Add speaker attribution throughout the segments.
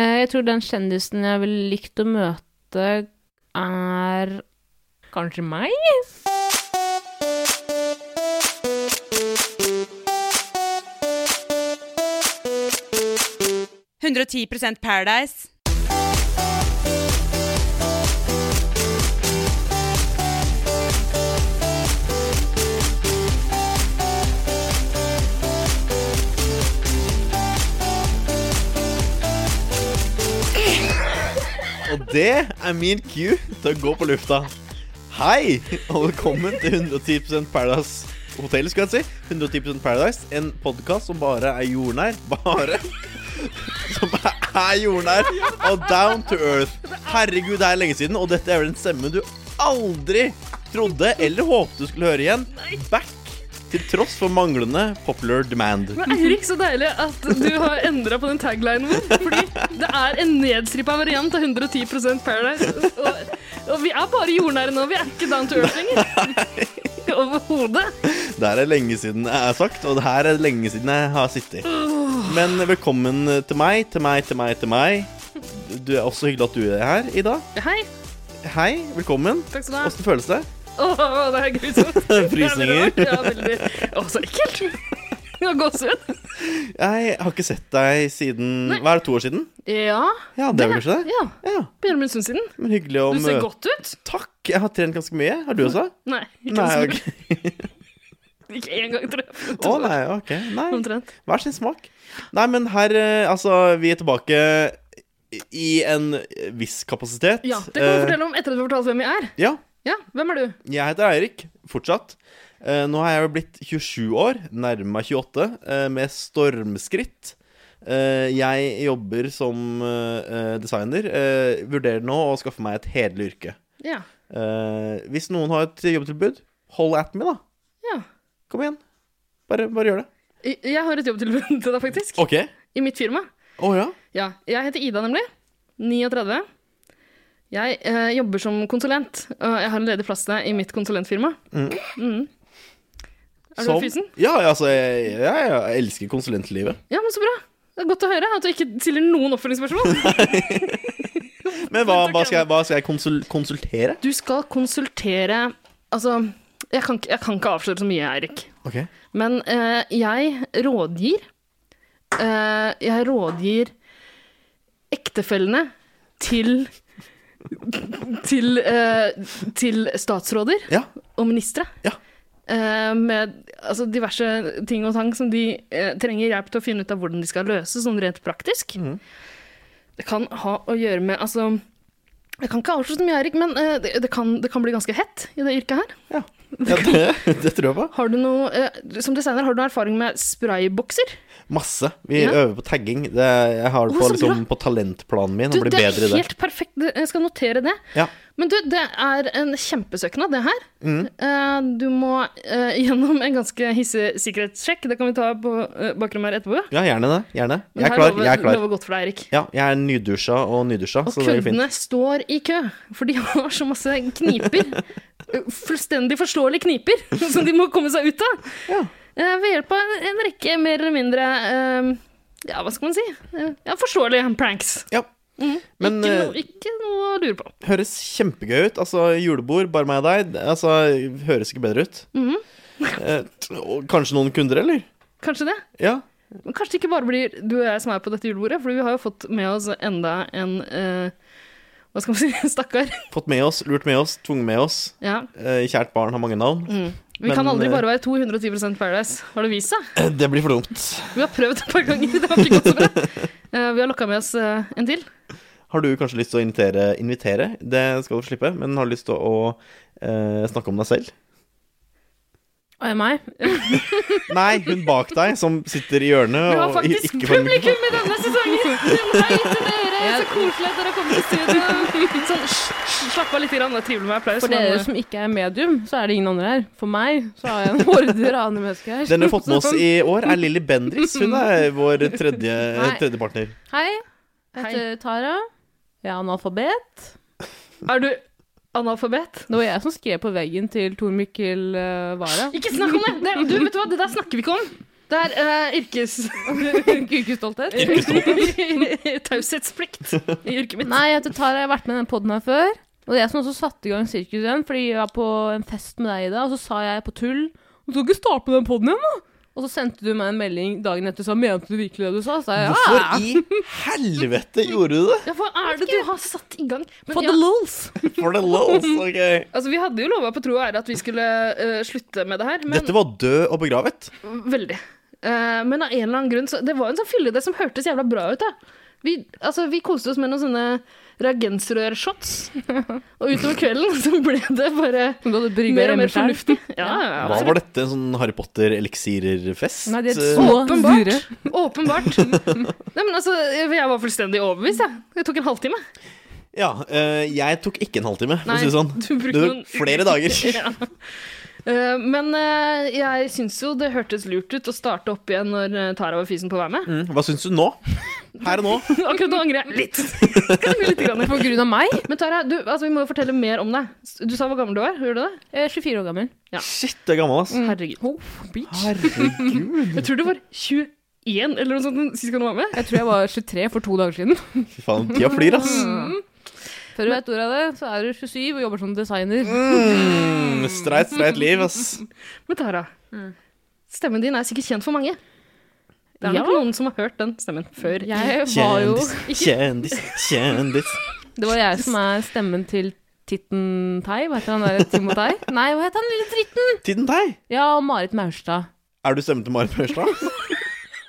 Speaker 1: Eh, jeg tror den kjendisen jeg ville likt å møte, er kanskje meg?
Speaker 2: «110% Paradise».
Speaker 3: Og det er min cue til å gå på lufta. Hei, og velkommen til 110 Paradise Hotel, skal jeg si. 110 Paradise, en podkast som bare er jordnær. Bare Som er jordnær og down to earth. Herregud, det er lenge siden, og dette er vel en stemme du aldri trodde eller håpte du skulle høre igjen. Back, til tross for manglende popular demand.
Speaker 4: Men Eirik, så deilig at du har endra på den taglinen vår. Fordi det er en nedstrippa variant av 110 Paradise. Og, og vi er bare jordnære nå. Vi er ikke down to earth lenger. Overhodet.
Speaker 3: Det her er lenge siden jeg har sagt, og det her er lenge siden jeg har sittet. Men velkommen til meg, til meg, til meg, til meg. Du er også hyggelig at du er her i dag.
Speaker 4: Hei.
Speaker 3: Hei, velkommen.
Speaker 4: Takk skal du ha.
Speaker 3: Åssen føles det?
Speaker 4: Åh, det er grusomt. Det er veldig
Speaker 3: Frysninger.
Speaker 4: rart. Ja, veldig. Å, så ekkelt. Jeg har gåsehud.
Speaker 3: Jeg har ikke sett deg siden Hva er det, to år siden?
Speaker 4: Ja.
Speaker 3: Ja, det er vel kanskje det?
Speaker 4: Ja.
Speaker 3: Ja,
Speaker 4: Begynner med en stund siden.
Speaker 3: Men hyggelig å
Speaker 4: Du ser
Speaker 3: møte
Speaker 4: godt ut.
Speaker 3: Takk! Jeg har trent ganske mye. Har du også?
Speaker 4: Nei, ikke
Speaker 3: Nei,
Speaker 4: en
Speaker 3: ok.
Speaker 4: stund. Ikke en gang, tror jeg.
Speaker 3: Å nei, ok. Nei.
Speaker 4: Omtrent.
Speaker 3: Hver sin smak. Nei, men her eh, Altså, vi er tilbake i en viss kapasitet.
Speaker 4: Ja, det kan vi
Speaker 3: Eh,
Speaker 4: fortelle om etter at vi har fortalt hvem vi er.
Speaker 3: Ja.
Speaker 4: Ja, hvem er du?
Speaker 3: Jeg heter Eirik, fortsatt. Eh, nå har jeg jo blitt 27 år, nærmer meg 28, eh, med stormskritt. Eh, jeg jobber som eh, eh, designer. Eh, vurderer nå å skaffe meg et hederlig yrke.
Speaker 4: Ja.
Speaker 3: Eh, hvis noen har et jobbtilbud, hold at me, da.
Speaker 4: ja.
Speaker 3: Kom igjen. Bare, bare gjør det.
Speaker 4: Jeg jeg har et jobbtilbud til deg, faktisk.
Speaker 3: OK.
Speaker 4: I mitt firma.
Speaker 3: Å ja.
Speaker 4: Ja, jeg heter Ida, nemlig. 39. Jeg eh, jobber som konsulent, og jeg har en ledig plass til deg i mitt konsulentfirma. Mm. Er du
Speaker 3: Sånn.
Speaker 4: fysen?
Speaker 3: Ja, ja, altså, jeg, ja, ja, jeg elsker konsulentlivet.
Speaker 4: Ja, men så bra. Det er Godt å høre at du ikke stiller noen oppfølgingsspørsmål.
Speaker 3: Men hva, hva skal jeg, hva skal jeg konsul konsultere?
Speaker 4: Du skal konsultere Altså, jeg kan, ikke- jeg kan ikke avsløre så mye, Eirik.
Speaker 3: OK.
Speaker 4: Men eh, jeg rådgir eh, Jeg rådgir ektefellene til til, eh, til statsråder
Speaker 3: Ja.
Speaker 4: og ministre.
Speaker 3: Ja.
Speaker 4: Eh, med altså, diverse ting og tang som de eh, trenger hjelp til å finne ut av hvordan de skal løse, sånn rent praktisk. Det kan ha å gjøre med Altså, jeg kan ikke avslutte så mye, Erik, men eh, det, det, kan, det kan bli ganske hett i det yrket her.
Speaker 3: ja. ja det, det tror jeg på.
Speaker 4: Har du noe, eh, som designer, har du noe erfaring med spraybokser?
Speaker 3: Masse. Vi
Speaker 4: Ja.
Speaker 3: øver på tagging. Det, jeg har det
Speaker 4: Å,
Speaker 3: på,
Speaker 4: så
Speaker 3: liksom, på talentplanen min
Speaker 4: Du,
Speaker 3: å bli
Speaker 4: det er
Speaker 3: bedre i det.
Speaker 4: helt perfekt. Det- Jeg skal notere det.
Speaker 3: Ja. Mm.
Speaker 4: Men du, det er en kjempesøknad, det her. Eh, du må eh, gjennom en ganske hissig sikkerhetssjekk. Det kan vi ta på uh, bakrommet her etterpå.
Speaker 3: Ja, gjerne det. Gjerne.
Speaker 4: Men
Speaker 3: Jeg er
Speaker 4: her
Speaker 3: klar.
Speaker 4: lover-
Speaker 3: Jeg er klar.
Speaker 4: Lover godt for deg, Erik.
Speaker 3: Ja, jeg er nydusja og nydusja,
Speaker 4: Og
Speaker 3: så det går fint.
Speaker 4: kundene står i kø, for de har så masse kniper. Eh, Fullstendig forståelige kniper som de må komme seg ut av.
Speaker 3: Ja.
Speaker 4: Eh, ved hjelp av en rekke mer eller mindre eh, Ja, hva skal man si? Eh, ja, forståelige pranks. Mm.
Speaker 3: Ja. Men
Speaker 4: ikke,
Speaker 3: eh,
Speaker 4: noe, ikke noe å lure på.
Speaker 3: høres kjempegøy ut. Altså, julebord, bare meg og deg, det- altså, høres ikke bedre ut.
Speaker 4: Mhm.
Speaker 3: Eh, t- og kanskje noen kunder, eller?
Speaker 4: Kanskje det.
Speaker 3: Ja.
Speaker 4: Men kanskje det ikke bare blir du og jeg som er på dette julebordet, for vi har jo fått med oss enda en eh, Hva skal man si? Stakkar.
Speaker 3: Fått med oss, lurt med oss, tvunget med oss.
Speaker 4: Ja. mm.
Speaker 3: Eh, kjært barn har mange navn.
Speaker 4: Vi kan
Speaker 3: Men,
Speaker 4: aldri
Speaker 3: eh,
Speaker 4: bare være 210 Paradise, har det vist seg.
Speaker 3: Eh, Det blir for dumt.
Speaker 4: Vi har prøvd et par ganger, det har ikke gått så bra. Eh, vi har lokka med oss eh, en til.
Speaker 3: Har du kanskje lyst til å invitere, invitere? Det skal du slippe. Men har du lyst til å eh, snakke om deg selv?
Speaker 1: Og jeg Eh, meg?
Speaker 3: Nei, hun bak deg som sitter i hjørnet
Speaker 4: Vi har
Speaker 3: og i-
Speaker 4: faktisk
Speaker 3: ikke får mikrofon.
Speaker 4: publikum i denne sesongen! Hei til dere! Så koselig at dere har kommet til studio. Sånn, sj- sj- slapp av litt, grann, det er trivelig med applaus.
Speaker 1: For dere
Speaker 4: men- eh,
Speaker 1: som ikke er medium, så er det ingen andre her. For meg så har jeg en horder av andre mennesker her.
Speaker 3: Den vi har fått med oss i år, er Lilly Bendriss. Hun er vår tredje,
Speaker 1: Nei.
Speaker 3: tredje partner.
Speaker 1: Hei, jeg heter Tara. Jeg er analfabet.
Speaker 4: Er du analfabet?
Speaker 1: Det var jeg som skrev på veggen til Tor Mikkel eh, Wara.
Speaker 4: Ikke snakk om det! det du, vet du hva, det der snakker vi ikke om. Det er eh, yrkes...
Speaker 1: Ukestolthet.
Speaker 4: Taushetsplikt i yrket mitt.
Speaker 1: Nei, jeg heter Tara, jeg har vært med i den poden her før. Og det er jeg som også satte i gang sirkus igjen, fordi jeg var på en fest med deg, Ida, og så sa jeg på tull Du skal ikke starte med den poden igjen, da! Og så sendte du meg en melding dagen etter og sa mente du virkelig det du sa? Så sa jeg "Ah, ja.
Speaker 3: Hvorfor i helvete gjorde du det?
Speaker 4: Ja, hva er det du har satt i gang? Men
Speaker 1: For
Speaker 4: ja,
Speaker 1: the lols.
Speaker 3: For the lols, ok
Speaker 4: altså, vi hadde jo lova på tro og ære at vi skulle eh, slutte med det her, men
Speaker 3: Dette var død og begravet.
Speaker 4: veldig. Eh, men av en eller annen grunn så Det var en sånn fylleidé som hørtes jævla bra ut, da. Vi, altså, vi koste oss med noen sånne reagensrørshots, og utover kvelden så ble det bare
Speaker 1: Som du hadde brygga
Speaker 4: mer og
Speaker 1: hjemme
Speaker 4: mer
Speaker 1: selv.
Speaker 4: fornuftig. Ja, ja,
Speaker 3: Hva var dette? En sånn Harry Potter-eliksirerfest?
Speaker 1: Nei, det er
Speaker 3: Eh,
Speaker 1: så
Speaker 4: Åpenbart.
Speaker 1: sure.
Speaker 4: Åpenbart. Nei, men altså, jeg var fullstendig overbevist, jeg. Det tok en halvtime.
Speaker 3: Ja, eh, jeg tok ikke en halvtime, for å
Speaker 4: Nei,
Speaker 3: si det sånn.
Speaker 4: du brukte
Speaker 3: Det var
Speaker 4: noen-
Speaker 3: flere dager.
Speaker 4: Ja. Eh, men eh, jeg syns jo det hørtes lurt ut å starte opp igjen når eh, Tara var fysen på å være med.
Speaker 3: Mm, Hva syns du nå? Her og nå?
Speaker 4: Akkurat nå angrer jeg litt. litt grann.
Speaker 1: På grunn av meg.
Speaker 4: Men Tara, du, altså, vi må jo fortelle mer om deg. Du sa hvor gammel du var, gjorde du det?
Speaker 1: Jeg er 24 år gammel.
Speaker 3: Shit, du er gammel, ass.
Speaker 4: Herregud.
Speaker 1: Oh, bitch.
Speaker 3: Herregud.
Speaker 4: Jeg tror du var 21 eller noe sånt sist gang du var med.
Speaker 1: Jeg tror jeg var 23 for to dager siden.
Speaker 3: Fy faen, tida flyr, ass.
Speaker 1: Før du vet ordet av det, så er du 27 og jobber som designer.
Speaker 3: Mm, streit, streit liv, ass.
Speaker 4: Men Tara,
Speaker 1: Mm.
Speaker 4: stemmen din er sikkert kjent for mange. Det er
Speaker 1: Ja.
Speaker 4: nok noen som har hørt den stemmen før.
Speaker 1: Jeg var jo
Speaker 3: Kjendis, kjendis, kjendis.
Speaker 1: Det var jeg som er stemmen til Titten Tei. Hva heter han der? Timotei? Nei, hva heter han lille dritten?
Speaker 3: Tiden deg.
Speaker 1: Ja, og Marit Maurstad.
Speaker 3: Er du stemmen til Marit Maurstad?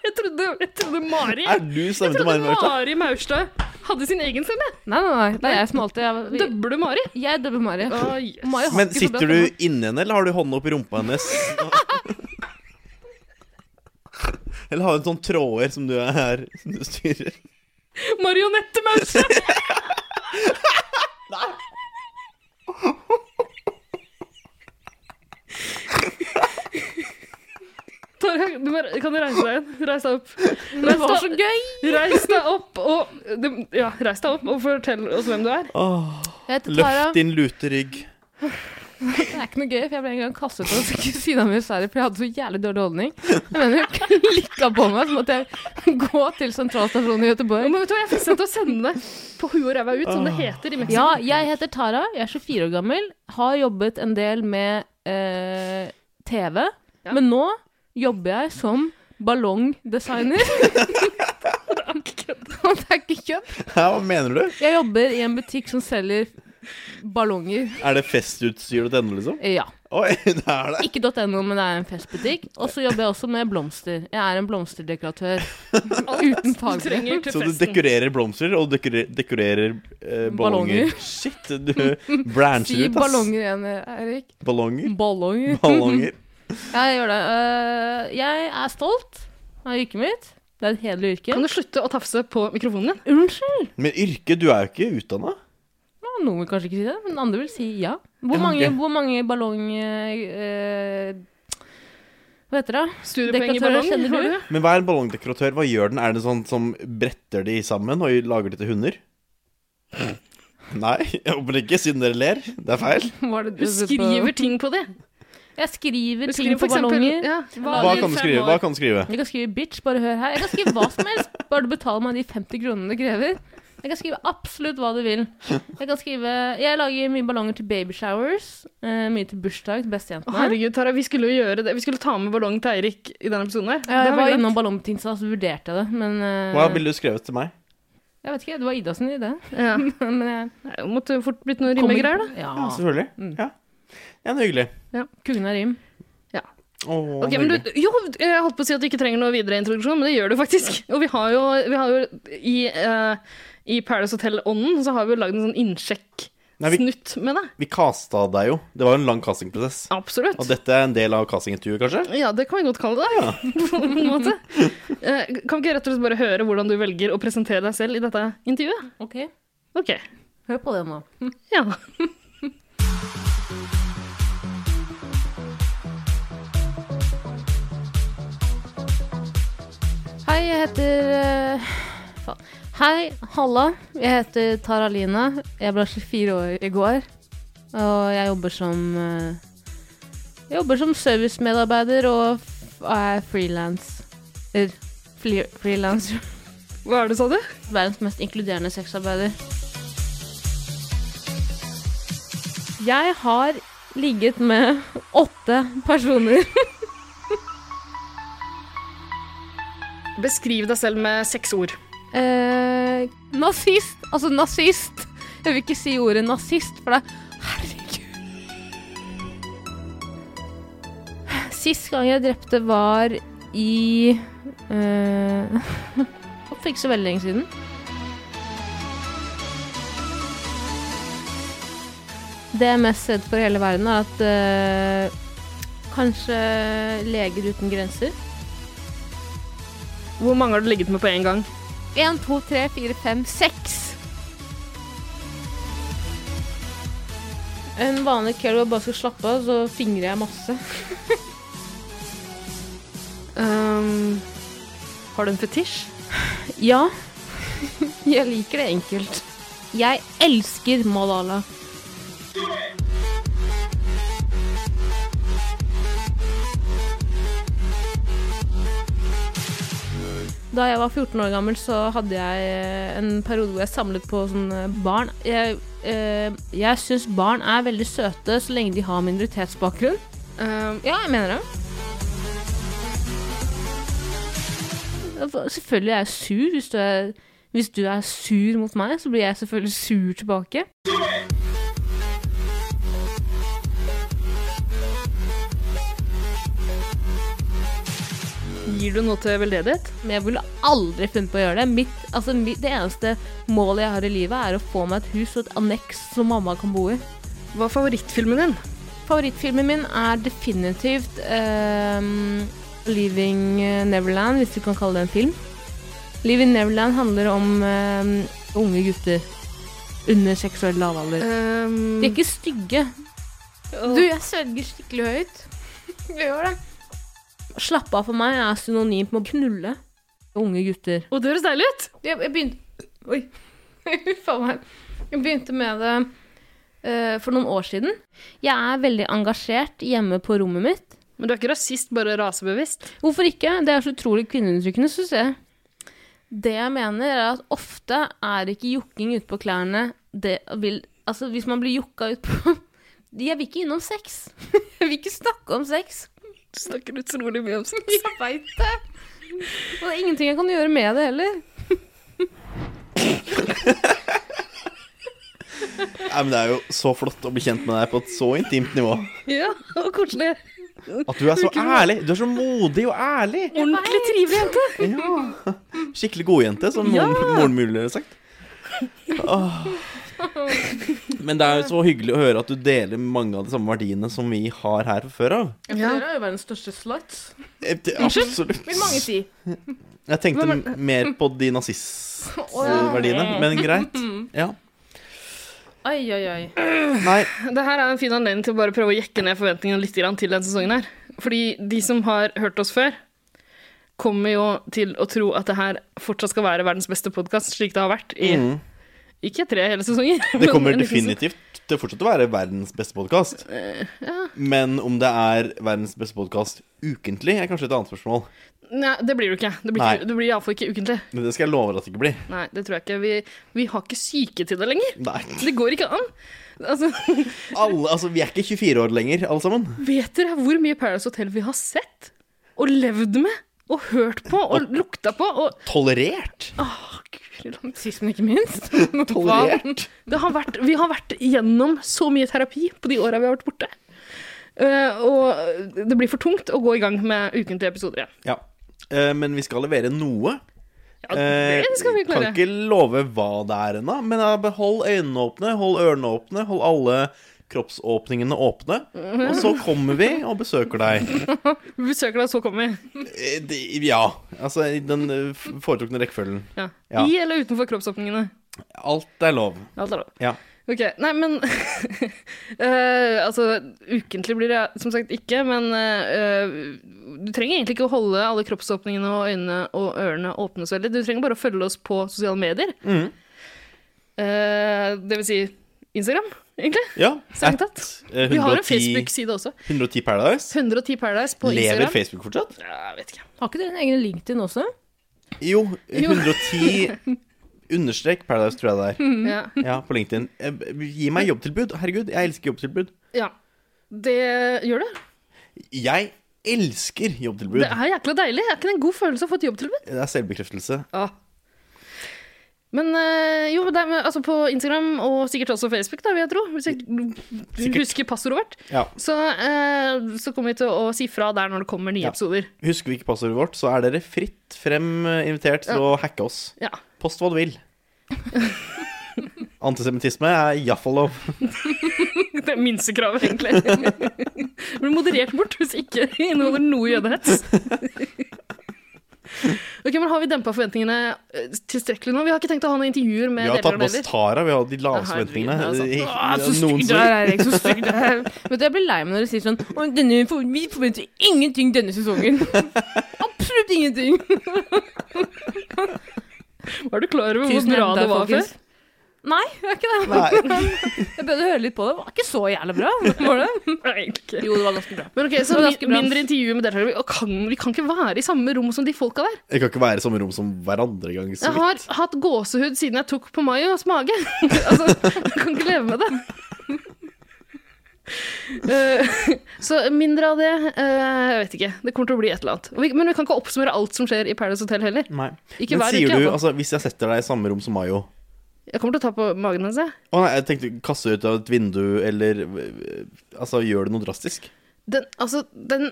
Speaker 4: Jeg trodde, jeg trodde Mari
Speaker 3: Er du stemmen til
Speaker 4: trodde
Speaker 3: Marit Maurstad?
Speaker 4: Mari Maurstad hadde sin egen stemme.
Speaker 1: Nei, nei, nei. Det er jeg som alltid er vi-
Speaker 4: Døbler du Mari?
Speaker 1: Jeg dubber Mari.
Speaker 4: Å, yes.
Speaker 1: Mari har
Speaker 3: Men
Speaker 1: ikke så bra
Speaker 3: sitter du
Speaker 1: stemme.
Speaker 3: inni henne, eller har du hånda oppi rumpa hennes? Eller har du en sånn tråder som du er som du styrer?
Speaker 4: Marionette Maurstad! Tara, du må, kan du reise deg igjen? Reis deg opp.
Speaker 1: Det var
Speaker 4: Reis
Speaker 1: så
Speaker 4: deg,
Speaker 1: gøy!
Speaker 4: reis deg opp og det- Ja, reis deg opp og fortell oss hvem du er.
Speaker 3: Åh,
Speaker 1: Jeg heter Tara.
Speaker 3: løft din lute rygg.
Speaker 1: Det er ikke noe gøy, for jeg ble en gang kastet ut av kusina mi i Sverige fordi jeg hadde så jævlig dårlig holdning. Jeg mener, hun klikka på meg, så måtte jeg gå til sentralstasjonen i
Speaker 4: Ja,
Speaker 1: Göteborg.
Speaker 4: Men vet du hva, Jeg er fristet til å sende deg på huet og ræva ut, som det
Speaker 3: Ah.
Speaker 4: heter i Mexico.
Speaker 1: Ja, jeg heter Tara, jeg er 24 år gammel, har jobbet en del med eh, TV,
Speaker 4: Ja.
Speaker 1: men nå jobber jeg som ballongdesigner. Og det er ikke kødd.
Speaker 3: Hæ, hva mener du?
Speaker 1: Jeg jobber i en butikk som selger ballonger.
Speaker 3: Er det festutstyr.no, liksom?
Speaker 1: Eh, Ja.
Speaker 3: Oi, det er det.
Speaker 1: Ikke .no, men det er en festbutikk. Og så jobber jeg også med blomster. Jeg er en blomsterdekoratør. Uten
Speaker 4: Du trenger
Speaker 1: fagbrev.
Speaker 4: til
Speaker 3: Så du
Speaker 4: festen.
Speaker 3: dekorerer blomster, og dekorer, dekorerer eh, ballonger.
Speaker 1: Ballonger.
Speaker 3: Shit, du brancher
Speaker 1: Si
Speaker 3: ut, ass.
Speaker 1: ballonger igjen, Erik.
Speaker 3: Ballonger.
Speaker 1: Ballonger.
Speaker 3: Ballonger.
Speaker 1: Jeg gjør det. Eh, jeg er stolt av yrket mitt. Det er et hederlig yrke.
Speaker 4: Kan du slutte å tafse på mikrofonen din?
Speaker 1: Unnskyld?
Speaker 3: Men yrke, du er jo ikke utdanna.
Speaker 1: Ja, Noen vil kanskje ikke si det, men andre vil si ja. Hvor
Speaker 3: Ja,
Speaker 1: mange,
Speaker 3: ok.
Speaker 1: hvor mange ballong... eh, hva heter det?
Speaker 4: Studiepoeng
Speaker 1: Dekoratører
Speaker 4: i ballong?
Speaker 1: kjenner du?
Speaker 4: har du?
Speaker 3: Men hva er en ballongdekoratør? Hva gjør den? Er det sånn som bretter de sammen og lager de til hunder? Nei, jeg håper ikke, siden dere ler. Det er feil.
Speaker 1: Hva er det
Speaker 4: Du skriver ting på det.
Speaker 1: Jeg skriver
Speaker 4: Du
Speaker 1: ting
Speaker 4: skriver
Speaker 1: på
Speaker 4: for eksempel
Speaker 1: ballonger.
Speaker 4: ja,
Speaker 3: Hva kan du skrive? Hva kan du skrive?
Speaker 1: Jeg kan skrive 'bitch', bare hør her. Jeg kan skrive hva som helst, bare du betaler meg de 50 kronene det krever. Jeg kan skrive absolutt hva du vil. Jeg kan skrive Jeg lager mye ballonger til babyshowers. Uh, mye til bursdag til
Speaker 4: Å,
Speaker 1: bestejentene.
Speaker 4: Herregud, Tara, vi skulle jo gjøre det. Vi skulle ta med ballong til Eirik i denne episoden her.
Speaker 1: Ja, jeg
Speaker 4: Det er
Speaker 1: var
Speaker 4: veldig
Speaker 1: innom ballongbetingelser, så vurderte jeg det, men eh,
Speaker 3: Hva ville du skrevet til meg?
Speaker 1: Jeg vet ikke, det var Ida sin idé.
Speaker 4: lett. Ja.
Speaker 1: Men jeg
Speaker 4: Nei, det måtte jo fort blitt noen
Speaker 1: kommer-
Speaker 4: rimegreier, da.
Speaker 3: Ja,
Speaker 1: Ja.
Speaker 3: selvfølgelig.
Speaker 4: Mm.
Speaker 3: Ja, ja men hyggelig.
Speaker 1: Kongen av rim.
Speaker 3: Åh,
Speaker 4: Ok, men
Speaker 3: hyggelig.
Speaker 4: du, jo, jeg holdt på å si at du ikke trenger noe videre introduksjon, men det gjør du faktisk. Og vi har jo, vi har jo i, eh, i Paradise Hotel-ånden så har vi jo lagd en sånn
Speaker 3: Nei, vi-
Speaker 4: innsjekk-snutt med det.
Speaker 3: Vi casta deg jo. Det var jo en lang castingprosess.
Speaker 4: Absolutt.
Speaker 3: Og dette er en del av castingintervjuet, kanskje?
Speaker 4: Ja, det kan vi godt kalle det. På en måte. Eh, Kan vi ikke rett og slett bare høre hvordan du velger å presentere deg selv i dette intervjuet?
Speaker 1: OK,
Speaker 4: Ok,
Speaker 1: hør på det nå.
Speaker 4: ja.
Speaker 1: Hei, jeg heter eh, Faen. Hei, halla. Jeg heter Tara Line. Jeg ble 24 år i går. Og jeg jobber som eh, Jeg jobber som servicemedarbeider og f- er frilanser. Frilanser.
Speaker 4: Hva er det, sa du?
Speaker 1: Verdens mest inkluderende sexarbeider. Jeg har ligget med åtte personer.
Speaker 4: Beskriv deg selv med seks ord.
Speaker 1: Eh, nazist. Altså nazist. Jeg vil ikke si ordet nazist, for det Herregud. Sist gang jeg drepte, var i eh, For ikke så veldig lenge siden. Det jeg er mest redd for i hele verden, er at eh, kanskje Leger uten grenser
Speaker 4: Hvor mange har du ligget med på én gang?
Speaker 1: 1, 2, 3, 4, 5, 6. En vanlig kveld hvor jeg bare skal slappe av, så fingrer jeg masse.
Speaker 4: Ehm, har du en fetisj?
Speaker 1: Ja, jeg liker det enkelt. Jeg elsker Malala. Da jeg var 14 år gammel, så hadde jeg eh, en periode hvor jeg samlet på sånne barn. Jeg, eh, jeg syns barn er veldig søte så lenge de har minoritetsbakgrunn.
Speaker 4: Ehm,
Speaker 1: Ja, jeg mener det. Selvfølgelig er jeg sur. Hvis du er, hvis du er sur mot meg, så blir jeg selvfølgelig sur tilbake.
Speaker 4: gir du noe til veldedighet?
Speaker 1: Men jeg ville aldri funnet på å gjøre det. Mitt, altså, mitt, det eneste målet jeg har i livet, er å få meg et hus og et anneks som mamma kan bo i.
Speaker 4: Hva er favorittfilmen din?
Speaker 1: Favorittfilmen min er definitivt ehm, 'Leaving Neverland', hvis du kan kalle det en film. 'Leaving Neverland' handler om ehm, unge gutter under seksuell lavalder.
Speaker 4: Ehm,
Speaker 1: De er ikke stygge. Du, jeg svelger skikkelig høyt. Jeg gjør det. Slappe av for meg er synonymt med å knulle unge gutter.
Speaker 4: Å, det høres deilig ut!
Speaker 1: Jeg, jeg begynte Oi. Huff a meg. Jeg begynte med det eh, for noen år siden. Jeg er veldig engasjert hjemme på rommet mitt.
Speaker 4: Men du er ikke rasist, bare rasebevisst.
Speaker 1: Hvorfor ikke? Det er så utrolig kvinneundertrykkende, syns jeg. Det jeg mener, er at ofte er ikke jokking utpå klærne det vil Altså, hvis man blir jokka utpå Jeg vil ikke innom sex. Jeg vil ikke snakke om sex.
Speaker 4: Du snakker utrolig mye om sex.
Speaker 1: Jeg veit det. Og det er ingenting jeg kan gjøre med det heller.
Speaker 3: Nei, men Det er jo så flott å bli kjent med deg på et så intimt nivå.
Speaker 4: Ja, og koselig.
Speaker 3: At du er så ærlig. Du er så modig og ærlig.
Speaker 4: Ordentlig trivelig jente.
Speaker 3: Ja. Skikkelig godjente, som moren, moren mulig har sagt. Åh. Men det er jo så hyggelig å høre at du deler mange av de samme verdiene som vi har her fra før av.
Speaker 4: Ja.
Speaker 1: Dere er jo verdens største sluts,
Speaker 3: Eh, det- Absolutt.
Speaker 1: vil mange si.
Speaker 3: Jeg tenkte mer på de nazistverdiene, men greit. Ja.
Speaker 1: Oi, oi, oi.
Speaker 3: Nei,
Speaker 4: Det her er en fin anledning til å bare prøve å jekke ned forventningene litt grann til denne sesongen. her. Fordi de som har hørt oss før, kommer jo til å tro at det her fortsatt skal være verdens beste podkast, slik det har vært i
Speaker 3: Mhm.
Speaker 4: ikke tre hele sesonger.
Speaker 3: Det
Speaker 4: men
Speaker 3: kommer
Speaker 4: en liten sesong.
Speaker 3: definitivt til å fortsette å være verdens beste podkast.
Speaker 4: Eh,
Speaker 3: Men om det er verdens beste podkast ukentlig, er kanskje et annet spørsmål.
Speaker 4: Nei, det blir det ikke. Det blir,
Speaker 3: Nei.
Speaker 4: ikke- det blir iallfall ikke ukentlig.
Speaker 3: Men det skal jeg love deg at det ikke blir.
Speaker 4: Nei, det tror jeg ikke. Vi, vi har ikke syke til det lenger.
Speaker 3: Nei.
Speaker 4: Det går ikke an. Altså,
Speaker 3: Alle, altså, vi er ikke 24 år lenger, alle sammen.
Speaker 4: vet dere hvor mye Paradise Hotel vi har sett? Og levd med? Og hørt på? Og lukta på? Og
Speaker 3: Tolerert.
Speaker 4: Åh, guri land.
Speaker 1: Sist, men ikke minst.
Speaker 3: Tolerert.
Speaker 4: Det har vært, vi har vært gjennom så mye terapi på de åra vi har vært borte. Eh, og det blir for tungt å gå i gang med ukentlige episoder igjen.
Speaker 3: Ja. Eh, Men vi skal levere noe.
Speaker 4: Ja, det skal vi
Speaker 3: Eh,
Speaker 4: klare.
Speaker 3: Kan ikke love hva det er ennå, men eh, bare hold øynene åpne, hold ørene åpne, hold alle kroppsåpningene åpne. Og så kommer vi og besøker deg.
Speaker 4: Vi besøker deg, så kommer vi.
Speaker 3: Eh, det- Ja. Altså i den eh, f- foretrukne rekkefølgen.
Speaker 4: Ja.
Speaker 3: Ja.
Speaker 4: I eller utenfor kroppsåpningene.
Speaker 3: Alt er lov.
Speaker 4: Alt er lov.
Speaker 3: Ja.
Speaker 4: Ok, Nei, men eh, Altså, ukentlig blir det som sagt ikke, men eh, du trenger egentlig ikke å holde alle kroppsåpningene og øynene og ørene åpne så veldig. Du trenger Mm. bare å følge oss på sosiale medier.
Speaker 3: Mhm.
Speaker 4: Eh, det vil si Instagram. egentlig.
Speaker 3: Ja,
Speaker 4: Strengt
Speaker 3: at,
Speaker 4: tatt.
Speaker 3: eh,
Speaker 4: Vi har en
Speaker 3: 110,
Speaker 4: Facebook-side også.
Speaker 3: 110 Paradise.
Speaker 4: 110 Paradise på
Speaker 3: Lever
Speaker 4: Instagram.
Speaker 3: Facebook fortsatt?
Speaker 4: Ja, jeg vet ikke.
Speaker 1: Har ikke dere en egen LinkedIn også?
Speaker 3: Jo, 110 understrek Paradise, tror jeg det er.
Speaker 4: Ja.
Speaker 3: Ja, på LinkedIn. Eh, Gi meg jobbtilbud. Herregud, jeg elsker jobbtilbud.
Speaker 4: ja. Det gjør det.
Speaker 3: Jeg elsker jobbtilbud.
Speaker 4: Det er jækla deilig. Er ikke det en god følelse å få et jobbtilbud?
Speaker 3: Det er selvbekreftelse.
Speaker 4: Ja. Men eh, jo, det er, med- altså på Instagram og sikkert også Facebook, da, vil jeg tro, hvis jeg
Speaker 3: Sikkert.
Speaker 4: husker passordet vårt,
Speaker 3: Ja.
Speaker 4: så, eh, så kommer vi til å si fra der når det kommer nye
Speaker 3: Ja.
Speaker 4: episoder.
Speaker 3: Husker vi ikke passordet vårt, så er dere fritt frem eh, invitert til å hacke oss.
Speaker 4: Ja.
Speaker 3: Post hva du vil. Antisemittisme er iallfall lov.
Speaker 4: Det er minstekravet, egentlig. Blir moderert bort hvis ikke inneholder noe jødehets. Ok, men Har vi dempa forventningene eh, tilstrekkelig nå? Vi har ikke tenkt å ha noen intervjuer
Speaker 3: Vi
Speaker 4: med
Speaker 3: har tatt
Speaker 4: deltakerne
Speaker 3: med oss
Speaker 4: heller.
Speaker 3: Tara. Vi har de laveste
Speaker 4: Herregud,
Speaker 3: forventningene.
Speaker 4: altså. det
Speaker 3: eh,
Speaker 1: Å, altså. så stygg du
Speaker 3: Noensinne.
Speaker 1: er, Eirik. Så stygg du er. Vet du, jeg blir lei meg når du sier sånn «Å, denne, for- Vi forventer ingenting denne sesongen. Absolutt ingenting.
Speaker 4: Var du klar over hvor bra det var før?
Speaker 1: Nei, det er ikke det.
Speaker 3: Nei.
Speaker 1: Jeg bør høre litt på det. Det var ikke så jævlig bra. Var det?
Speaker 4: Nei, egentlig ikke.
Speaker 1: Jo, det var ganske bra.
Speaker 4: Men ok, så
Speaker 1: Det var
Speaker 4: min,
Speaker 1: ganske bra.
Speaker 4: mindre intervjuer med deltakere. Vi og kan, vi kan ikke være i samme rom som de folka der.
Speaker 3: Det kan ikke være samme rom som hverandre engang. så
Speaker 4: Jeg har
Speaker 3: vidt.
Speaker 4: hatt gåsehud siden jeg tok på Mayos mage. altså, jeg kan ikke leve med det. Eh, så mindre av det eh, Jeg vet ikke. Det kommer til å bli et eller annet. Og vi, men vi kan ikke oppsummere alt som skjer i Paradise Hotel heller.
Speaker 3: Nei.
Speaker 4: Ikke
Speaker 3: Men
Speaker 4: hver
Speaker 3: sier du,
Speaker 4: uke. i hvert fall.
Speaker 3: altså, hvis jeg setter deg i samme rom som Mayo
Speaker 4: Jeg kommer til å ta på magen hennes. jeg.
Speaker 3: Å nei, jeg tenkte kaste ut av et vindu, eller eh, Altså, gjør det noe drastisk?
Speaker 4: Den, altså, den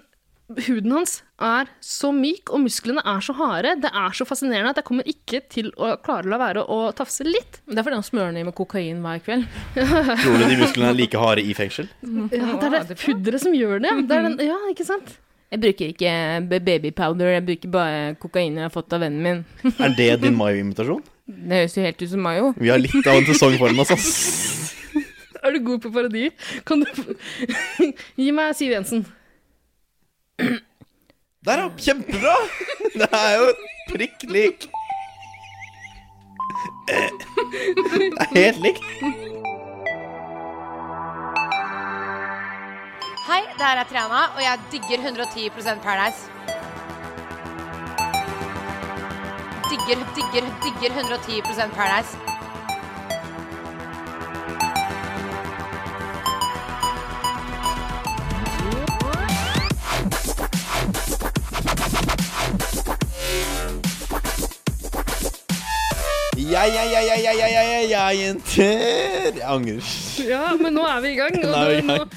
Speaker 4: huden hans er så myk, og musklene er så harde. Det er så fascinerende at jeg kommer ikke til å klare å la være å tafse litt.
Speaker 1: Det er fordi han smører ned med kokain hver kveld.
Speaker 3: Tror du de musklene er like harde i fengsel?
Speaker 4: Ja, det er det pudderet som gjør det. ja. Det er den, ja, ikke sant?
Speaker 1: Jeg bruker ikke eh, b- babypowder, jeg bruker bare kokain jeg har fått av vennen min.
Speaker 3: Er det din Mayo-invitasjon?
Speaker 1: Det høres jo helt ut som Mayo.
Speaker 3: Vi har litt av en sesong foran oss, ass.
Speaker 4: Er du god på parodier? Kan du Gi meg Siv Jensen.
Speaker 3: Der, ja. Kjempebra! Det er jo prikk lik. Det er helt likt.
Speaker 5: Hei, det her er Triana, og jeg digger 110 Paradise. Digger, digger, digger 110 Paradise.
Speaker 3: Ja, ja, ja, ja, ja, ja, ja, ja, ja, jenter. Jeg angrer.
Speaker 4: Ja, men nå er vi i gang. Og
Speaker 3: Nå er vi i
Speaker 4: nå-
Speaker 3: gang.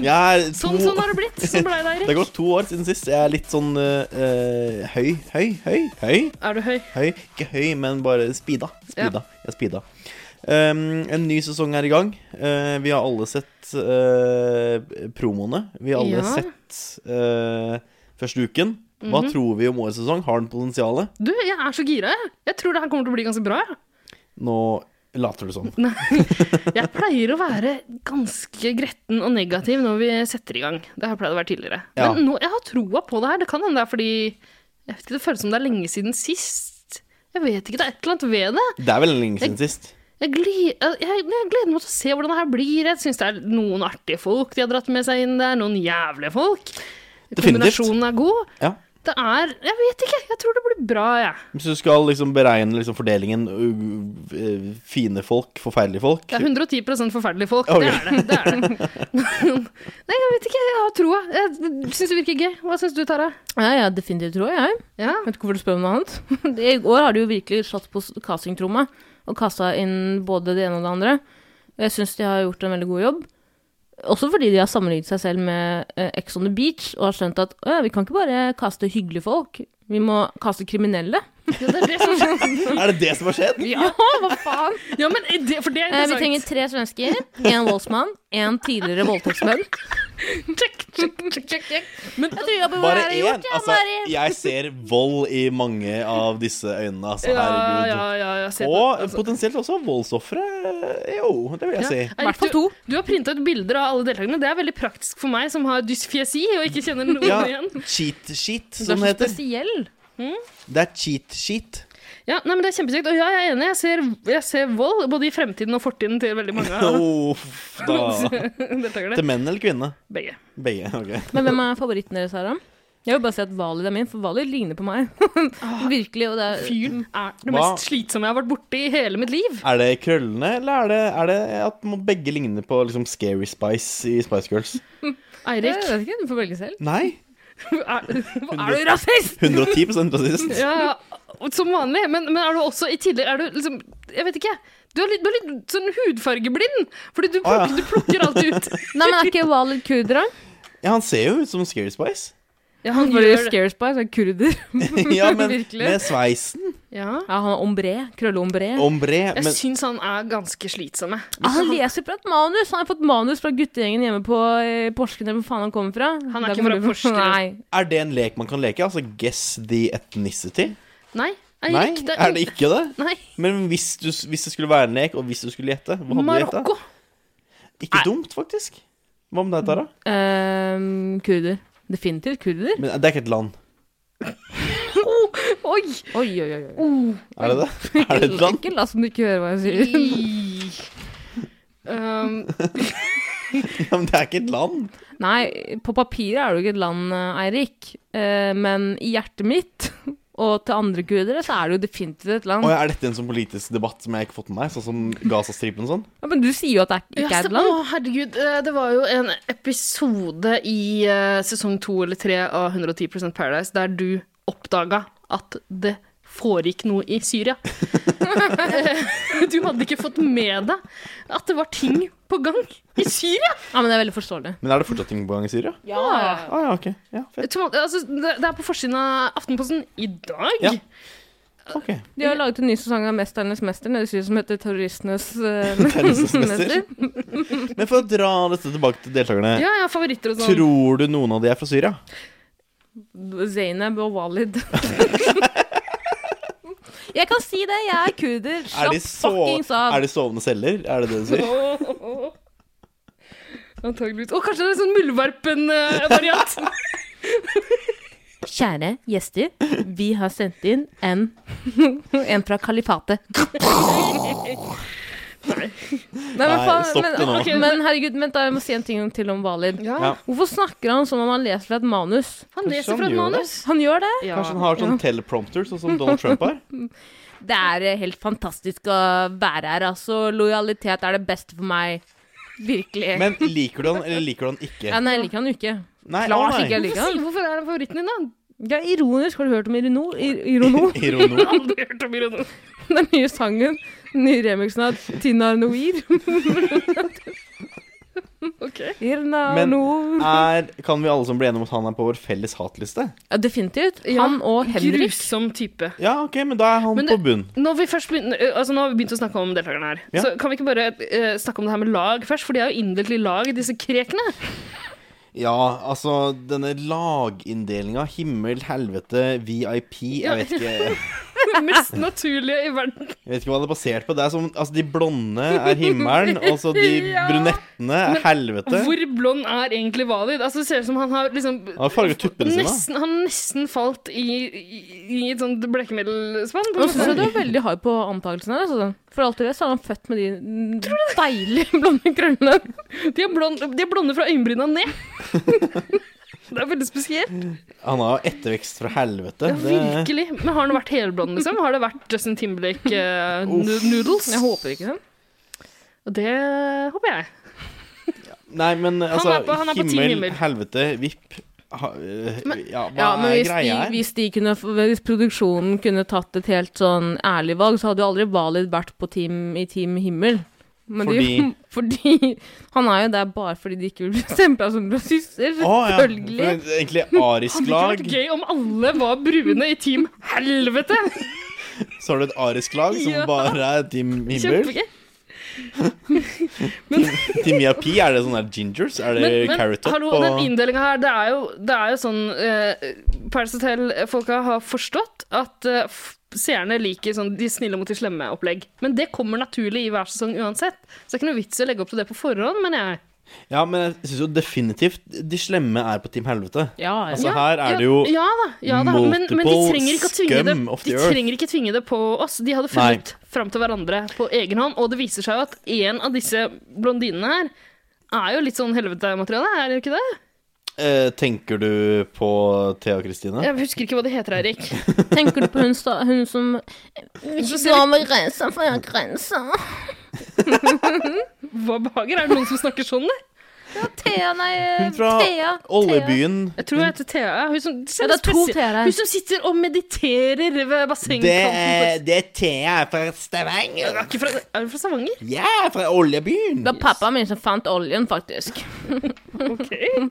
Speaker 3: Jeg er to...
Speaker 4: sånn, sånn har det blitt. Sånn ble det,
Speaker 3: Det har
Speaker 4: Eirik.
Speaker 3: gått to år siden sist. Jeg er litt sånn eh, eh, høy, høy, høy, høy.
Speaker 4: Er du høy?
Speaker 3: Høy, ikke høy, men bare speeda. Speeda. Jeg speeda. Um, en ny sesong er i gang. Eh, vi har alle sett eh, promoene. Vi har alle
Speaker 4: Ja.
Speaker 3: sett eh, første uken. Hva tror vi om årets sesong? Har den potensialet?
Speaker 4: Du, jeg er så gira, jeg. Jeg tror det her kommer til å bli ganske bra. jeg.
Speaker 3: Nå later du sånn.
Speaker 4: Jeg pleier å være ganske gretten og negativ når vi setter i gang. Det har jeg pleid å være tidligere.
Speaker 3: Ja.
Speaker 4: Men nå, jeg har troa på det her. Det kan hende det er fordi jeg vet ikke, Det føles som det er lenge siden sist. Jeg vet ikke, Det er et eller annet ved det.
Speaker 3: Det er vel lenge siden sist.
Speaker 4: Jeg, gli- jeg, jeg gleder meg til å se hvordan det her blir. Jeg syns det er noen artige folk de har dratt med seg inn der. Noen jævlige folk.
Speaker 3: Definitivt.
Speaker 4: Kombinasjonen er god.
Speaker 3: Ja.
Speaker 4: Det er Jeg vet ikke. Jeg tror det blir bra, jeg.
Speaker 3: Hvis du skal liksom beregne liksom fordelingen øh, øh, fine folk, forferdelige folk
Speaker 4: Det er 110 forferdelige folk.
Speaker 3: Ok.
Speaker 4: Det er det. det, er det. Nei, jeg vet ikke. Jeg har troa. Jeg syns det virker gøy. Hva syns du, Tara?
Speaker 1: Ja, ja, definitivt tror jeg.
Speaker 4: Ja.
Speaker 1: Vet ikke hvorfor du spør om noe annet. Det- I år har de jo virkelig slått på s- castingtromma og kasta inn både det ene og det andre. Og jeg syns de har gjort en veldig god jobb. Også fordi de har sammenlignet seg selv med eh, Ex on the Beach og har skjønt at «Å ja, vi kan ikke bare kaste hyggelige folk, vi må kaste kriminelle.
Speaker 4: Ja, det er det som
Speaker 3: Er det det som har skjedd?
Speaker 1: Ja, hva faen?
Speaker 4: ja men det, for det er
Speaker 1: Eh, vi
Speaker 4: interessant.
Speaker 1: trenger tre svensker, én voldsmann, én tidligere voldtektsmenn.
Speaker 4: Check, check, check, check, check. Men
Speaker 1: Jeg tror jobben vår
Speaker 3: Bare
Speaker 1: er
Speaker 3: én.
Speaker 1: gjort, ja,
Speaker 3: Altså,
Speaker 1: Mari.
Speaker 3: jeg ser vold i mange av disse øynene. Altså,
Speaker 4: ja,
Speaker 3: herregud.
Speaker 4: ja, ja, ja, se på-
Speaker 3: Og
Speaker 4: altså.
Speaker 3: potensielt også voldsofre. Jo, det vil jeg si.
Speaker 1: I hvert fall
Speaker 4: Eirik,
Speaker 1: to.
Speaker 4: Du, du har printa ut bilder av alle deltakerne. Det er veldig praktisk for meg som har dysfiesi og ikke kjenner noen
Speaker 3: Ja,
Speaker 4: igjen.
Speaker 3: cheat sheet,
Speaker 1: Du er
Speaker 3: som
Speaker 1: så
Speaker 3: det heter.
Speaker 1: spesiell.
Speaker 3: Det er cheat sheet.
Speaker 4: Ja, nei, men Det er kjempesykt. Og ja, jeg er enig. Jeg ser, jeg ser vold både i fremtiden og fortiden til veldig mange av
Speaker 3: Uff, da.
Speaker 4: deltakerne.
Speaker 3: Til menn eller kvinne?
Speaker 4: Begge.
Speaker 3: Begge. ok
Speaker 1: Men hvem er favoritten deres her, da? Jeg vil bare si at Valid er min, for Valid ligner på meg.
Speaker 4: Ah,
Speaker 1: Virkelig. Og det er
Speaker 4: Fyren er det
Speaker 3: Hva?
Speaker 4: mest slitsomme jeg har vært borti i hele mitt liv.
Speaker 3: Er det krøllene, eller er det, er det at må begge ligner på liksom Scary Spice i Spice Girls?
Speaker 1: Jeg
Speaker 4: Eirik,
Speaker 1: vet ikke, du får velge selv.
Speaker 3: Nei!
Speaker 4: er,
Speaker 1: Er du rasist?!
Speaker 3: 110 rasist.
Speaker 4: ja, ja, som vanlig. Men, men er du også i tillegg Er du liksom Jeg vet ikke. Du er litt, du er litt sånn hudfargeblind. Fordi du
Speaker 3: Å, ja.
Speaker 4: plukker, du plukker alt ut.
Speaker 1: Nei, men er ikke Valid kurder, da?
Speaker 3: Ja, han ser jo ut som Scary Spice.
Speaker 4: Ja,
Speaker 1: Han
Speaker 4: han
Speaker 1: var jo
Speaker 4: gjør det.
Speaker 1: scared by, så er kurder.
Speaker 3: ja, men
Speaker 4: Virkelig.
Speaker 3: med sveisen.
Speaker 4: Ja.
Speaker 1: Ja, han er ombre. Krølle-ombre.
Speaker 3: Ombre.
Speaker 4: Jeg
Speaker 3: Men
Speaker 4: syns han er ganske slitsom. jeg.
Speaker 1: Ah, han leser fra et manus! Han har fått manus fra guttegjengen hjemme på eh, Porsgrunn, eller hvor faen han kommer fra.
Speaker 4: Han er
Speaker 1: Da
Speaker 4: ikke
Speaker 1: kommer
Speaker 4: fra
Speaker 1: du-
Speaker 4: Porsgrunn.
Speaker 1: Nei.
Speaker 3: er det en lek man kan leke? Altså guess the ethnicity?
Speaker 4: Nei,
Speaker 3: Nei,
Speaker 4: Eirik.
Speaker 3: er det ikke det?
Speaker 4: Nei.
Speaker 3: Men hvis, du, hvis det skulle være en lek, og hvis du skulle gjette, hva hadde du gjetta?
Speaker 4: Marokko.
Speaker 3: Ikke dumt, faktisk. Hva med deg, Tara?
Speaker 1: Ehm, kurder. Definitivt kurder.
Speaker 3: Men det er ikke et land.
Speaker 4: Oi!
Speaker 1: Oi, oi, oi. oi.
Speaker 3: Er det det? Er det et land?
Speaker 1: Ikke la som du ikke hører hva jeg sier.
Speaker 4: Um,
Speaker 3: Ja, men det er ikke et land.
Speaker 1: Nei, på papiret er det jo ikke et land, eh, Eirik. Eh, men i hjertet mitt, og til andre kurdere, så er det jo definitivt et land.
Speaker 3: Og
Speaker 1: ja.
Speaker 3: er dette en sånn politisk debatt som jeg ikke har fått med meg? Sånn som Gazastripen og sånn?
Speaker 1: men du sier jo at det er- ikke
Speaker 4: ja,
Speaker 1: er
Speaker 4: se-
Speaker 1: et land.
Speaker 4: Å, herregud. eh, Det var jo en episode i eh, sesong to eller tre av 110 Paradise der du oppdaga at det foregikk noe i Syria. Eh, du hadde ikke fått med deg at det var ting på gang i Syria!
Speaker 1: Ja, men det er veldig forståelig.
Speaker 3: Men er det fortsatt ting på gang i Syria?
Speaker 1: Ja.
Speaker 3: Ah, ja, ok. Ja, fett.
Speaker 4: Som, altså, det det er på forsiden av Aftenposten i dag.
Speaker 3: Ja. Ok.
Speaker 1: De har laget en ny sesong av 'Mesternes mester', nede i Syria, som heter 'Terroristenes eh,
Speaker 3: Terroristenes mester.
Speaker 1: mester'.
Speaker 3: Men for å dra dette tilbake til deltakerne.
Speaker 4: Ja, ja, favoritter og sånn.
Speaker 3: Tror du noen av de er fra Syria?
Speaker 1: Zainab og Walid. jeg kan si det, jeg er kurder.
Speaker 3: Er
Speaker 1: Slapp
Speaker 3: de, så,
Speaker 1: fuckings av.
Speaker 3: er de sovende celler? Er det det du sier?
Speaker 4: Åh, åh, åh. Antageligvis. Å, kanskje det er en sånn muldvarpen-variant.
Speaker 1: Kjære gjester, vi har sendt inn en, en fra kalifatet. Nei, men,
Speaker 3: Nei,
Speaker 1: faen,
Speaker 3: stopp
Speaker 1: men,
Speaker 3: det nå.
Speaker 1: ok, men herregud, vent da, jeg må si en ting til om Valid.
Speaker 3: Ja.
Speaker 1: Hvorfor snakker han som om han leser fra et manus?
Speaker 4: Han
Speaker 3: Kanskje
Speaker 4: leser
Speaker 3: han
Speaker 4: fra et
Speaker 3: gjør det?
Speaker 4: manus.
Speaker 1: Han gjør det.
Speaker 4: Ja.
Speaker 3: Kanskje han har sånn teleprompter, sånn som Donald Trump har?
Speaker 1: Det er eh, helt fantastisk å være her, altså. Lojalitet er det beste for meg. Virkelig.
Speaker 3: Men liker du han, eller liker du han ikke?
Speaker 1: ja, nei, jeg liker han jo ikke.
Speaker 3: Nei,
Speaker 1: Klart
Speaker 3: å,
Speaker 1: ikke jeg
Speaker 3: nei.
Speaker 1: liker
Speaker 4: Hvorfor,
Speaker 1: han.
Speaker 4: hvorfor er han favoritten din, da?
Speaker 1: Ja, ironisk. Har du hørt om Irono? Ir Irono?
Speaker 3: Irono.
Speaker 4: Aldri hørt om Irono.
Speaker 1: Den nye sangen. Den nye remixen av Tina Noir.
Speaker 4: Ok.
Speaker 1: Irna
Speaker 3: Men- eh,
Speaker 1: Noir.
Speaker 3: Er, kan vi alle som bli enige om at han er på vår felles hatliste?
Speaker 1: Ja, definitivt. Han og Henrik.
Speaker 4: Grusom type.
Speaker 3: Ja, ok, men da er han
Speaker 4: Men det-
Speaker 3: på bunn.
Speaker 4: Når vi først begynner, eh, altså nå har vi begynt å snakke om deltakerne her,
Speaker 3: Ja.
Speaker 4: så kan vi ikke bare eh, snakke om det her med lag først? For de er jo inndelt i lag, disse krekene.
Speaker 3: Ja, altså, denne laginndelinga, himmel, helvete, VIP,
Speaker 4: Ja.
Speaker 3: jeg vet ikke
Speaker 4: Det mest naturlige i verden.
Speaker 3: Jeg vet ikke hva det er basert på. Det er som, altså De blonde er himmelen, og så de
Speaker 4: Ja.
Speaker 3: brunettene er helvete.
Speaker 4: Hvor blond er egentlig Valid? Altså, det ser ut som han har liksom
Speaker 3: Han har farget tuppene sine. da.
Speaker 4: Nesten, han har nesten falt i, i, i et sånt blekkemiddelspann. på
Speaker 1: Nå
Speaker 4: en
Speaker 1: synes jeg
Speaker 4: måte.
Speaker 1: du er veldig hard på antakelsen her. Altså. For alt du vet, så er han født med de mm, deilige blonde krøllene.
Speaker 4: De er, blond, de er blonde fra øyenbryna ned. det er veldig spesielt.
Speaker 3: Han har jo ettervekst fra helvete.
Speaker 4: Ja,
Speaker 3: Det,
Speaker 4: virkelig. Men har den vært helblond, liksom? Har det vært Justin Timberlake eh, nu-
Speaker 3: Uff.
Speaker 4: noodles?
Speaker 1: Jeg håper ikke sånn.
Speaker 4: Og det håper jeg.
Speaker 3: nei, men altså
Speaker 4: er på- han er på
Speaker 3: Himmel,
Speaker 4: Team Himmel.
Speaker 3: helvete, vipp ha, øh, Ja, hva
Speaker 1: Ja, men
Speaker 3: er
Speaker 1: hvis de,
Speaker 3: greia her?
Speaker 1: hvis, de kunne, hvis produksjonen kunne tatt et helt sånn ærlig valg, så hadde jo aldri Valid vært på team, i Team Himmel. Men de, fordi Han er jo der bare fordi de ikke vil bli stempla som rasister,
Speaker 3: Å, ja.
Speaker 1: selvfølgelig.
Speaker 3: Men Egentlig
Speaker 4: Hadde
Speaker 3: arisk
Speaker 4: det
Speaker 3: lag.
Speaker 4: ikke vært gøy om alle var brune i Team Helvete?
Speaker 3: Så har du et arisk lag som
Speaker 4: Ja.
Speaker 3: bare er Team Himmel.
Speaker 4: Kjempegøy.
Speaker 3: Team Yapi, er det sånn der gingers? Er det
Speaker 4: Men, men
Speaker 3: carrot top?
Speaker 4: hallo,
Speaker 3: og-
Speaker 4: den inndelinga her, det er jo, det er jo sånn uh, Paris Hotel-folka har forstått at eh, f- seerne liker sånn de snille mot de slemme-opplegg. Men det kommer naturlig i hver sesong uansett. Så det er ikke noe vits i å legge opp til det på forhånd, mener jeg.
Speaker 3: Ja, men jeg syns jo definitivt de slemme er på Team Helvete.
Speaker 1: Ja, ja.
Speaker 3: Altså, her er det jo
Speaker 4: ja, ja da, ja da. Men, men de
Speaker 3: multiple
Speaker 4: trenger ikke å tvinge det,
Speaker 3: scum of the
Speaker 4: de
Speaker 3: earth.
Speaker 4: trenger ikke tvinge det på oss. De hadde funnet fram til hverandre på egen hånd, og det viser seg jo at en av disse blondinene her er jo litt sånn helvetemateriale, er det ikke det?
Speaker 3: eh, Tenker du på Thea Kristine?
Speaker 4: Jeg husker ikke hva det heter, Eirik.
Speaker 1: Tenker du på hun, sta hun som
Speaker 4: ser-
Speaker 1: Gå over grensa, for jeg har grensa.
Speaker 4: Hva behager? Er det noen som snakker sånn, der?
Speaker 1: Thea, nei
Speaker 3: Hun fra
Speaker 1: Thea.
Speaker 3: Oljebyen.
Speaker 4: Jeg tror jeg heter Thea. ja. Hun som,
Speaker 1: Ja, det er to
Speaker 4: spesielt-
Speaker 1: Thea-er.
Speaker 4: Hun som sitter og mediterer ved bassengkanten.
Speaker 3: Det er,
Speaker 4: på-
Speaker 3: det er Thea fra Stavanger.
Speaker 4: Er, ikke fra, er hun fra Stavanger?
Speaker 3: Jeg er fra Oljebyen.
Speaker 1: Det var pappaen min som fant oljen, faktisk.
Speaker 4: Ok.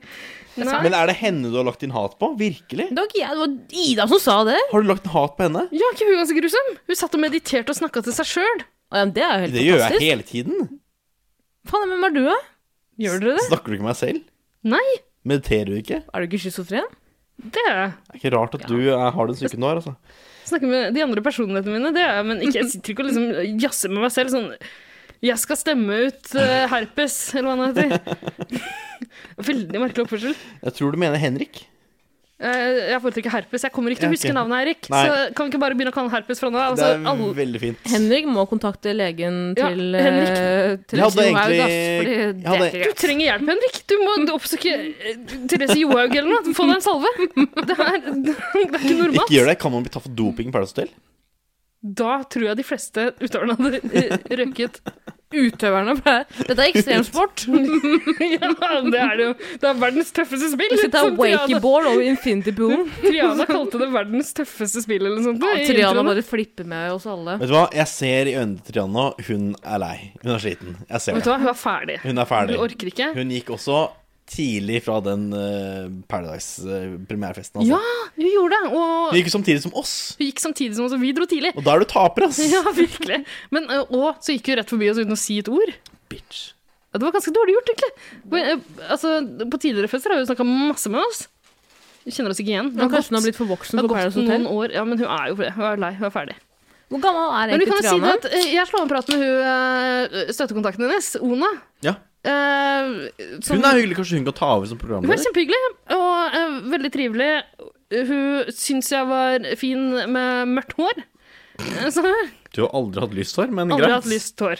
Speaker 4: Nei.
Speaker 3: Men er det henne du har lagt inn hat på? Virkelig?
Speaker 1: Det var ikke jeg, det var Ida som sa det.
Speaker 3: Har du lagt inn hat på henne?
Speaker 4: Ja, ikke hun ganske grusom? Hun satt og mediterte og snakka til seg sjøl.
Speaker 1: Å, Ja, men det er jo helt
Speaker 3: Det gjør jeg
Speaker 1: fantastisk.
Speaker 3: hele tiden.
Speaker 1: Faen, hvem er du, da?
Speaker 4: Gjør dere det?
Speaker 3: Snakker du ikke med meg selv?
Speaker 4: Nei,
Speaker 3: Mediterer du ikke?
Speaker 1: Er du ikke schizofren?
Speaker 4: det er jeg.
Speaker 3: Det er ikke rart at du er, har den psyken du har, altså.
Speaker 4: Snakke med de andre personlighetene mine, det er jeg. Men ikke, jeg sitter ikke og liksom jazzer med meg selv sånn Jeg skal stemme ut eh, herpes, eller hva det heter. Veldig merkelig oppførsel.
Speaker 3: Jeg tror du mener Henrik.
Speaker 4: Eh, Jeg foretrekker herpes. Jeg kommer ikke til å
Speaker 3: Ja, ok.
Speaker 4: huske navnet, Eirik.
Speaker 3: Nei.
Speaker 4: Så kan vi ikke bare begynne å kalle den herpes fra nå av?
Speaker 3: Det er
Speaker 4: Altså, alle-
Speaker 3: veldig fint.
Speaker 1: Henrik må kontakte legen
Speaker 4: Ja,
Speaker 1: til
Speaker 4: Henrik.
Speaker 1: eh,
Speaker 3: Jeg
Speaker 1: Therese
Speaker 3: hadde
Speaker 1: Johaug, ass,
Speaker 3: egentlig-
Speaker 1: fordi
Speaker 3: jeg
Speaker 1: det
Speaker 3: hadde-
Speaker 1: er
Speaker 4: Du
Speaker 1: ikke greit.
Speaker 4: trenger hjelp, Henrik. Du må oppsøke eh, Therese Johaug eller noe. Få deg en salve. Det er, det er ikke normalt.
Speaker 3: Ikke gjør det. Kan man bli tatt for doping i Paradise Hotel?
Speaker 4: Da tror jeg de fleste utøverne hadde eh, røket.
Speaker 1: Utøverne ble Dette er ekstremsport.
Speaker 4: Ja, det er det jo. Det er verdens tøffeste spill.
Speaker 1: Vi skal ta
Speaker 4: som Triana,
Speaker 1: wakeboard over infinity poolen.
Speaker 4: Triana kalte det verdens tøffeste spill eller noe sånt. i
Speaker 1: Triana
Speaker 4: introen.
Speaker 1: bare flipper med oss alle.
Speaker 3: Vet du hva? Jeg ser i øynene til Triana, hun er lei. Hun er sliten. Jeg ser
Speaker 4: Vet du
Speaker 3: det.
Speaker 4: hva, hun er ferdig.
Speaker 3: Hun er ferdig.
Speaker 4: Hun orker ikke.
Speaker 3: Hun gikk også tidlig fra den eh, Paradise-premierefesten,
Speaker 4: Ja,
Speaker 3: altså.
Speaker 4: hun gjorde det. Og
Speaker 3: Hun gikk jo samtidig som oss.
Speaker 4: hun gikk samtidig som oss, og vi dro tidlig.
Speaker 3: Og da er du taper, ass.
Speaker 4: Ja, virkelig. Men, eh, og så gikk hun rett forbi oss uten å si et ord.
Speaker 3: Bitch.
Speaker 4: Ja, Det var ganske dårlig gjort, egentlig. Men, eh, Altså, på tidligere fester har hun snakka masse med oss. Hun kjenner oss ikke igjen. Det
Speaker 1: Men
Speaker 4: har
Speaker 1: kanskje hun har
Speaker 4: gått-
Speaker 1: blitt for voksen
Speaker 4: det har
Speaker 1: for
Speaker 4: gått
Speaker 1: Paradise Hotel?
Speaker 4: noen år. Ja, men hun er jo hun er lei. Hun er ferdig.
Speaker 1: Hvor gammel er
Speaker 4: Men vi kan
Speaker 1: egentlig
Speaker 4: jo si
Speaker 1: Triana?
Speaker 4: det at eh, jeg slår en prat med hun eh, støttekontakten hennes, Ona.
Speaker 3: Ja.
Speaker 4: eh, som-
Speaker 3: Hun er hyggelig. Kanskje hun kan ta over som
Speaker 4: hun er
Speaker 3: programleder?
Speaker 4: kjempehyggelig og eh, veldig trivelig. Hun syns jeg var fin med mørkt hår. Eh, Så
Speaker 3: Du har aldri hatt lyst for, men
Speaker 4: aldri
Speaker 3: greit.
Speaker 4: hatt lyst hår.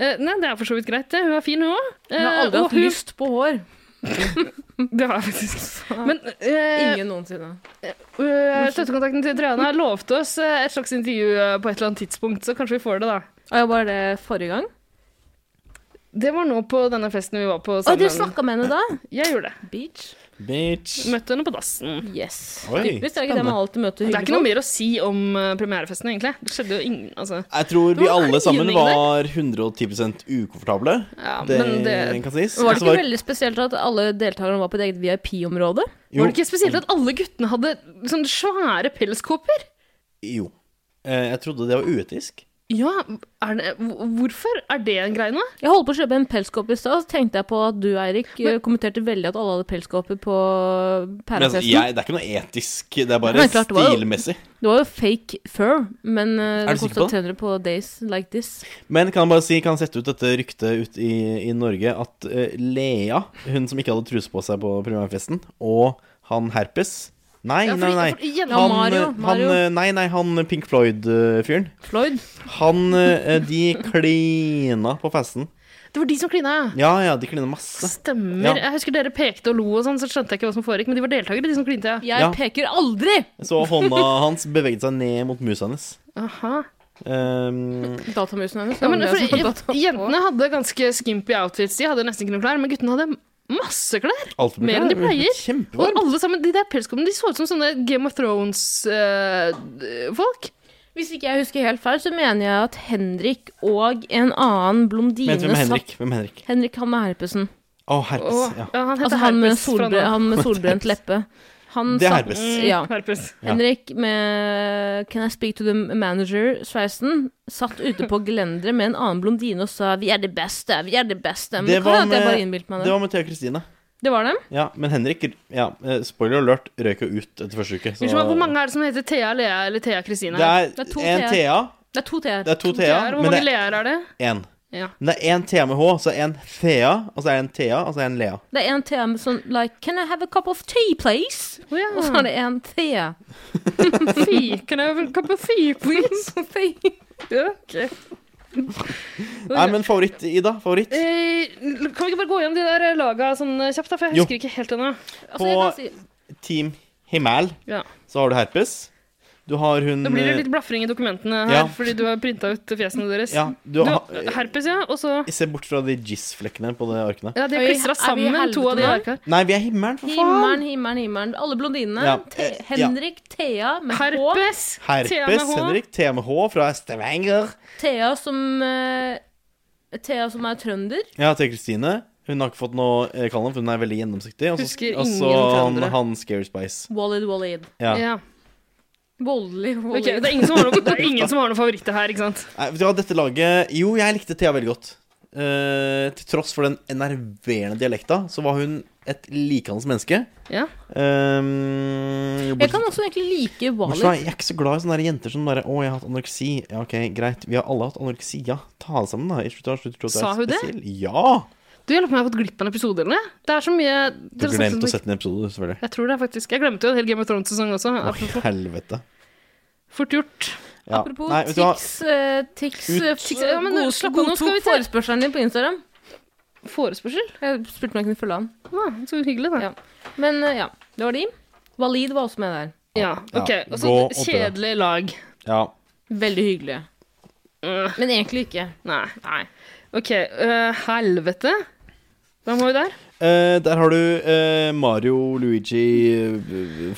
Speaker 4: Eh, nei, det er for så vidt greit, det. Hun er fin, hun
Speaker 1: eh,
Speaker 4: Eh, òg.
Speaker 1: Hun har aldri hatt lyst på hår.
Speaker 4: Det har jeg faktisk. Men eh,
Speaker 1: Ingen noensinne.
Speaker 4: Øh, Støttekontakten til Triana lovte oss eh, et slags intervju eh, på et eller annet tidspunkt, så kanskje vi får det, da.
Speaker 1: Og jeg var det forrige gang.
Speaker 4: Det var nå på denne festen vi var på
Speaker 1: Å, du
Speaker 4: sammen.
Speaker 1: snakka med henne da?
Speaker 4: Jeg gjorde det.
Speaker 1: Beach.
Speaker 3: Bitch.
Speaker 4: Møtte henne på dassen.
Speaker 1: Yes.
Speaker 3: Oi,
Speaker 1: Typisk. Det er ikke det
Speaker 3: spennende.
Speaker 1: man alltid møter
Speaker 4: Det er ikke
Speaker 1: hyggelige
Speaker 4: noe
Speaker 1: folk.
Speaker 4: mer å si om eh, premierefesten, egentlig. Det skjedde jo ingen Altså.
Speaker 3: Jeg tror vi
Speaker 4: var
Speaker 3: alle sammen
Speaker 4: klining der.
Speaker 3: var 110 ukomfortable.
Speaker 4: Ja,
Speaker 3: det,
Speaker 4: men det-
Speaker 3: kan sies.
Speaker 1: Var det
Speaker 3: Altså,
Speaker 1: ikke veldig spesielt at alle deltakerne var på et eget VIP-område?
Speaker 3: jo,
Speaker 4: Var det ikke spesielt at alle guttene hadde sånne svære pelskåper?
Speaker 3: Jo. Eh, Jeg trodde det var uetisk.
Speaker 4: Ja, er det, hvor- hvorfor er det en greie nå?
Speaker 1: Jeg holdt på å kjøpe en pelskåpe i stad, så tenkte jeg på at du, Eirik, eh, kommenterte veldig at alle hadde pelskåper på
Speaker 3: Men altså,
Speaker 1: pærefesten.
Speaker 3: jeg, det er ikke noe etisk. Det er bare
Speaker 1: Nei, klart det var jo-
Speaker 3: stilmessig.
Speaker 1: Det var jo fake fur, men eh,
Speaker 3: Er
Speaker 1: det
Speaker 3: du sikker
Speaker 1: kosta
Speaker 3: på det?
Speaker 1: 300 på Days Like This.
Speaker 3: Men kan jeg bare si, kan jeg sette ut dette ryktet ut i, i Norge at eh, Lea, hun som ikke hadde truse på seg på premierefesten, og han Herpes Nei,
Speaker 4: Ja,
Speaker 3: nei,
Speaker 4: fordi-
Speaker 3: nei.
Speaker 4: for- igjen-
Speaker 1: Ja,
Speaker 3: Han,
Speaker 1: Mario,
Speaker 3: eh,
Speaker 1: Mario.
Speaker 3: han eh, Nei, nei, han Pink Floyd-fyren.
Speaker 1: Floyd.
Speaker 3: Han eh, De klina på festen.
Speaker 4: Det var de som klina, ja.
Speaker 3: Ja, ja, de klina masse.
Speaker 4: Stemmer.
Speaker 3: Ja.
Speaker 4: Jeg husker dere pekte og lo og sånn, så skjønte jeg ikke hva som foregikk, men de var deltakere, de som klinte, ja.
Speaker 1: Jeg
Speaker 3: Ja.
Speaker 1: peker aldri!
Speaker 3: Så hånda hans beveget seg ned mot musa hennes.
Speaker 4: Aha.
Speaker 3: Ehm,
Speaker 1: Datamusen hennes.
Speaker 4: Ja, men,
Speaker 1: det sånn var det som var
Speaker 4: for,
Speaker 1: data.
Speaker 4: jentene hadde ganske skimpy outfits. De hadde nesten ikke noe klær, men guttene hadde masse klær.
Speaker 3: alt for mye
Speaker 4: Mer enn de
Speaker 3: klær.
Speaker 4: pleier. Og
Speaker 3: Kjempevarm.
Speaker 4: alle sammen, de der pelskoppene de så ut som sånne Game of eh, Thrones-folk.
Speaker 1: Hvis ikke jeg husker helt feil, så mener jeg at Henrik og en annen blondine
Speaker 3: Men hvem er Henrik?
Speaker 1: satt
Speaker 3: Hvem er Henrik?
Speaker 1: Henrik, han med herpesen.
Speaker 3: Å,
Speaker 4: og
Speaker 3: herpes. Ja.
Speaker 4: ja, han heter
Speaker 1: Altså han med,
Speaker 4: Herpes fra
Speaker 1: solbre,
Speaker 4: nå.
Speaker 1: han med solbrent leppe. Han
Speaker 3: Det er
Speaker 1: satt-
Speaker 3: herpes.
Speaker 4: Mm,
Speaker 1: Ja.
Speaker 4: Herpes.
Speaker 3: Ja.
Speaker 1: Henrik med Can I speak to the manager-sveisen satt ute på gelenderet med en annen blondine og sa 'vi er det beste', 'vi er det beste'. Men det,
Speaker 3: Det
Speaker 1: kan
Speaker 3: var
Speaker 1: være at jeg
Speaker 3: med-
Speaker 1: bare innbilte meg det.
Speaker 3: Det var med Thea Kristine.
Speaker 1: Det var dem.
Speaker 3: Ja, men Henrik ja, eh, Spoiler alert røyk jo ut etter første uke. så-
Speaker 4: Unnskyld meg, hvor mange er det som heter Thea Lea eller Thea Kristine?
Speaker 3: Det er,
Speaker 1: Det er to
Speaker 3: en
Speaker 1: Thea.
Speaker 3: Thea,
Speaker 1: Det er to T-er.
Speaker 3: det er to
Speaker 4: Thea,
Speaker 3: Thea,
Speaker 4: Hvor
Speaker 3: men
Speaker 4: mange
Speaker 3: det er
Speaker 4: Leaer er det?
Speaker 3: én.
Speaker 4: Ja.
Speaker 3: Men det er én TMH, så er det en Thea, og så er det en Thea, og så er det en Lea.
Speaker 1: Det er en til med sånn like Can I have a cup of tea, please?
Speaker 4: Å ja.
Speaker 1: Og så er det en til.
Speaker 4: Fy, kan jeg vel kappe fy, please? Ja, ok.
Speaker 3: Nei, men favoritt, Ida? Favoritt?
Speaker 4: Eh, kan vi ikke bare gå gjennom de der eh, laga sånn eh, kjapt, da? For jeg
Speaker 3: Jo.
Speaker 4: husker ikke helt ennå.
Speaker 1: Altså, jeg kan
Speaker 3: På-
Speaker 1: si
Speaker 3: Team Himal.
Speaker 4: Ja.
Speaker 3: Så har du herpes. Du har hun
Speaker 4: Da blir det litt blafring i dokumentene her,
Speaker 3: Mm. Ja.
Speaker 4: fordi du har printa ut fjesene deres.
Speaker 3: Ja, du
Speaker 4: Du,
Speaker 3: har eh,
Speaker 4: herpes, ja. Og så
Speaker 3: Se bort fra de jizz-flekkene på de arkene.
Speaker 4: Ja, de
Speaker 1: Er
Speaker 4: er
Speaker 1: vi-
Speaker 4: klistra
Speaker 1: er vi i
Speaker 4: sammen, to av de
Speaker 1: helvete
Speaker 4: arka.
Speaker 3: Nei, vi er himmelen, for faen!
Speaker 1: Himmelen, himmelen, himmelen. Alle blondinene.
Speaker 3: Ja,
Speaker 1: Te
Speaker 3: eh, ja.
Speaker 1: Henrik, Thea med H.
Speaker 4: Herpes.
Speaker 3: Herpes,
Speaker 4: TMH.
Speaker 3: Henrik. TMH fra Stavanger.
Speaker 1: Thea som eh, Thea som er trønder.
Speaker 3: Ja, til Kristine. Hun har ikke fått noe eh, kallenavn, for hun er veldig gjennomsiktig. Og så-
Speaker 4: Husker
Speaker 3: Og så
Speaker 4: ingen
Speaker 3: han,
Speaker 4: trøndere.
Speaker 3: han Scary Spice.
Speaker 1: Wallid, Wallid.
Speaker 3: Ja.
Speaker 4: Ja.
Speaker 1: Voldelig,
Speaker 4: Ok,
Speaker 1: Wallid.
Speaker 4: det er ingen som har noe, det er ingen som har noen favoritter her, ikke sant?
Speaker 3: Nei, vet du hva, dette laget Jo, jeg likte Thea veldig godt. Eh, til tross for den enerverende dialekta, så var hun et likandes menneske.
Speaker 4: Ja.
Speaker 3: Um,
Speaker 1: Jeg kan også egentlig like
Speaker 3: Bortsett fra,
Speaker 1: Wallid.
Speaker 3: jeg er ikke så glad i sånne der jenter som bare 'Å, jeg har hatt anoreksi'. Ja, ok, greit. Vi har alle hatt anoreksi. Ja, ta det sammen, da. I slutt, av slutt, slutt,
Speaker 4: Sa hun det?
Speaker 3: Ja!
Speaker 4: Du hjelper meg å ha gått glipp av en episode eller noe? Det er så mye
Speaker 3: Du
Speaker 4: dere snakker
Speaker 3: glemte
Speaker 4: om-
Speaker 3: å sette ned episode, selvfølgelig.
Speaker 4: Jeg tror det, faktisk. Jeg glemte jo en hel Game of Thrones-sesong også.
Speaker 3: Å,
Speaker 4: Apropos.
Speaker 3: helvete.
Speaker 4: Fort gjort.
Speaker 3: Ja.
Speaker 1: Apropos
Speaker 3: Nei, vet du hva?
Speaker 1: Tix, eh, Tix
Speaker 3: Ut-
Speaker 1: eh,
Speaker 4: Tix, ja, men
Speaker 1: god-
Speaker 4: slapp av, nå skal vi
Speaker 1: godtok
Speaker 4: til-
Speaker 1: forespørselen din på Instagram.
Speaker 4: Forespørsel?
Speaker 1: Jeg spurte om jeg kunne følge han.
Speaker 4: Ja, så hyggelig, da.
Speaker 1: Ja. Men eh, ja, det var de. Walid var også med der.
Speaker 4: Ja, ok.
Speaker 3: Ja,
Speaker 4: Og
Speaker 3: gå
Speaker 4: så
Speaker 3: oppi det.
Speaker 4: kjedelig lag.
Speaker 3: Ja.
Speaker 1: Veldig hyggelige.
Speaker 4: Øh,
Speaker 1: Men egentlig ikke.
Speaker 4: nei. nei. Ok, øh, helvete. Hva må vi der?
Speaker 3: Eh, der har du eh, Mario Luigi eh,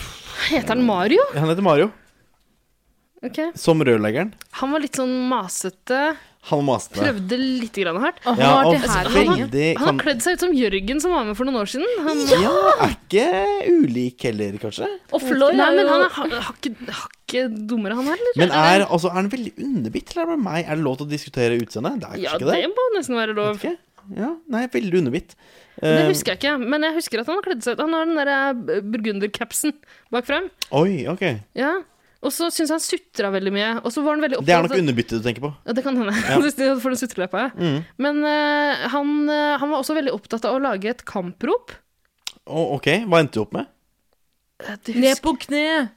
Speaker 4: Heter han Mario?
Speaker 3: Han heter Mario.
Speaker 4: Ok.
Speaker 3: Som rørleggeren.
Speaker 4: Han var litt sånn masete.
Speaker 3: Han maste.
Speaker 4: Prøvde litt grann hardt.
Speaker 1: Og han
Speaker 3: Ja,
Speaker 1: var
Speaker 3: og
Speaker 1: til her lenge.
Speaker 3: veldig
Speaker 4: Han har
Speaker 3: kan,
Speaker 4: kledd seg ut som Jørgen som var med for noen år siden. Han,
Speaker 3: Ja, er ikke ulik heller, kanskje.
Speaker 1: Og Floyd
Speaker 4: Nei,
Speaker 1: er
Speaker 4: men
Speaker 1: jo
Speaker 4: han er ha- hakket hakket dummere, han her, eller?
Speaker 3: Men er, altså, er han veldig underbitt, eller er det bare meg? Er det lov til å diskutere utseendet? Det er
Speaker 4: Ja,
Speaker 3: kanskje
Speaker 4: det
Speaker 3: ikke det?
Speaker 4: må nesten være lov.
Speaker 3: Vet ikke. Ja, nei, veldig underbitt.
Speaker 4: Det
Speaker 3: Eh,
Speaker 4: husker jeg ikke, men jeg husker at han har kledd seg ut. Han har den derre burgundercapsen bak frem.
Speaker 3: Oi, ok.
Speaker 4: Ja. Og så syns jeg han sutra veldig mye. Og altså- så var han veldig
Speaker 3: Det er
Speaker 4: opptatt
Speaker 3: nok underbyttet du tenker på. Mm.
Speaker 4: Ja, det kan hende.
Speaker 3: Ja.
Speaker 4: Hvis de hadde fått en sutreleppa, ja. Men eh, han, eh, han var også veldig opptatt av å lage et kamprop.
Speaker 3: Å, ok, Hva endte du opp med?
Speaker 4: Eh, det
Speaker 1: Ned
Speaker 4: husker-
Speaker 1: på kne!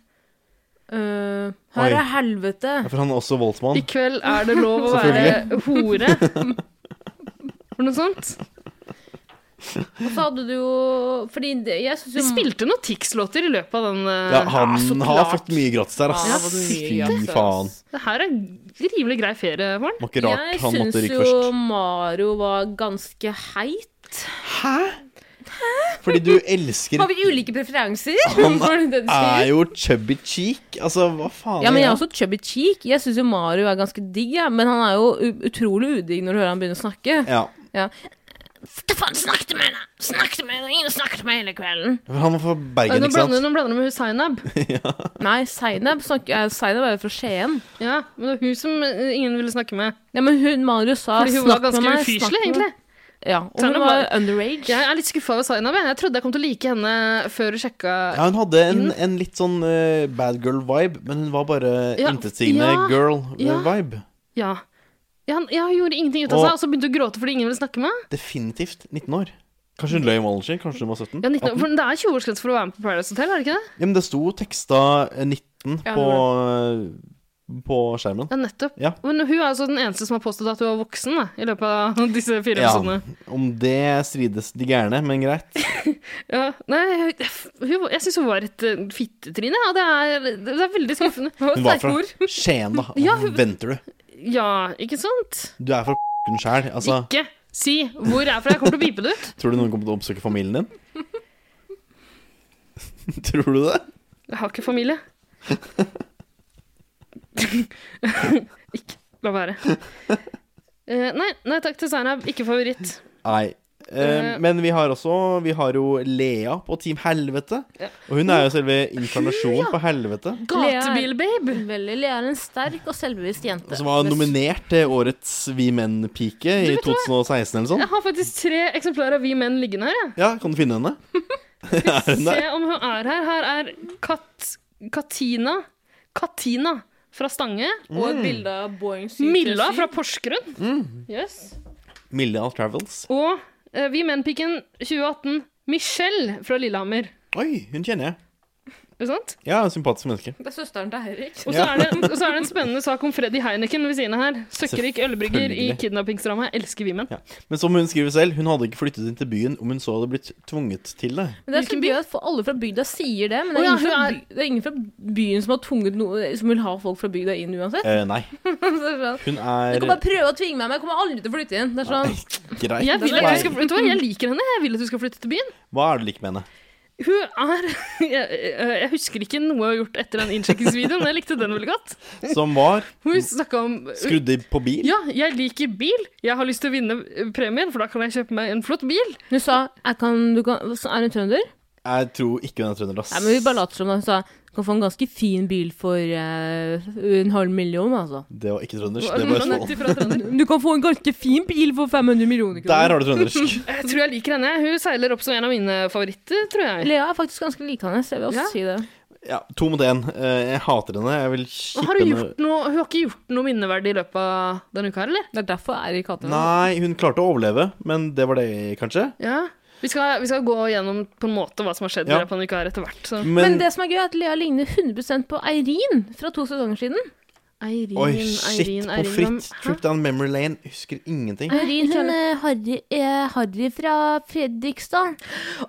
Speaker 1: Eh, her
Speaker 3: Oi.
Speaker 1: er helvete.
Speaker 3: Ja, For han er også
Speaker 4: I
Speaker 3: voldsmann.
Speaker 4: kveld er det lov å være hore. Var det noe sånt?
Speaker 1: Og så hadde du jo Fordi det, jeg syns
Speaker 4: Vi
Speaker 1: jo
Speaker 4: spilte noen Tix-låter i løpet av den eh,
Speaker 3: Ja, han
Speaker 4: ja, så
Speaker 3: har
Speaker 4: klart.
Speaker 3: fått mye gratis der,
Speaker 1: Ja,
Speaker 3: ass.
Speaker 1: det var mye
Speaker 3: Fy
Speaker 1: gratis, ass.
Speaker 3: faen.
Speaker 4: Det her er en rimelig grei ferie for han.
Speaker 3: Var ikke rart
Speaker 1: Jeg
Speaker 3: han
Speaker 1: syns
Speaker 3: måtte ryke
Speaker 1: jo
Speaker 3: først.
Speaker 1: Mario var ganske heit.
Speaker 3: Hæ? Fordi du elsker
Speaker 1: Har vi ulike preferanser?
Speaker 3: Han
Speaker 1: Var det det du sier?
Speaker 3: er jo chubby cheek. Altså, hva faen?
Speaker 1: Ja, men jeg er
Speaker 3: ja.
Speaker 1: også chubby cheek. Jeg syns jo Mario er ganske digg, ja. men han er jo u- utrolig udigg når du hører han begynne å snakke.
Speaker 3: Ja.
Speaker 1: Ja.
Speaker 5: Hva faen snakket du med henne? Snakket du med henne? Ingen snakket med hele kvelden.
Speaker 3: For Han var fra
Speaker 4: Oi,
Speaker 3: Bergen,
Speaker 4: Nå
Speaker 3: ikke
Speaker 4: blander,
Speaker 3: sant?
Speaker 4: nå blander du med hun Zainab.
Speaker 1: Nei, Zainab snakker- eh, Zainab er jo fra Skien.
Speaker 4: Ja, men det var hun som eh, ingen ville snakke med.
Speaker 1: Ja, men hun, Mario sa
Speaker 4: Fordi hun var
Speaker 1: «Snakk med
Speaker 4: ganske
Speaker 1: meg, snakk
Speaker 4: ufyselig,
Speaker 1: med meg».
Speaker 4: egentlig.
Speaker 1: Ja, og hun
Speaker 4: Zainab
Speaker 1: var
Speaker 4: var-
Speaker 1: underage.
Speaker 4: Jeg er litt skuffa over Zainab. jeg. Jeg trodde jeg kom til å like henne før du sjekka
Speaker 3: Ja, hun hadde en, en litt sånn eh, bad girl-vibe, men hun var bare
Speaker 4: Ja,
Speaker 3: intetsigende eh,
Speaker 4: ja, ja.
Speaker 3: girl-vibe.
Speaker 4: Ja. Ja, han, ja, hun gjorde ingenting ut av
Speaker 3: Og-
Speaker 4: seg, og så begynte hun å gråte fordi ingen ville snakke med henne.
Speaker 3: Definitivt 19 år. Kanskje hun løy om alderen sin? Kanskje hun var 17?
Speaker 4: Ja, 19 år-
Speaker 3: 18?
Speaker 4: for det er 20-årsgrense for å være med på Paradise Hotel, er det ikke det?
Speaker 3: Ja, men det sto teksta eh, 19
Speaker 1: Ja, det
Speaker 3: på, eh, på skjermen.
Speaker 4: Ja, nettopp.
Speaker 3: Ja.
Speaker 4: Men hun er altså den eneste som har påstått at hun var voksen da, i løpet av disse fire
Speaker 3: Ja.
Speaker 4: episodene.
Speaker 3: Om det strides de gærne, men greit.
Speaker 4: Ja. Nei, hun, hun, jeg syns hun var et eh, fittetryne, ja. Det er, det er veldig skuffende.
Speaker 3: Hun var fra Skien, da.
Speaker 4: Ja,
Speaker 3: Hva
Speaker 4: hun-
Speaker 3: venter du?
Speaker 4: Ja, ikke sant?
Speaker 3: Du er fra p***en sjæl. Altså,
Speaker 4: Ikke si hvor jeg er fra, jeg kommer til å pipe det ut.
Speaker 3: tror du noen kommer til å oppsøke familien din? tror du det?
Speaker 4: Jeg har ikke familie. ikke La være. Eh, nei, nei takk til Zainab. Ikke favoritt.
Speaker 3: Nei. Eh,
Speaker 4: Eh.
Speaker 3: men vi har også Vi har jo Lea på Team Helvete.
Speaker 4: Ja.
Speaker 3: Og hun er jo selve inkarnasjonen på helvete.
Speaker 4: Gatebil-babe.
Speaker 1: Veldig, Lea er en sterk og selvbevisst jente.
Speaker 3: Som var nominert til årets Vi menn-pike i 2016 eller sånn.
Speaker 4: Jeg har faktisk tre eksemplarer av Vi menn liggende her. Jeg.
Speaker 3: Ja, kan du finne henne? er hun
Speaker 4: Se
Speaker 3: der?
Speaker 4: om hun er her. Her er Kat Katina. Katina fra Stange.
Speaker 1: Og et bilde av Boeing 737.
Speaker 4: Milla fra Porsgrunn.
Speaker 3: Mm.
Speaker 4: Yes.
Speaker 3: Milla Travels.
Speaker 4: Og eh, Vi Menn-pikken 2018. Michelle fra Lillehammer.
Speaker 3: Oi, hun kjenner jeg.
Speaker 4: Ikke sant?
Speaker 3: Ja, sympatisk menneske.
Speaker 1: Det er søsteren til Eirik.
Speaker 4: Og så,
Speaker 3: Ja.
Speaker 4: er det, og så er det en spennende sak om Freddy Heineken ved siden av her. Søkkrik ølbrygger i
Speaker 3: Selvfølgelig.
Speaker 4: kidnappingsdramaet. Elsker vi menn.
Speaker 3: Ja. Men som hun skriver selv, hun hadde ikke flyttet inn til byen om hun så hadde blitt tvunget til det.
Speaker 1: Men det er så gøy at for alle fra bygda sier det, men det er,
Speaker 4: Å ja,
Speaker 1: ingen, fra
Speaker 4: hun
Speaker 1: by, det er ingen fra byen som har tvunget noe Som vil ha folk fra bygda inn uansett.
Speaker 3: Eh, nei.
Speaker 1: Så det er sånn,
Speaker 3: Hun
Speaker 1: Du
Speaker 3: er
Speaker 1: kan bare prøve å tvinge meg, men jeg kommer aldri til å flytte inn. Det er sånn,
Speaker 3: grei.
Speaker 4: Jeg, vil at
Speaker 3: Nei.
Speaker 4: du skal, vet du hva? jeg liker henne. Jeg vil at du skal flytte til byen.
Speaker 3: Hva er det du liker med henne?
Speaker 4: Hun er jeg, jeg husker ikke noe hun har gjort etter den innsjekkingsvideoen, men jeg likte den veldig godt.
Speaker 3: Som var
Speaker 4: Hun snakka om uh,
Speaker 3: skrudd i- på bil?
Speaker 4: Ja, jeg liker bil. Jeg har lyst til å vinne eh, premien, for da kan jeg kjøpe meg en flott bil.
Speaker 1: hun sa jeg kan, du kan, Er hun trønder?
Speaker 3: Jeg tror ikke hun er trønder, ass.
Speaker 1: Nei, men Vi bare later som det. Hun sa du kan få en ganske fin bil for eh, en halv million, altså.
Speaker 3: Det var ikke trøndersk, det sånn. var
Speaker 4: Hvordan er
Speaker 3: Østfold.
Speaker 4: det fra Trondheim?
Speaker 1: Du kan få en ganske fin bil for 500 millioner
Speaker 3: Der
Speaker 1: kroner.
Speaker 3: har du trøndersk.
Speaker 4: Jeg tror jeg liker henne. Hun seiler opp som en av mine favoritter, tror jeg.
Speaker 1: Lea er faktisk ganske likende, jeg vil også
Speaker 4: Ja.
Speaker 1: si det.
Speaker 3: Ja, to mot én. Eh, Jeg hater henne. Jeg vil
Speaker 4: Og
Speaker 3: kippe
Speaker 4: Har hun,
Speaker 3: henne
Speaker 4: gjort noe, hun har ikke gjort noe minneverdig i løpet av denne uka, her, eller?
Speaker 1: Det er derfor Eirik hater henne.
Speaker 3: Nei, hun klarte å overleve, men det var det, kanskje.
Speaker 4: Ja. Vi skal, vi skal gå gjennom på en måte hva som har skjedd i
Speaker 3: Ja.
Speaker 4: løpet av denne uka her etter hvert. Så.
Speaker 3: Men,
Speaker 1: Men det som er gøy, er at Lea ligner 100 på Eirin fra to sesonger siden.
Speaker 4: Eirin,
Speaker 3: Oi, shit, på
Speaker 4: hvem-
Speaker 3: fritt.
Speaker 4: Hæ?
Speaker 3: Trip down memory lane. Jeg Husker ingenting.
Speaker 1: Eirin hun er Harry, er Harry fra Fredrikstad.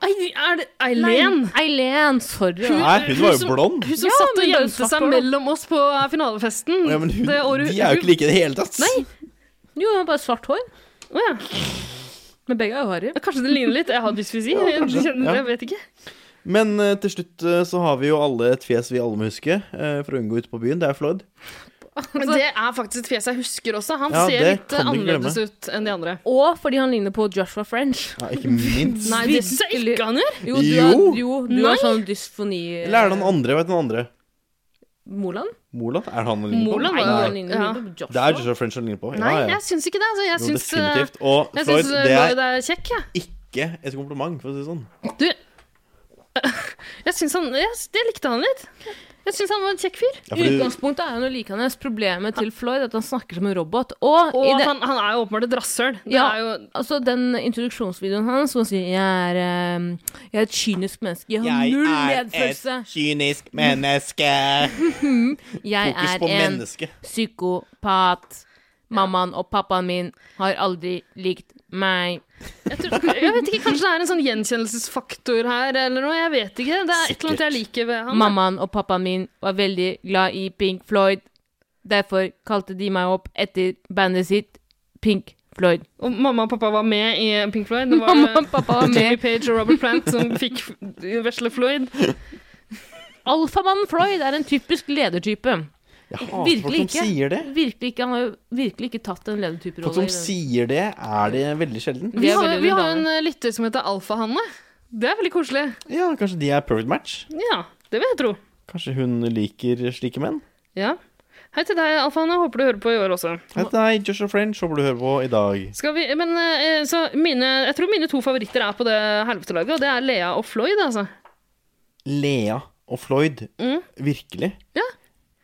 Speaker 4: Eirin, er det Eileen?
Speaker 1: Nei, Eileen, sorry.
Speaker 4: Hun-
Speaker 3: Nei, hun var jo
Speaker 4: som-
Speaker 3: blond.
Speaker 4: Hun som
Speaker 1: Ja,
Speaker 4: satt og
Speaker 1: men hun
Speaker 4: gjemte
Speaker 1: satt der,
Speaker 4: seg
Speaker 1: da.
Speaker 4: mellom oss på finalefesten.
Speaker 3: Ja, men hun,
Speaker 4: det året hun-
Speaker 3: de er jo
Speaker 4: hun-
Speaker 3: ikke like i det hele tatt.
Speaker 4: Nei.
Speaker 1: Jo, hun har bare svart hår.
Speaker 4: Å ja.
Speaker 1: Men begge er jo Harry.
Speaker 4: Kanskje det ligner litt. Jeg har dysfysi. jeg, kjenner-
Speaker 3: Ja.
Speaker 4: jeg vet ikke.
Speaker 3: Men eh, til slutt eh, så har vi jo alle et fjes vi alle må huske eh, for å unngå ute på byen. Det er Floyd.
Speaker 4: Men det er faktisk et fjes jeg husker også. Han
Speaker 3: Ja,
Speaker 4: ser
Speaker 3: det
Speaker 4: litt
Speaker 3: kan du ikke
Speaker 4: annerledes ut enn de andre.
Speaker 1: Og fordi han ligner på Joshua French.
Speaker 3: Ja, ikke minst.
Speaker 4: Nei, det ser ikke han gjør!
Speaker 1: Jo, du har,
Speaker 3: Jo.
Speaker 1: jo, du
Speaker 4: Nei.
Speaker 1: har sånn dysfoni
Speaker 3: Eller er det han andre? Vet du den andre?
Speaker 1: Moland?
Speaker 3: Moland? Er det han han ligner på?
Speaker 4: Moland
Speaker 1: Nei,
Speaker 4: var-
Speaker 1: han ligner
Speaker 4: Ja.
Speaker 1: på Joshua.
Speaker 3: Det er Joshua French han ligner på. Ja,
Speaker 4: Nei,
Speaker 3: ja.
Speaker 4: jeg syns ikke det. Altså, jeg
Speaker 3: Jo,
Speaker 4: syns eh,
Speaker 3: definitivt. Og
Speaker 4: jeg
Speaker 3: Floyd,
Speaker 4: syns eh,
Speaker 3: det er
Speaker 4: Lloyd er kjekk, jeg.
Speaker 3: ikke et kompliment, for å si det sånn.
Speaker 4: Du Jeg syns han jeg, Det likte han litt. Jeg syns han var en kjekk fyr.
Speaker 3: Ja,
Speaker 1: I
Speaker 3: for du,
Speaker 1: utgangspunktet er han jo likende. Problemet til Floyd er at han snakker som en robot. Og,
Speaker 4: Og
Speaker 1: i det,
Speaker 4: han, han er jo åpenbart et rasshøl. Det
Speaker 1: Ja.
Speaker 4: er jo
Speaker 1: altså, den introduksjonsvideoen hans hvor han sier jeg er, eh, 'Jeg er et kynisk menneske. Jeg har null medfølelse.
Speaker 3: kynisk menneske.
Speaker 1: Jeg
Speaker 3: Fokus
Speaker 1: er
Speaker 3: på
Speaker 1: en
Speaker 3: mennesket.
Speaker 1: psykopat. Mammaen og pappaen min har aldri likt meg.
Speaker 4: jeg, tror, jeg vet ikke, Kanskje det er en sånn gjenkjennelsesfaktor her, eller noe. Jeg vet ikke. Det er et eller annet jeg liker ved han.
Speaker 1: Mammaen og pappaen min var veldig glad i Pink Floyd. Derfor kalte de meg opp etter bandet sitt Pink Floyd.
Speaker 4: Og mamma og pappa var med i Pink Floyd. Det var eh,
Speaker 1: Mamma og pappa var
Speaker 4: Jimmy
Speaker 1: med.
Speaker 4: Page og Robert Plant som fikk vesle Floyd.
Speaker 1: Alfamannen Floyd er en typisk ledertype.
Speaker 3: Jeg hater folk
Speaker 1: Virkelig
Speaker 3: som
Speaker 1: ikke.
Speaker 3: sier det.
Speaker 1: Virkelig ikke. Han har jo virkelig ikke tatt en
Speaker 3: Folk som
Speaker 1: ledertyperolle. i den.
Speaker 3: sier det, er det veldig sjelden.
Speaker 1: De
Speaker 4: Vi
Speaker 1: er
Speaker 4: har,
Speaker 1: veldig
Speaker 4: vi har jo en
Speaker 1: underdannet.
Speaker 4: eh, lytter som heter Alfa-Hanne. Det er veldig koselig.
Speaker 3: Ja, kanskje de er perfect match?
Speaker 4: Ja, det vil jeg tro.
Speaker 3: Kanskje hun liker slike menn?
Speaker 4: Ja. Hei til deg, Alfa-Hanne. Håper du hører på i år også.
Speaker 3: Hei til deg, Joshua French, håper du hører på i dag.
Speaker 4: Skal vi, men eh, så mine, Jeg tror mine to favoritter er på det helvetelaget, og det er Lea og Floyd, altså.
Speaker 3: Lea og Floyd.
Speaker 4: Mm.
Speaker 3: Virkelig.
Speaker 4: Ja.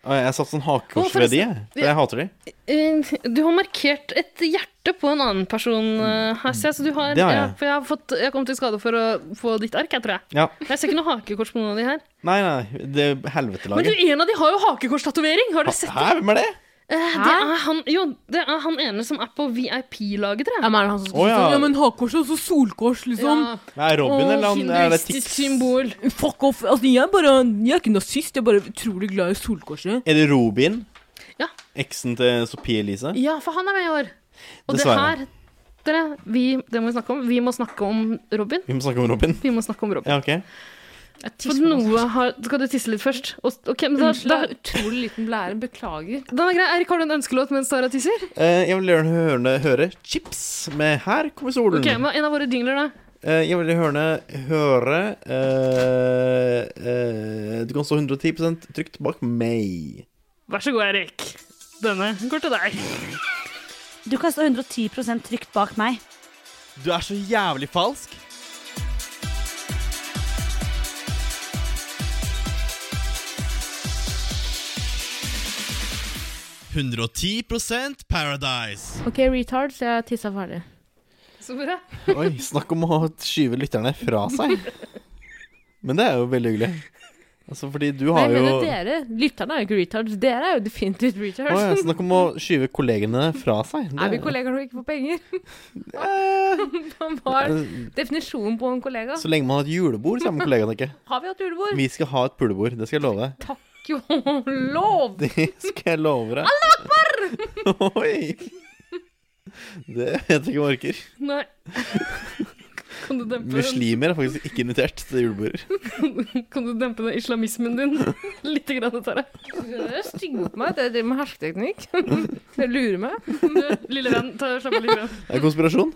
Speaker 3: Og Jeg satt sånn hakekors
Speaker 4: Å,
Speaker 3: ved de,
Speaker 4: forresten.
Speaker 3: jeg. for jeg hater de.
Speaker 4: Eh, Du har markert et hjerte på en annen person, eh, Hassia. Så du har,
Speaker 3: Det har jeg.
Speaker 4: Ja, for jeg har, fått, jeg har kommet i skade for å få ditt ark, jeg tror jeg.
Speaker 3: Ja.
Speaker 4: Jeg ser ikke noe hakekors på noen av de her.
Speaker 3: Nei, nei, det
Speaker 4: Men du,
Speaker 3: helvetelaget.
Speaker 4: en av de har jo hakekorstatovering! Har dere sett
Speaker 3: Hæ, hvem er det?
Speaker 4: Eh, Det er, han, jo, det er han ene som er på VIP-laget, tror
Speaker 1: Ja,
Speaker 4: jeg.
Speaker 1: men er det han som skal
Speaker 3: Å, ja.
Speaker 1: sånn, ja, men hakekors og så solkors, liksom.
Speaker 3: Er Robin,
Speaker 4: Åh,
Speaker 3: eller han, er det
Speaker 4: hinduistisk
Speaker 3: Tix?
Speaker 4: symbol.
Speaker 1: Fuck off. Altså, jeg, er bare, jeg er ikke nazist, jeg er bare utrolig glad i solkorset.
Speaker 3: Er det Robin?
Speaker 4: Ja.
Speaker 3: Eksen til Sophie Elise?
Speaker 4: Ja, for han er med i år. Og
Speaker 3: Dessverre.
Speaker 4: det her dere, vi, det må vi snakke om. Vi må snakke om Robin.
Speaker 3: Vi må snakke om Robin.
Speaker 4: Vi må snakke om Robin.
Speaker 3: Ja, ok.
Speaker 4: For noe har, skal du tisse litt først? Og, ok, men da,
Speaker 1: Unnskyld,
Speaker 4: da,
Speaker 1: jeg har utrolig liten blære. Beklager.
Speaker 4: da er det greit. Eirik, har du en ønskelåt mens Tara tisser?
Speaker 3: Eh, jeg vil gjerne høre, høre Chips med 'Her kommer solen'.
Speaker 4: Ok, men En av våre jingler, da.
Speaker 3: Eh, jeg vil gjerne høre eh, eh, Du kan stå 110 trygt bak meg.
Speaker 4: Vær så god, Eirik. Denne går til deg.
Speaker 6: Du kan stå 110 trygt bak meg.
Speaker 3: Du er så jævlig falsk.
Speaker 7: 110 Paradise.
Speaker 1: OK, retards, jeg tissa ferdig.
Speaker 4: Så bra.
Speaker 3: Oi, snakk om å skyve lytterne fra seg. Men det er jo veldig hyggelig. Altså, fordi du
Speaker 1: Nei,
Speaker 3: har
Speaker 1: jeg
Speaker 3: jo
Speaker 1: mener dere. Lytterne er jo ikke retards. Dere er jo definitivt retards.
Speaker 3: Å, ja, Snakk om å skyve kollegene fra seg.
Speaker 1: Er vi kollegaer når vi ikke får penger? Hva er
Speaker 3: kollegaer?
Speaker 1: definisjonen på en kollega?
Speaker 3: Så lenge man har et julebord, så er man kollega, tenker jeg.
Speaker 1: Har vi hatt julebord?
Speaker 3: Vi skal ha et pulebord, det skal jeg love deg.
Speaker 1: Takk og lov!
Speaker 3: Det skal jeg love deg. Allah akbar! Oi! Det vet jeg ikke om jeg orker.
Speaker 4: Nei. Kan du dempe den,
Speaker 3: Muslimer er faktisk ikke invitert til juleborder.
Speaker 4: kan du dempe den islamismen din litt, grann, Tara?
Speaker 1: Dere er stygge mot meg. Dere driver med hersketeknikk. Dere lurer meg.
Speaker 4: Du, lille venn, ta slapp av litt. Grann.
Speaker 3: Det er konspirasjon.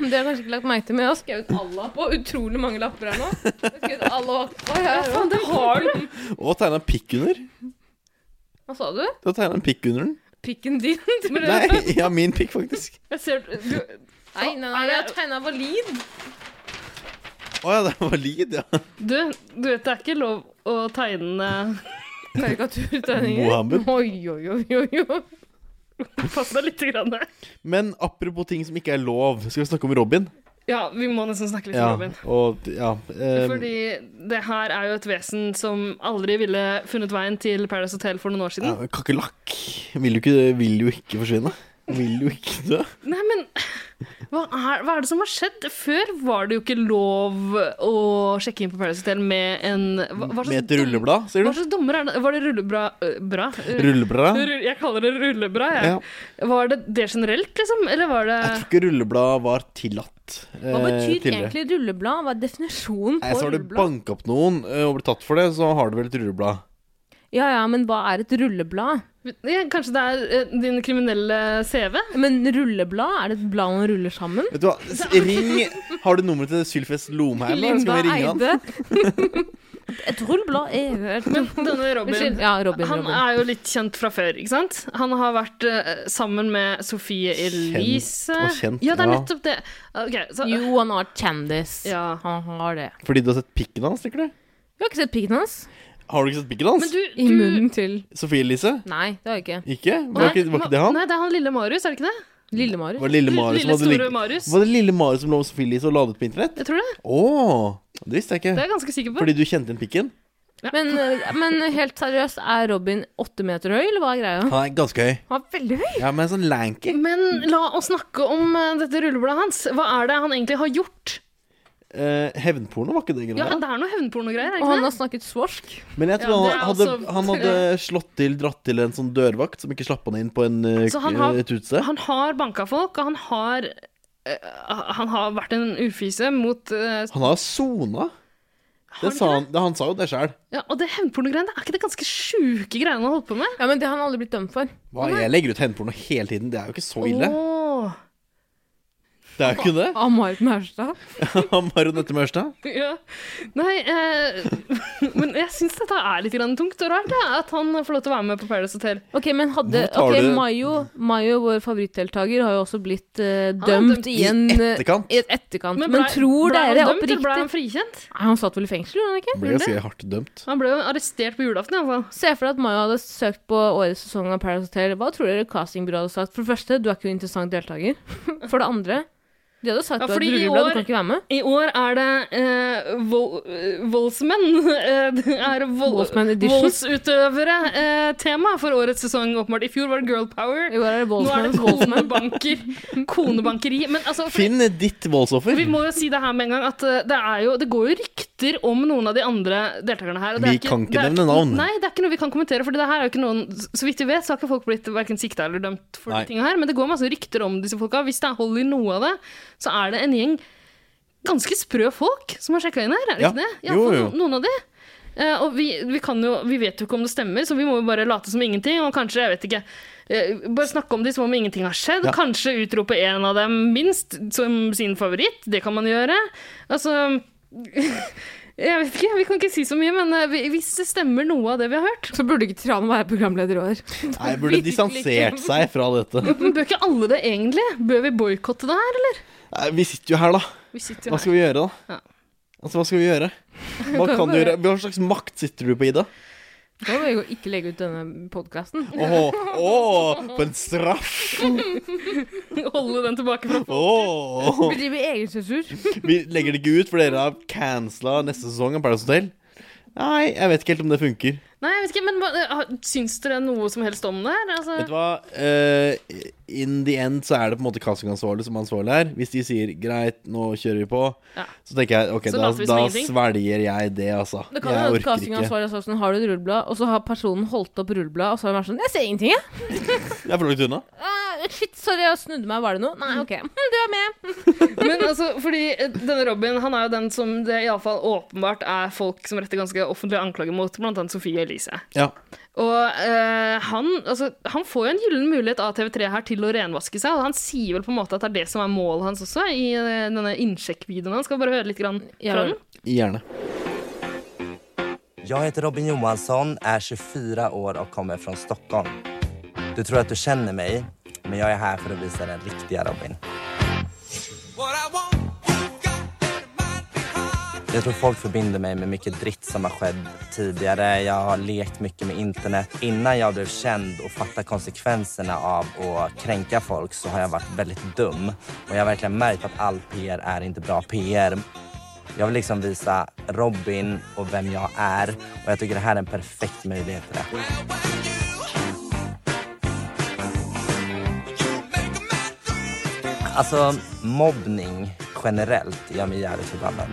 Speaker 1: Dere har kanskje ikke lagt merke til, men jeg har skrevet Allah på utrolig mange lapper her nå. Jeg har skrevet Allah akbar her også.
Speaker 4: det har du!
Speaker 3: Og tegna en pikk under.
Speaker 1: Hva sa du?
Speaker 3: Du har tegna en pikk under den.
Speaker 1: Pikken din? tror jeg.
Speaker 3: Nei, ja, min pikk, faktisk.
Speaker 4: Jeg ser du,
Speaker 1: Nei, nei, nei, jeg har tegna valid.
Speaker 3: Å ja, det var lyd, ja.
Speaker 4: du, du vet det er ikke lov å tegne
Speaker 1: Karikaturtegninger.
Speaker 3: Mohammed.
Speaker 1: Oi, oi, oi, oi, oi.
Speaker 4: Pass deg litt. Grann.
Speaker 3: Men apropos ting som ikke er lov, skal vi snakke om Robin?
Speaker 4: Ja, vi må nesten snakke litt om Robin.
Speaker 3: Og, ja, eh,
Speaker 4: Fordi det her er jo et vesen som aldri ville funnet veien til Paradise Hotel for noen år
Speaker 3: ja,
Speaker 4: siden.
Speaker 3: Kakerlakk vil, jo ikke- vil jo ikke forsvinne. Vil jo ikke dø.
Speaker 4: Nei, men hva er, hva er det som har skjedd? Før var det jo ikke lov å sjekke inn på Paradise Hotel med en hva, hva slags
Speaker 3: Med et
Speaker 4: dom-
Speaker 3: rulleblad, sier
Speaker 4: Hva
Speaker 3: du?
Speaker 4: slags dommer er det? Var det rullebra? øh, Bra? Øh,
Speaker 3: Rulleblad?
Speaker 4: rull- Jeg kaller det rullebra, jeg.
Speaker 3: Ja.
Speaker 4: Var det det generelt, liksom? Eller var det
Speaker 3: Jeg tror ikke rulleblad var tillatt eh,
Speaker 1: Hva betyr
Speaker 3: tidligere.
Speaker 1: egentlig rulleblad? Hva er definisjonen
Speaker 3: Nei,
Speaker 1: på
Speaker 3: så har du
Speaker 1: rulleblad?
Speaker 3: banka opp noen eh, og blitt tatt for det, så har du vel et rulleblad.
Speaker 1: Ja, ja, men hva er et rulleblad?
Speaker 4: ja, Kanskje det er øh, din kriminelle CV?
Speaker 1: Men rulleblad, er det et blad man ruller sammen?
Speaker 3: Vet du hva, S- ring Har du nummeret til Sylfest Lomheim? eller Skal vi ringe han?
Speaker 1: Et rulleblad er et
Speaker 4: Denne Robin.
Speaker 1: Unnskyld. Ja, Robin.
Speaker 4: Han
Speaker 1: Robin.
Speaker 4: er jo litt kjent fra før, ikke sant? Han har vært eh, sammen med Sofie Elise.
Speaker 3: og kjent,
Speaker 4: ja, det er
Speaker 3: ja.
Speaker 4: nettopp det. Ok, så,
Speaker 1: Jo, han har kjendis.
Speaker 4: ja.
Speaker 1: Han har det.
Speaker 3: Fordi du har sett pikken hans, tenker du?
Speaker 1: Vi har ikke sett pikken hans.
Speaker 3: Har du ikke sett pikken hans?
Speaker 4: Men du, du
Speaker 1: I munnen til
Speaker 3: Sofie Elise?
Speaker 1: Nei, det har vi ikke.
Speaker 3: Ikke? Var, ikke? var ikke det han?
Speaker 4: Nei, det er han lille Marius, er det ikke det?
Speaker 1: Lille-Marius.
Speaker 3: Var det lille Marius som
Speaker 4: lille
Speaker 3: hadde
Speaker 4: store
Speaker 3: ligget-
Speaker 4: Marius.
Speaker 3: Var det lille Marius som lå med Sofie Elise og ladet på internett?
Speaker 4: Jeg tror det.
Speaker 3: Å, det visste jeg
Speaker 4: Det er
Speaker 3: ikke.
Speaker 4: jeg ganske sikker på.
Speaker 3: Fordi du kjente igjen pikken?
Speaker 1: Men, eh, men helt seriøst, er Robin åtte meter høy, eller hva er greia?
Speaker 3: Han er ganske høy.
Speaker 1: Han er veldig høy.
Speaker 3: Ja, men sånn lanky.
Speaker 4: Men la oss snakke om eh, dette rullebladet hans. Hva er det han egentlig har gjort?
Speaker 3: Eh, hevnporno var ikke det
Speaker 4: Ja,
Speaker 3: greia.
Speaker 4: Det er noe hevnpornogreier,
Speaker 1: Og
Speaker 4: er det
Speaker 1: han
Speaker 4: ikke det?
Speaker 1: har snakket svorsk.
Speaker 3: Men jeg tror
Speaker 4: Ja, det
Speaker 3: han, hadde,
Speaker 4: er også-
Speaker 3: han hadde slått til, dratt til en sånn dørvakt som ikke slapp han inn på en, eh,
Speaker 4: Så han har-
Speaker 3: et utested.
Speaker 4: Han har banka folk, og han har eh, han har vært en ufyse mot eh,
Speaker 3: Han har sona. Det
Speaker 4: han
Speaker 3: sa
Speaker 4: ikke
Speaker 3: han, det, han sa jo det sjøl.
Speaker 4: ja, Og det hevnpornogreiene, er ikke det ganske sjuke greiene han holder på med?
Speaker 1: Ja, men det har han aldri blitt dømt for.
Speaker 3: Jeg legger ut hevnporno hele tiden. Det er jo ikke så ille.
Speaker 4: Åh.
Speaker 3: Det er jo ikke det.
Speaker 1: Av Marit Maurstad.
Speaker 3: Han Baronette Mørstad.
Speaker 4: Ja. Nei, eh, men jeg syns dette er litt grann tungt og rart, ja, at han får lov til å være med på Paradise Hotel.
Speaker 1: Ok, men hadde
Speaker 3: Hvorfor tar
Speaker 1: Ok,
Speaker 3: du-
Speaker 1: Mayo, Mayo, vår favorittdeltaker, har jo også blitt eh,
Speaker 4: er
Speaker 1: dømt
Speaker 4: dømt
Speaker 1: i
Speaker 3: i
Speaker 1: en eh,
Speaker 3: etterkant.
Speaker 1: I et etterkant. Men,
Speaker 4: ble-
Speaker 1: tror
Speaker 4: ble han
Speaker 1: dere
Speaker 4: dømt, eller
Speaker 1: oppriktig
Speaker 4: Ble
Speaker 1: Nei,
Speaker 4: han frikjent?
Speaker 1: Han satt vel i fengsel, gjorde
Speaker 4: eh,
Speaker 1: han ikke?
Speaker 3: Ble ganske hardt dømt.
Speaker 4: Han ble jo arrestert på julaften, iallfall.
Speaker 1: Se for deg at Mayo hadde søkt på årets sesong av Paradise Hotel. Hva tror dere castingbyrået hadde sagt? For det første, du er ikke en interessant deltaker. For det andre, de hadde sagt
Speaker 4: Ja,
Speaker 1: at
Speaker 4: fordi i
Speaker 1: Rulleblad,
Speaker 4: år-
Speaker 1: du kan ikke være med.
Speaker 4: I år er det eh, vold, eh, voldsmenn. eh, Det er vold,
Speaker 1: Voldsmenn edition.
Speaker 4: voldsutøvere-tema for årets sesong, åpenbart. I fjor var det girl power.
Speaker 1: I år er det
Speaker 4: Nå
Speaker 1: Bolsmann.
Speaker 4: er det konebanker. Konebankeri. Men altså, for-
Speaker 3: Finn ditt voldsoffer.
Speaker 4: Vi må jo si det her med en gang at eh, det, er jo, det går jo rykter om noen av de andre deltakerne her. og det er
Speaker 3: Vi kan ikke
Speaker 4: det er
Speaker 3: nevne navn.
Speaker 4: Nei, det er ikke noe vi kan kommentere. For det her er jo ikke noen, så vidt vi vet, så har ikke folk blitt verken sikta eller dømt for
Speaker 3: Nei.
Speaker 4: de tingene her. Men det går masse rykter om disse folka. Hvis det er hold i noe av det, så er det en gjeng ganske sprø folk som har sjekka inn her, er det
Speaker 3: Ja.
Speaker 4: ikke det?
Speaker 3: Jo,
Speaker 4: I alle fall
Speaker 3: jo.
Speaker 4: no- Noen av de. Eh, og vi, vi, kan jo, vi vet jo ikke om det stemmer, så vi må jo bare late som ingenting. Og kanskje, jeg vet ikke eh, Bare snakke om de som om ingenting har skjedd.
Speaker 3: Ja.
Speaker 4: Kanskje utrope en av dem minst som sin favoritt. Det kan man gjøre. Altså Jeg vet ikke, vi kan ikke si så mye, men eh, vi- hvis det stemmer noe av det vi har hørt
Speaker 1: Så burde ikke Trane være programleder i år.
Speaker 3: Nei, burde distansert seg fra dette.
Speaker 4: men Bør ikke alle det, egentlig? Bør vi boikotte det her, eller?
Speaker 3: Nei, vi sitter jo her, da.
Speaker 4: Vi sitter jo
Speaker 3: Hva
Speaker 4: her.
Speaker 3: skal vi gjøre, da?
Speaker 4: Ja.
Speaker 3: Altså, hva skal vi gjøre? Hva kan du
Speaker 1: bare-
Speaker 3: gjøre? Hva slags makt sitter du på, Ida?
Speaker 1: Da vil jeg jo ikke legge ut denne podkasten.
Speaker 3: Åh, åh, for en straff!
Speaker 4: Holde den tilbake fra
Speaker 3: Åh
Speaker 1: Vi driver egensensur.
Speaker 3: Vi legger det ikke ut, for dere har cancela neste sesong av Paradise Hotel. Nei, jeg vet ikke helt om det funker.
Speaker 4: Nei, jeg vet ikke, men hva- eh, syns dere noe som helst om det her? Altså,
Speaker 3: Vet du hva? Eh, in the end så er det på en måte castingansvarlig som er ansvarlig her. Hvis de sier 'greit, nå kjører vi på',
Speaker 4: Ja.
Speaker 3: så tenker jeg ok,
Speaker 4: Så
Speaker 3: da,
Speaker 4: later vi som
Speaker 3: da
Speaker 4: ingenting.
Speaker 3: svelger jeg det, altså.
Speaker 1: Det kan jo
Speaker 3: jeg
Speaker 1: hende castingansvarlig har sagt sånn, har du et rullblad? Og så har personen holdt opp rullebladet, og så har han vært sånn Jeg ser ingenting, jeg.
Speaker 3: Jeg er for langt unna.
Speaker 1: Eh, shit, sorry, jeg snudde meg. Var det noe? Nei, OK. Hm, Du er med.
Speaker 4: Men altså, fordi eh, denne Robin han er jo den som det iallfall åpenbart er folk som retter ganske offentlige anklager mot, blant annet Sofie Elise.
Speaker 3: Ja.
Speaker 4: Og eh, han, altså, han får jo en gyllen mulighet av TV3 her til å renvaske seg, og han sier vel på en måte at det er det som er målet hans også, i eh, denne innsjekkvideoen hans. Skal vi bare høre litt grann
Speaker 1: Ja.
Speaker 4: fra den?
Speaker 3: Gjerne.
Speaker 7: Jag heter Robin Johansson, är 24 år och kommer från Stockholm. Du tror att du känner mig, men jag är här för att visa den riktiga Robin. Jag tror folk förbinder mig med mycket dritt som har skett tidigare. Jag har lekt mycket med internet. Innan jag blev känd och fattade konsekvenserna av att kränka folk så har jag varit väldigt dum. Och jag har verkligen märkt att all PR är inte bra PR. Jag vill liksom visa Robin och vem jag är och jag tycker det här är en perfekt möjlighet till det. Alltså mobbning generellt gör mig jävligt förbannad.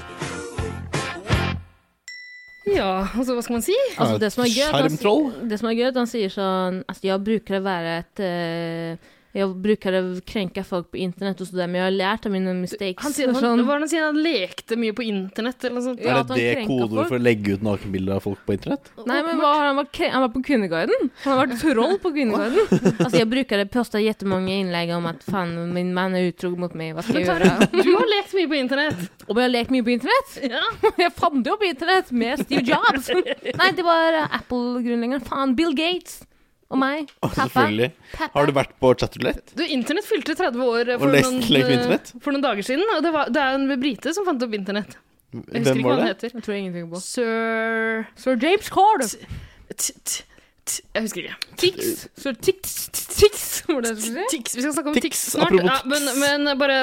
Speaker 4: Ja, altså hva skal man si?
Speaker 1: Altså, det som er gøy, er at
Speaker 3: Skjermtroll.
Speaker 1: han, det som er gøy, er at han sier sånn Altså, jeg bruker å være et eh, Jeg bruker å krenke folk på internett og så det, men jeg har lært av mine mistakes.
Speaker 4: Han sier, sånn-
Speaker 1: Det er sånn,
Speaker 4: han, hva er det han sier? Han lekte mye på internett eller noe sånt.
Speaker 1: Ja,
Speaker 3: er
Speaker 1: at
Speaker 3: det
Speaker 1: han
Speaker 3: det
Speaker 1: krenker
Speaker 3: kodeordet
Speaker 1: folk.
Speaker 3: for å legge ut nakenbilder av folk på internett?
Speaker 1: Nei, men hva, har han, vært, kre- han var på Kvinneguiden. Han har vært troll på Kvinneguiden. Altså, jeg bruker å poste jättemånga innlegg om at faen, min mann er utro mot meg, hva skal jeg gjøre?
Speaker 4: Du har lekt mye på internett.
Speaker 1: Og jeg har lekt mye på internett.
Speaker 4: Ja.
Speaker 1: Jeg fant det jo på internett med Steve Jobs. Nei, det var eh, Apple-grunnleggeren. Faen, Bill Gates og meg. Pappa.
Speaker 3: Selvfølgelig.
Speaker 1: Pappa.
Speaker 3: Har du vært på chatroulette?
Speaker 4: Du, Internett fylte 30 år eh,
Speaker 3: Og
Speaker 4: for,
Speaker 3: lest- lekt på
Speaker 4: noen,
Speaker 3: internett?
Speaker 4: eh, for noen dager siden. Og det, var, det er en brite som fant opp internett. Jeg husker
Speaker 3: Hvem
Speaker 4: ikke
Speaker 3: var
Speaker 4: hva han
Speaker 3: det?
Speaker 4: heter.
Speaker 1: Jeg tror ingenting på.
Speaker 4: Sir
Speaker 1: Sir James Carter.
Speaker 4: t, t, t, Jeg husker ikke.
Speaker 1: Tix. Sir Tix. Tix, var det det du skulle si?
Speaker 4: Tix, vi skal snakke om
Speaker 3: Tix,
Speaker 4: Tix snart.
Speaker 3: apropos
Speaker 4: Ja, men, men bare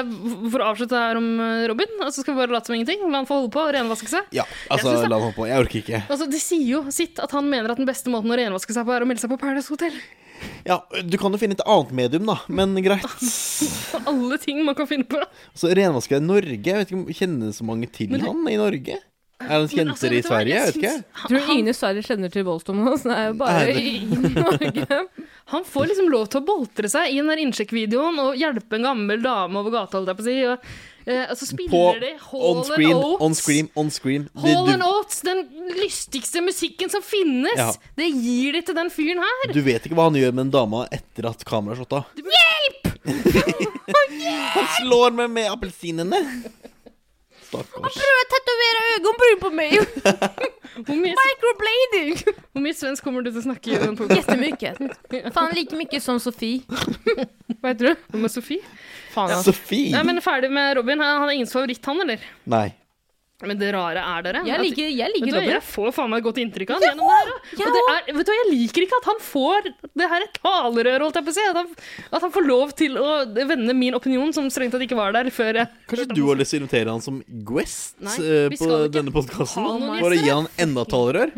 Speaker 4: for å avslutte her om eh, Robin, og så skal vi bare late som ingenting. La han få holde på og renvaske seg.
Speaker 3: Ja, altså,
Speaker 4: synes det-
Speaker 3: la han holde på. Jeg orker ikke.
Speaker 4: Altså, Det sier jo sitt at han mener at den beste måten å renvaske seg på, er å melde seg på Paradise Hotel.
Speaker 3: Ja, du kan jo finne et annet medium, da. Men greit.
Speaker 4: Alle ting man kan finne på.
Speaker 3: Så renvasker jeg i Norge. Jeg vet ikke om Kjenner så mange til han i Norge? Er han
Speaker 4: Men
Speaker 3: kjente
Speaker 4: altså,
Speaker 3: i
Speaker 4: vet du hva?
Speaker 3: Sverige? Jeg vet ikke.
Speaker 4: syns- han-
Speaker 1: Tror
Speaker 4: han-
Speaker 1: ingen i Sverige kjenner til voldsdommen hans. Det er jo
Speaker 3: Nei,
Speaker 1: bare
Speaker 3: det-
Speaker 1: i Norge.
Speaker 4: Han får liksom lov til å boltre seg i den der innsjekkvideoen og hjelpe en gammel dame over gata, holdt jeg på å si. Og, eh, og så spiller
Speaker 3: På
Speaker 4: de
Speaker 3: on
Speaker 4: Hall and
Speaker 3: screen,
Speaker 4: Oates.
Speaker 3: on screen, on screen. Du-
Speaker 4: Hall and
Speaker 3: du,
Speaker 4: Oates, den lystigste musikken som finnes!
Speaker 3: Ja.
Speaker 4: Det gir de til den fyren her!
Speaker 3: du vet ikke hva han gjør med den dama etter at kameraet er slått av. Hjelp! han slår meg med appelsinene. Stakkars.
Speaker 1: Prøv å tatovere øyenbryn på meg!
Speaker 4: Hvor mye,
Speaker 1: Microblading!
Speaker 4: hvor mye svensk kommer du til å snakke i den podcasten?
Speaker 1: Jättemycket. Fan like mycket som Sofie. Vad heter du?
Speaker 4: med Sofie?
Speaker 1: Fan, alltså.
Speaker 3: Sofie!
Speaker 4: Nei, men ferdig med Robin. Han han er ingens favoritt, han, eller?
Speaker 3: Nei.
Speaker 4: Men det rare er dere
Speaker 1: Jeg
Speaker 4: at-
Speaker 1: liker, jeg
Speaker 4: Vet
Speaker 1: liker
Speaker 4: du hva,
Speaker 1: Robin.
Speaker 4: Jeg får faen meg et godt inntrykk av han gjennom det her. da.
Speaker 1: jeg
Speaker 4: Og det er, vet du hva, jeg liker ikke at han får det her talerøret, holdt jeg på å si. At han, at han får lov til å vende min opinion, som strengt tatt ikke var der før jeg
Speaker 3: Kanskje du har lyst til å invitere han som guest
Speaker 4: Nei,
Speaker 3: eh,
Speaker 4: vi
Speaker 3: på
Speaker 4: skal ikke
Speaker 3: denne podkasten?
Speaker 4: ha noen
Speaker 3: For å
Speaker 4: gjester,
Speaker 3: gi han enda talerør?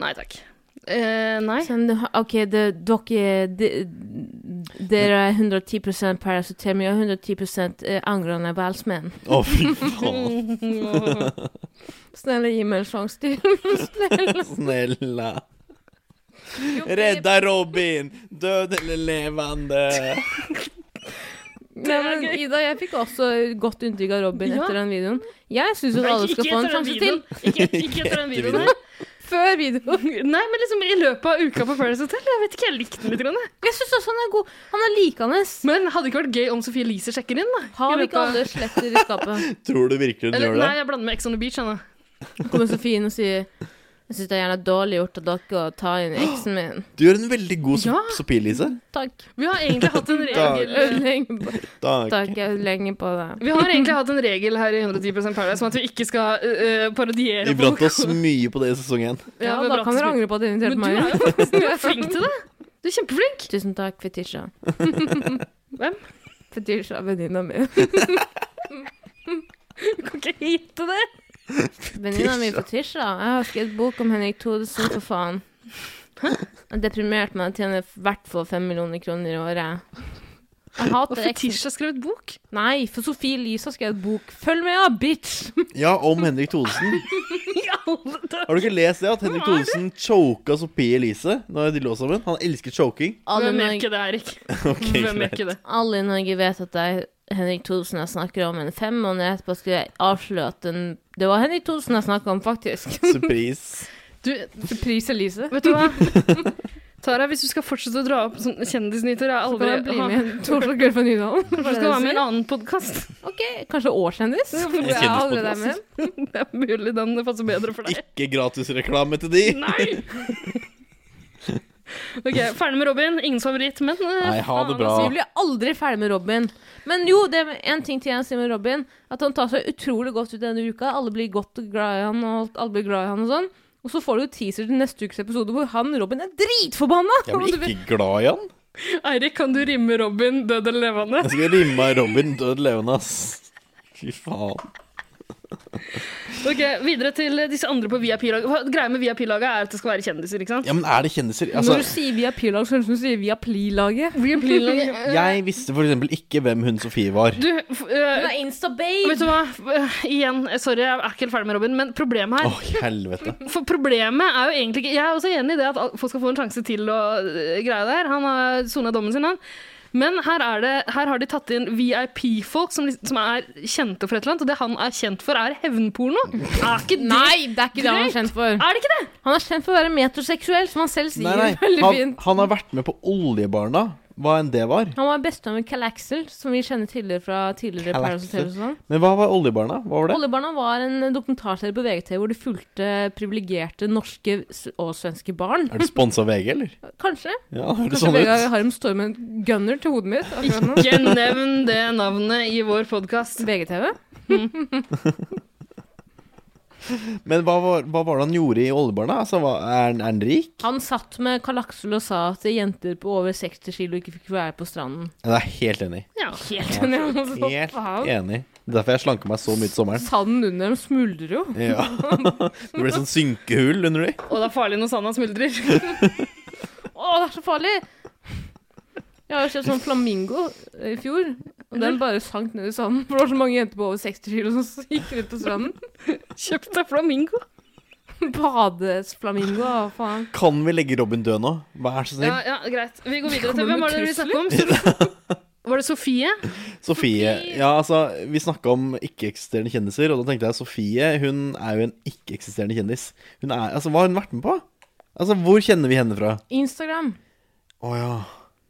Speaker 4: Nei takk. Eh, nei.
Speaker 1: Sen, okej, det, dock, eh, det, det är 110% paracetam, jag är 110% eh, angående valsmän.
Speaker 3: Å, fy faen.
Speaker 1: Snälla ge mig en chans till.
Speaker 3: Snälla. Rädda Robin! Död eller levande!
Speaker 1: Nej, men Ida, jeg fikk også godt inntrykk av Robin
Speaker 4: Ja.
Speaker 1: etter den videoen. Jeg syns
Speaker 4: Nei,
Speaker 1: alle skal
Speaker 4: ikke
Speaker 1: få en
Speaker 4: etter den
Speaker 1: sjanse til.
Speaker 4: videoen. Ikke, ikke etter den videoen her.
Speaker 1: Før videoen.
Speaker 4: Nei, men liksom i løpet av uka på Paradise Hotel. Jeg vet ikke, jeg likte den litt. Grann, jeg.
Speaker 1: Jeg syns også han er god. Han er likende.
Speaker 4: Men hadde det ikke vært gøy om Sophie Elise sjekker inn, da?
Speaker 1: Har
Speaker 4: I
Speaker 1: vi
Speaker 4: løpet
Speaker 1: ikke
Speaker 4: av-
Speaker 1: alle sletter i skapet?
Speaker 3: Tror du virkelig hun
Speaker 4: Eller,
Speaker 3: gjør det?
Speaker 4: nei, jeg blander med Ex on the Beach. Anna.
Speaker 1: kommer Sofie inn og sier Jeg syns det er gjerne dårlig gjort av dere å ta inn eksen min.
Speaker 3: Du gjør en veldig god sop-
Speaker 4: Ja.
Speaker 3: sopir, Lise.
Speaker 1: Takk.
Speaker 4: Vi har egentlig hatt en
Speaker 1: Jeg
Speaker 4: regel
Speaker 1: øvde lenge på-
Speaker 3: Takk.
Speaker 1: Takk, jeg øvde lenge på det.
Speaker 4: Vi har egentlig hatt en regel her i 110 Paradise om at vi ikke skal eh, parodiere
Speaker 3: Vi brant oss mye på det i sesong én.
Speaker 4: Ja,
Speaker 1: Ja,
Speaker 4: vi
Speaker 1: da
Speaker 4: brant
Speaker 1: kan
Speaker 4: oss
Speaker 1: dere
Speaker 4: mye.
Speaker 1: angre på at dere inviterte
Speaker 4: Men du
Speaker 1: meg inn.
Speaker 4: er jo faktisk du er flink til det. Du er kjempeflink.
Speaker 1: Tusen takk, Fetisha.
Speaker 4: Hvem?
Speaker 1: Fetisha, venninna mi.
Speaker 4: Du kan ikke hete det.
Speaker 1: Venninna mi Fetisha. Jeg har skrevet bok om Henrik Thodesen, for faen. Jeg er deprimert, men jeg tjener i hvert fall fem millioner kroner i året. Jeg
Speaker 4: Og
Speaker 1: hater eksen.
Speaker 4: Fetisha skrev et bok.
Speaker 1: Nei, for Sofie Elise har skrevet bok. Følg med, da, bitch!
Speaker 3: Ja, om Henrik Thodesen. Har du ikke lest det? At Henrik Thodesen choka Sophie Elise når de lå sammen? Han elsker choking.
Speaker 1: Alle i
Speaker 4: Hvem gjør
Speaker 1: Norge,
Speaker 4: ikke det, Erik?
Speaker 3: Ok,
Speaker 4: Hvem gjør ikke det?
Speaker 1: alle i Norge vet at det er Henrik Thodesen jeg snakker om, men fem måneder etterpå skulle jeg avsløre at den, det var Henrik Thodesen jeg snakka om, faktisk.
Speaker 3: Surprise.
Speaker 4: Du,
Speaker 1: Surprise, Elise.
Speaker 4: vet du hva? Tara, hvis du skal fortsette å dra opp sånn kjendisnyter Jeg har
Speaker 1: Så
Speaker 4: aldri
Speaker 1: kan jeg bli med i en torsdagskveld fra Nydalen.
Speaker 4: Kanskje du skal være med i en annen podkast?
Speaker 1: Ok, kanskje årskjendis?
Speaker 3: En
Speaker 1: Jeg er allerede
Speaker 3: kjendispodcast.
Speaker 1: med.
Speaker 4: Det er mulig den passer bedre for deg.
Speaker 3: Ikke gratisreklame til de.
Speaker 4: Nei! Ok, Ferdig med Robin. Ingen favoritt, men eh,
Speaker 3: Nei, ha det bra.
Speaker 1: Så vi blir aldri ferdig med Robin. Men jo, det er en ting til jeg sier med Robin. At han tar seg utrolig godt ut denne uka. Alle blir godt og glad i han, og alt- alle blir glad i han og sånn. Og så får du jo teaser til neste ukes episode hvor han Robin er dritforbanna!
Speaker 3: Jeg
Speaker 1: Og du
Speaker 3: blir
Speaker 1: vet-
Speaker 3: ikke glad i han.
Speaker 4: Eirik, kan du rimme Robin død eller levende?
Speaker 3: Jeg skal rimme av Robin død levende, ass. Fy faen.
Speaker 4: Ok, Videre til disse andre på VIP-laget. Greia med VIP-laget er at det skal være kjendiser, ikke sant?
Speaker 3: Ja, men er det kjendiser?
Speaker 1: Når
Speaker 3: Altså,
Speaker 1: du sier via P-lag, så høres det ut som du sier via Pli-laget.
Speaker 4: VIP-laget.
Speaker 3: jeg visste for eksempel ikke hvem hun Sofie var.
Speaker 4: Du, f eh, vet
Speaker 1: Instababe!
Speaker 4: du hva? Eh, igjen, eh, sorry, jeg er ikke helt ferdig med Robin, men problemet
Speaker 3: Å,
Speaker 4: her
Speaker 3: helvete.
Speaker 4: For problemet er jo egentlig ikke Jeg er også enig i det at al- folk skal få en sjanse til å eh, greie det her. Han har sona dommen sin, han. Men her, er det, her har de tatt inn VIP-folk som, liksom- som er kjente for et eller annet, og det han er kjent for, er hevnporno. Er ikke det
Speaker 1: Nei, det er ikke det han er kjent for.
Speaker 4: Er det ikke det?
Speaker 1: Han er kjent for å være metroseksuell, som han selv sier.
Speaker 3: Nei, nei.
Speaker 1: Veldig
Speaker 3: Han,
Speaker 1: fint.
Speaker 3: han har vært med på Oljebarna, hva enn det var.
Speaker 1: Han var bestevenn med Cal Axel, som vi kjenner tidligere fra tidligere
Speaker 3: Cal
Speaker 1: Paradise Hotel. og
Speaker 3: Axel.
Speaker 1: sånn.
Speaker 3: Men hva var Oljebarna? Hva var det?
Speaker 1: Oljebarna var en dokumentarserie på VGTV hvor de fulgte privilegerte norske s- og svenske barn.
Speaker 3: Er du sponsa av VG, eller?
Speaker 1: Kanskje.
Speaker 3: Ja, høres
Speaker 1: Kanskje
Speaker 3: sånn
Speaker 1: Vegard
Speaker 3: ut.
Speaker 1: Harm står med en gunner til hodet mitt. akkurat nå.
Speaker 4: Ikke nevn det navnet i vår podkast.
Speaker 1: VGTV.
Speaker 3: Men hva var, hva var det han gjorde i Oljebarna? Altså, hva, er, han- er han rik?
Speaker 1: Han satt med Karl Aksel og sa at jenter på over 60 kilo ikke fikk være på stranden.
Speaker 3: Ja, Det er jeg helt enig. i.
Speaker 4: Ja.
Speaker 3: Helt enig. Det er derfor jeg slanker meg så mye til sommeren.
Speaker 1: Sanden under dem smuldrer jo.
Speaker 3: Ja. Det ble sånn synkehull under de.
Speaker 4: Og det er farlig når sanda smuldrer.
Speaker 1: Å, det er så farlig! Jeg har jo sett sånn flamingo eh, i fjor, og den bare sank ned i sanden. For det var så mange jenter på over 60 kilo som gikk rundt på stranden.
Speaker 4: Kjøp deg flamingo.
Speaker 1: Badeflamingo, hva faen.
Speaker 3: Kan vi legge Robin død nå? Vær så snill.
Speaker 4: Ja, ja, greit. Vi går videre
Speaker 1: Kommer
Speaker 4: til Hvem var det vi snakket om? Så- Var det Sofie?
Speaker 3: Sofie. Ja, altså, vi snakka om ikke-eksisterende kjendiser, og da tenkte jeg Sofie hun er jo en ikke-eksisterende kjendis. Hun er, altså, Hva har hun vært med på? Altså, Hvor kjenner vi henne fra?
Speaker 1: Instagram.
Speaker 3: Å ja.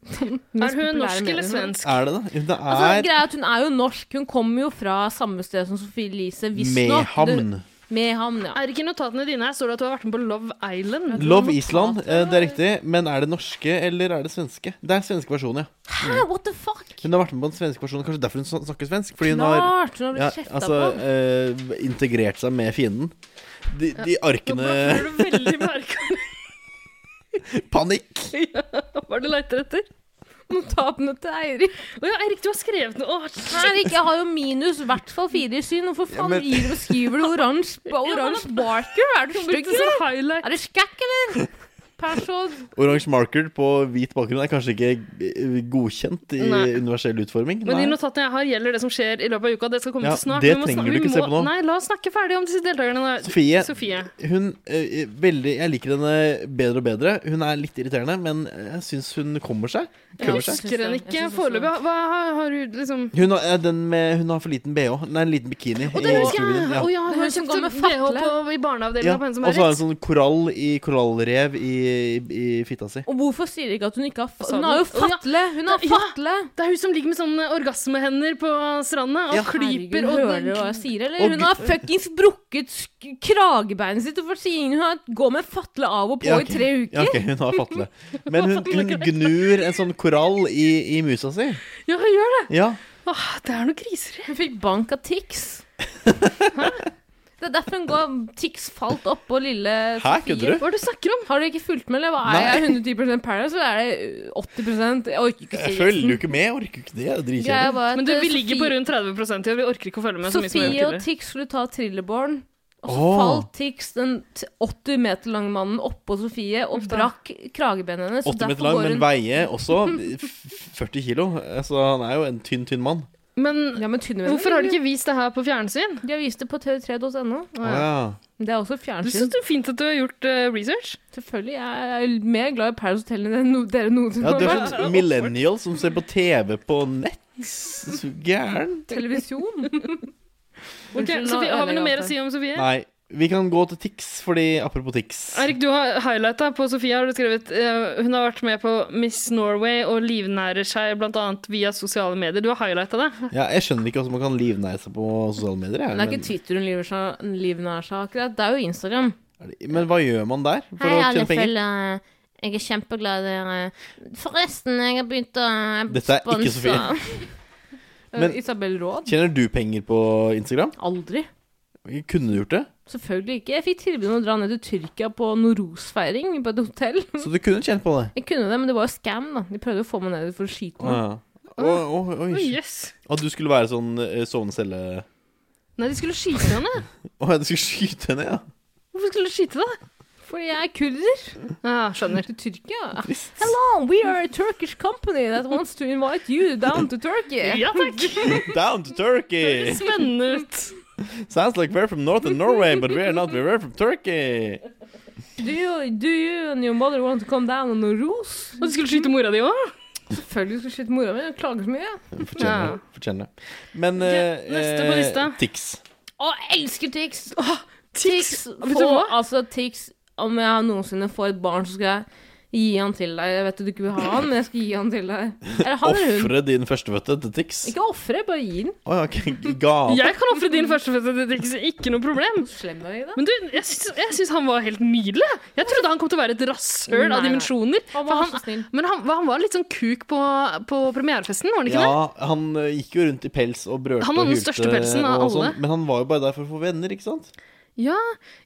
Speaker 4: Er hun norsk eller svensk?
Speaker 3: Er det det? Hun er
Speaker 1: Altså, greia er at Hun er jo norsk. Hun kommer jo fra samme sted som Sophie Elise. visstnok.
Speaker 3: Mehamn.
Speaker 1: Du- Mehamn, ja.
Speaker 4: Eirik, i notatene dine her står det at du har vært med på Love Island.
Speaker 3: Love Island, eh, det er riktig. Men er det norske, eller er det svenske? Det er svenske versjonen, ja.
Speaker 1: Hæ, what the fuck?
Speaker 3: Hun har vært med på den svenske versjonen, kanskje derfor hun sn- snakker svensk? Fordi hun har
Speaker 1: Klart! Hun har
Speaker 3: ja,
Speaker 1: blitt kjefta
Speaker 3: altså, eh, integrert seg med fienden. De, de
Speaker 4: Nå
Speaker 3: arkene
Speaker 4: blaffer du veldig merka
Speaker 3: Panikk!
Speaker 4: hva er det du leter etter?
Speaker 1: på. Notatene til Eirik.
Speaker 4: Å ja, Eirik, du har skrevet noe. Å, shit.
Speaker 1: Eirik, jeg har jo minus i hvert fall fire i syn. Hvorfor faen
Speaker 3: men-
Speaker 1: gir du og skriver du oransje på oransje marker? Er du
Speaker 4: Brukte
Speaker 1: stygg, eller?
Speaker 4: sånn highlight.
Speaker 1: Er du skækk, eller? Persod.
Speaker 3: Oransje marker på hvit bakgrunn er kanskje ikke eh, godkjent i
Speaker 4: Nei.
Speaker 3: universell utforming.
Speaker 4: Men de
Speaker 3: Nei.
Speaker 4: notatene jeg har, gjelder det som skjer i løpet av uka. Det skal komme
Speaker 3: Ja,
Speaker 4: til snart.
Speaker 3: det
Speaker 4: Vi må
Speaker 3: trenger
Speaker 4: snak-
Speaker 3: du
Speaker 4: vi
Speaker 3: ikke se
Speaker 4: må-
Speaker 3: på nå.
Speaker 4: Nei, la oss snakke ferdig om disse deltakerne. da.
Speaker 3: Sofie,
Speaker 4: Sofie.
Speaker 3: hun eh, veldig, Jeg liker henne bedre og bedre. Hun er litt irriterende, men jeg syns hun kommer seg.
Speaker 4: Jeg
Speaker 3: Kommer seg.
Speaker 4: husker henne
Speaker 1: Jeg
Speaker 4: ikke
Speaker 1: synes også
Speaker 4: foreløpig. Hva har, har du liksom
Speaker 3: Hun har, eh, den med, hun har for liten bh. Nei, en liten bikini.
Speaker 4: Å, det
Speaker 3: i
Speaker 4: husker jeg!
Speaker 3: skogen,
Speaker 4: Å ja,
Speaker 1: Hun
Speaker 4: hun
Speaker 1: som går
Speaker 4: kjøpte
Speaker 1: med
Speaker 4: BH
Speaker 1: fatle.
Speaker 4: på, i barneavdelingen
Speaker 3: Ja,
Speaker 4: på henne som
Speaker 3: og
Speaker 4: er
Speaker 3: så har hun
Speaker 4: rett.
Speaker 3: sånn korall i korallrev i i, i fitta si.
Speaker 1: Og hvorfor sier de ikke at hun ikke har
Speaker 4: Hva
Speaker 1: fa
Speaker 4: sa
Speaker 1: Hun har jo
Speaker 4: du? Å, ja.
Speaker 1: fatle! Hun har
Speaker 4: Ja.
Speaker 1: fatle!
Speaker 4: Det er hun som ligger med sånne orgasmehender på stranda og
Speaker 3: Ja.
Speaker 4: klyper.
Speaker 1: Herregud,
Speaker 4: Og
Speaker 1: hører du hva jeg sier, eller?
Speaker 3: Og
Speaker 1: Hun har fuckings brukket sk- kragebeinet sitt, og for sier hun har går med fatle av og på
Speaker 3: Ja, ok.
Speaker 1: i tre uker.
Speaker 3: Ja, ok, hun har fatle. Men hun, hun gnur en sånn korall i, i musa si.
Speaker 4: ja, hun gjør det!
Speaker 3: Ja.
Speaker 4: Åh, det er noe griseri.
Speaker 1: Hun fikk bank av Tix. Det er derfor hun går Tix falt opp på lille
Speaker 3: Hæ, kødder du?
Speaker 4: Hva er det du snakker om?
Speaker 1: Har du ikke fulgt med, eller? Hva
Speaker 3: Nei.
Speaker 1: er jeg 110 Paradise, så er det 80 Jeg orker ikke
Speaker 3: Jeg
Speaker 1: si
Speaker 3: følger jo ikke med. Jeg orker ikke det. det er
Speaker 1: Greia
Speaker 3: Dritkjedelig.
Speaker 1: var at
Speaker 4: Men du, vi
Speaker 1: eh,
Speaker 4: ligger på
Speaker 1: Sofie-
Speaker 4: rundt 30 i år. Vi orker ikke å følge med så mye som vi
Speaker 1: Sofie
Speaker 4: gjorde
Speaker 1: og
Speaker 4: tidligere.
Speaker 1: Tix skulle ta Trilleborn. Og så
Speaker 3: Åh.
Speaker 1: falt Tix, den t- 80 meter lange mannen, oppå Sofie og
Speaker 4: Uff da.
Speaker 1: brakk kragebenet hennes. så
Speaker 3: 80 meter
Speaker 1: derfor
Speaker 3: lang,
Speaker 1: går
Speaker 3: men
Speaker 1: hun-
Speaker 3: veier også f- 40 kilo. Så han er jo en tynn, tynn mann.
Speaker 4: Men
Speaker 1: Ja, men tynne
Speaker 4: hvorfor har de ikke vist det her på fjernsyn?
Speaker 1: De har vist det på tv3.no.
Speaker 3: Å, ja.
Speaker 1: Det er også
Speaker 4: Du
Speaker 1: fjernsyn.
Speaker 4: synes det er fint at du har gjort eh, research.
Speaker 1: Selvfølgelig. Jeg er mer glad i Paradise Hotel enn no dere noensinne
Speaker 3: ja,
Speaker 1: har
Speaker 3: du er
Speaker 1: vært.
Speaker 3: sånn millennial som ser på TV på nett. Så gæren.
Speaker 1: Televisjon.
Speaker 4: Ok,
Speaker 1: Unnskyld, nå
Speaker 4: Sofie, har vi noe
Speaker 1: ødelegger
Speaker 4: mer
Speaker 1: jeg
Speaker 4: å si om Sofie?
Speaker 3: Nei. Vi kan gå til Tix, fordi apropos Tix.
Speaker 4: Erik, du har highlighta på Sofie. Har du skrevet eh, Hun har vært med på Miss Norway og livnærer seg bl.a. via sosiale medier. Du har highlighta det.
Speaker 3: Ja, jeg skjønner ikke hvordan man kan livnære seg på sosiale medier. Jeg,
Speaker 1: Men det er ikke Twitter hun lever seg- livnærer seg akkurat. Det er jo Instagram.
Speaker 3: men, men hva gjør man der for å tjene penger?
Speaker 5: følgere. eh, Jeg er kjempeglad i dere. Forresten, jeg har begynt å eh,
Speaker 3: Dette er ikke Sofie. Men-
Speaker 1: Eh, Isabel Råd?
Speaker 3: Tjener du penger på Instagram?
Speaker 1: Aldri.
Speaker 3: Kunne du gjort det?
Speaker 1: Selvfølgelig ikke. Jeg fikk tilbud om å dra ned til Tyrkia på Noros-feiring på et hotell.
Speaker 3: Så du kunne tjent på det?
Speaker 1: Jeg kunne det, men det var jo scam, da. De prøvde å få meg ned for å skyte
Speaker 3: Å,
Speaker 1: meg.
Speaker 3: ja. Å, å, oi.
Speaker 4: Oi, yes.
Speaker 3: At du skulle være sånn eh, sovende celle Å
Speaker 4: Nei, de skulle skyte henne.
Speaker 3: ja, du skulle skyte henne, ja?
Speaker 4: Hvorfor skulle de skyte deg?
Speaker 1: Fordi jeg er kurder.
Speaker 4: Ah, skjønner.
Speaker 1: Til Tyrkia.
Speaker 3: Trist.
Speaker 1: Hello, we are a Turkish company that wants to invite you down to Turkey.
Speaker 4: Ja takk.
Speaker 3: Down to Turkey!
Speaker 4: Spennende ut.
Speaker 3: Sounds like we're from northern Norway, but we are not. We're from Turkey.
Speaker 1: Do you, do you and your mother want to come down on Noros?
Speaker 4: Og de skulle skyte mora di òg?
Speaker 1: Selvfølgelig skulle jeg skyte mora mi. Jeg klager så mye.
Speaker 3: Fortjener det. Fortjener det. Men
Speaker 4: Ok,
Speaker 3: eh,
Speaker 4: neste på
Speaker 3: eh,
Speaker 4: lista.
Speaker 3: Tix.
Speaker 1: Å, jeg elsker Tix!
Speaker 4: Tix. Vet du
Speaker 1: Få,
Speaker 4: hva?
Speaker 1: altså, Tix Om jeg noensinne får et barn, så skal jeg gi han til deg. Jeg vet at du ikke vil ha han, men jeg skal gi han til deg. Eller han eller hun.
Speaker 3: Ofre din førstefødte til Tix.
Speaker 1: Ikke ofre, bare gi den.
Speaker 3: Å ja, ok. Gave.
Speaker 4: Jeg kan ofre din førstefødte til Tix. Ikke noe problem.
Speaker 1: Slem deg i det.
Speaker 4: Men du, jeg syns, jeg syns han var helt nydelig. Jeg trodde han kom til å være et rasshøl
Speaker 1: Nei,
Speaker 4: av
Speaker 1: nei.
Speaker 4: dimensjoner.
Speaker 1: Han
Speaker 4: For
Speaker 1: var
Speaker 4: han-
Speaker 1: så snill.
Speaker 4: Men han, han var litt sånn kuk på, på premierefesten, var han ikke
Speaker 3: Ja, han eh, gikk jo rundt i pels og brølte
Speaker 4: Han har
Speaker 3: og
Speaker 4: den
Speaker 3: hylte
Speaker 4: største pelsen av
Speaker 3: og
Speaker 4: alle.
Speaker 3: sånn, Men han var jo bare der for å få venner, ikke sant?
Speaker 4: det? Ja,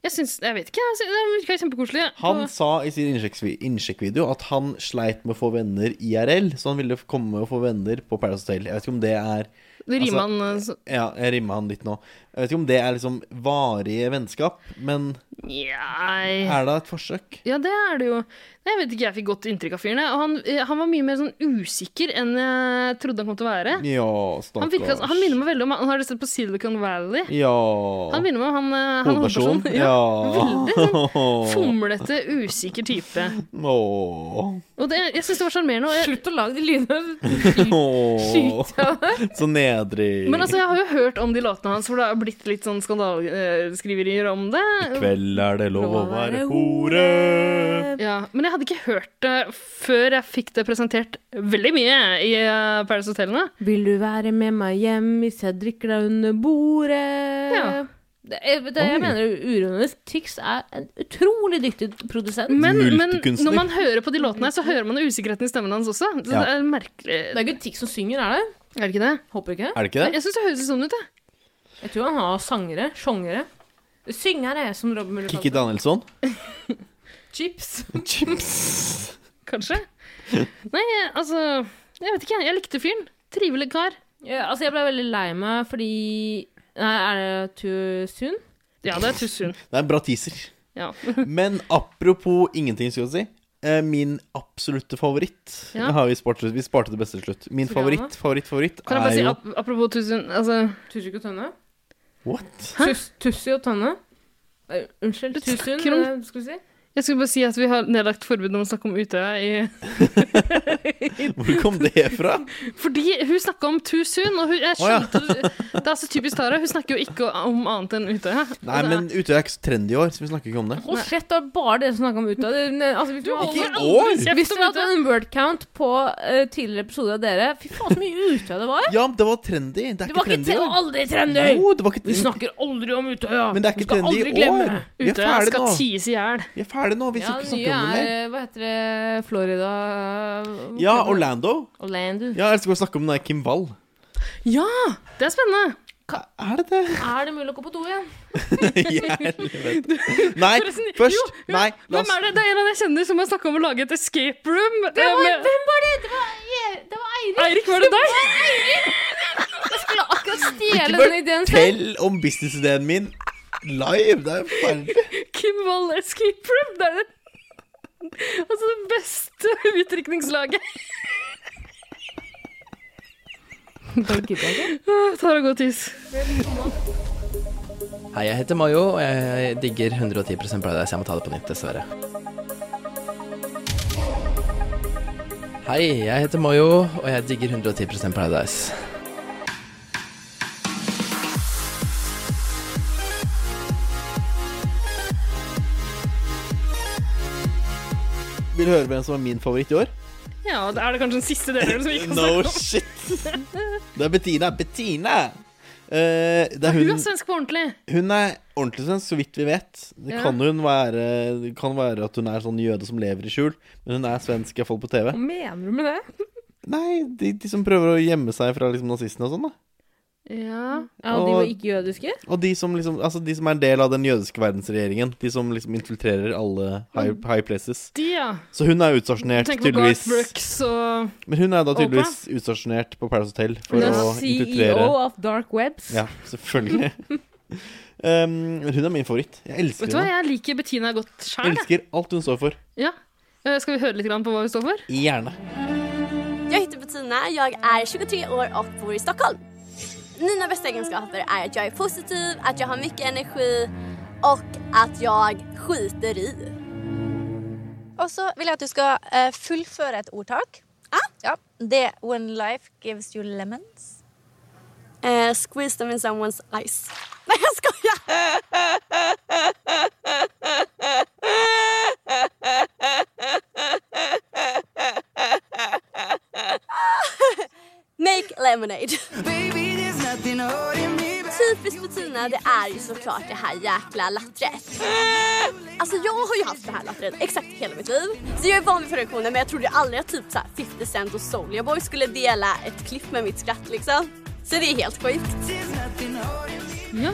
Speaker 4: jeg syns Jeg vet ikke, jeg syns- det virka kjempekoselig.
Speaker 3: Han sa i sin innsjekkvi- innsjekkvideo at han sleit med å få venner IRL, så han ville f- komme og få venner på Paradise Hotel. Jeg vet ikke om det er
Speaker 4: Og Det
Speaker 3: altså-
Speaker 4: rimer han eh, så-
Speaker 3: Ja, jeg rimma han litt nå. Jeg vet ikke om det er liksom varige vennskap, men
Speaker 4: Nei.
Speaker 3: er det et forsøk?
Speaker 4: Ja, det er det jo. Nei, jeg vet ikke, jeg fikk godt inntrykk av fyren. jeg. Og han, eh, han var mye mer sånn usikker enn jeg trodde han kom til å være.
Speaker 3: Ja,
Speaker 4: Han,
Speaker 3: stakkars.
Speaker 4: virka, han minner meg veldig om han har du sett på Silicon Valley.
Speaker 3: Ja
Speaker 4: Han minner meg om han, eh, han
Speaker 3: Hovedperson?
Speaker 4: hovedpersonen.
Speaker 3: Ja.
Speaker 4: sånn Fomlete, usikker type.
Speaker 3: Åh.
Speaker 4: Og det, jeg syns det var sjarmerende. og jeg-
Speaker 1: Slutt å lage de lydene.
Speaker 3: Åh.
Speaker 1: Skyt deg.
Speaker 3: Så nedrig.
Speaker 4: Men altså, jeg har jo hørt om de låtene hans, for det har blitt litt sånn skandaleskriverier om det.
Speaker 3: I kveld er det lov å være hore.
Speaker 1: Eh,
Speaker 4: Ja, Men jeg hadde ikke hørt det før jeg fikk det presentert veldig mye i eh, Paradise Hotel nå.
Speaker 1: Vil du være med meg hjem hvis jeg drikker deg under bordet?
Speaker 4: Ja.
Speaker 1: Det, jeg, det, jeg
Speaker 3: Oi.
Speaker 1: mener uironisk. Tix er en utrolig dyktig produsent.
Speaker 4: Men, men
Speaker 3: Multikunstner.
Speaker 4: når man hører på de låtene, her, så hører man jo usikkerheten i stemmen hans også. Så
Speaker 3: Ja.
Speaker 4: det er merkelig.
Speaker 1: det er ikke Tix som synger, er det?
Speaker 4: Er det ikke det?
Speaker 1: Håper ikke.
Speaker 3: Er det ikke det?
Speaker 4: Jeg syns det høres litt sånn ut, jeg.
Speaker 1: Jeg tror han har sangere. Sjongere. Syngere, som Robin Muller
Speaker 3: Kikki Danielsson?
Speaker 1: Chips.
Speaker 3: Chips.
Speaker 4: Kanskje. Nei, altså Jeg vet ikke. Jeg likte fyren. Trivelig kar.
Speaker 1: Ja, altså, jeg ble veldig lei meg fordi Nei, er det too soon?
Speaker 4: Ja, det er Tussun.
Speaker 3: Det er en bra teaser.
Speaker 4: Ja.
Speaker 3: Men apropos ingenting, skal jeg si. eh, Min absolutte favoritt.
Speaker 4: Ja.
Speaker 3: Nå har vi, spart, vi sparte det beste til slutt. Min
Speaker 1: Programmet.
Speaker 3: favoritt, favoritt, favoritt
Speaker 4: Kan jeg bare
Speaker 3: er
Speaker 4: si,
Speaker 3: jo
Speaker 4: ap apropos Tussun altså,
Speaker 1: Tussi og Tønne?
Speaker 3: What?
Speaker 1: Tus, tussi og Tønne? Nei, unnskyld.
Speaker 4: Du
Speaker 1: Tusen,
Speaker 4: snakker om-
Speaker 1: eh, skal vi si.
Speaker 4: Jeg skulle bare si at vi har nedlagt forbud om å snakke om Utøya i
Speaker 3: Hvor kom det fra?
Speaker 4: Fordi hun snakka om too soon, og hun, jeg
Speaker 3: Å, ja.
Speaker 4: skjønte Det er så typisk Tara. Hun snakker jo ikke om annet enn Utøya. Altså,
Speaker 3: Nei,
Speaker 4: Og det er-
Speaker 3: men Utøya er ikke så trendy i år, så vi snakker ikke om det.
Speaker 1: Hold kjeft, det er bare dere som snakker om Utøya. Det- ne- Altså, hvis du
Speaker 3: Ikke i
Speaker 1: hadde-
Speaker 3: år!
Speaker 1: hvis det hadde vært en word count på eh, tidligere episoder av dere Fy faen, så mye Utøya det var!
Speaker 3: Ja, men det var trendy. Det er
Speaker 1: Det
Speaker 3: ikke
Speaker 1: var ikke
Speaker 3: trendy i
Speaker 1: tre-
Speaker 3: år.
Speaker 1: aldri trendy!
Speaker 3: Jo, det var ikke
Speaker 1: Vi snakker aldri om Utøya!
Speaker 3: Men det er
Speaker 1: Vi
Speaker 3: ikke
Speaker 1: skal
Speaker 3: trendy
Speaker 1: aldri
Speaker 3: i
Speaker 1: glemme
Speaker 3: år.
Speaker 1: det.
Speaker 3: Vi er
Speaker 4: Utøya
Speaker 3: ferdig
Speaker 4: skal
Speaker 3: nå.
Speaker 4: ties i hjel.
Speaker 3: Vi er ferdig nå. Vi
Speaker 1: Ja,
Speaker 3: skal ikke
Speaker 1: det
Speaker 3: snakke
Speaker 1: nye
Speaker 3: om det mer.
Speaker 1: er Hva heter det? Florida
Speaker 3: Ja, Orlando.
Speaker 1: Orlando.
Speaker 3: Ja, jeg elsker å snakke om den der Kim Wall.
Speaker 4: Ja! Det er spennende.
Speaker 3: Er det det?
Speaker 1: Er det mulig å gå på do igjen?
Speaker 3: I helvete. Nei,
Speaker 4: Forresten, jo,
Speaker 3: først.
Speaker 4: jo,
Speaker 3: Nei, la
Speaker 4: Hvem
Speaker 3: oss
Speaker 4: er det? Det er en av de jeg kjenner som har snakka om å lage et escape room. Det
Speaker 1: Oi, Hvem var det? Det var, Jeg- det var Eirik!
Speaker 4: Eirik, var det deg?
Speaker 1: Jeg skulle akkurat
Speaker 3: Ikke
Speaker 1: stjele den ideen selv.
Speaker 3: fortell om businessideen min live. Det er forferdelig.
Speaker 4: Kim Wall escape room. Det er det, altså det beste utdrikningslaget. Tara går og tis.
Speaker 8: Hei, jeg heter Mayo, og jeg digger 110 Paradise. Jeg må ta det på nytt, dessverre. Hei, jeg heter Mayo, og jeg digger 110 Paradise.
Speaker 3: Vil du høre hvem som er min favoritt i år?
Speaker 4: Ja, det er det kanskje den siste delen som vi ikke har
Speaker 3: No
Speaker 4: snakket om.
Speaker 3: shit. Det er Bettina. Bettina! Eh, det er
Speaker 4: Hun
Speaker 3: hun,
Speaker 4: er svensk på ordentlig.
Speaker 3: hun er ordentlig svensk, så vidt vi vet. Det
Speaker 4: Ja.
Speaker 3: kan hun være Det kan være at hun er sånn jøde som lever i skjul, men hun er svensk, iallfall på TV.
Speaker 1: Hva mener du med det?
Speaker 3: Nei, de, de som prøver å gjemme seg fra liksom, nazistene og sånn, da.
Speaker 4: Ja.
Speaker 1: Ja, og de var ikke jødiske?
Speaker 3: Og de som, liksom, altså, de som er en del av den jødiske verdensregjeringen. De som liksom infiltrerer alle high, high places.
Speaker 4: De, ja.
Speaker 3: Så hun er utstasjonert,
Speaker 4: Mm. Tenk på Garth
Speaker 3: tydeligvis.
Speaker 4: Brooks og
Speaker 3: Men hun er da tydeligvis utstasjonert på Paradise Hotel for
Speaker 1: Hun er
Speaker 3: å
Speaker 4: E
Speaker 3: infiltrere
Speaker 1: CEO of Dark Webs.
Speaker 3: Ja, selvfølgelig. um, men hun er min favoritt. Jeg elsker
Speaker 4: Vet du hva,
Speaker 3: henne.
Speaker 4: jeg liker Bettina godt
Speaker 3: Jeg
Speaker 4: sjæl.
Speaker 3: elsker alt hun står for.
Speaker 4: Ja. Eh, Skal vi høre litt grann på hva vi står for?
Speaker 3: Gjerne.
Speaker 9: Jag heter Bettina, jag är 23 år och bor i Stockholm. Mina bästa egenskaper är att jag är positiv, att jag har mycket energi och att jag skiter i.
Speaker 10: Og så vil jeg at du skal eh, fullføre et ordtak. Ja. Det er 'When life gives you lemons'.
Speaker 9: Eh, squeeze them in someone's eyes. Nej, jag skojar! Make lemonade. Typiskt Bettina, det är ju såklart det här jäkla lattret. Alltså jag har ju haft det här lattret exakt hela mitt liv. Så jag är van vid produktionen men jag trodde ju aldrig att typ så här 50 Cent och Soulja Boy skulle dela ett klipp med mitt skratt liksom. Så det är helt sjukt.
Speaker 4: Ja,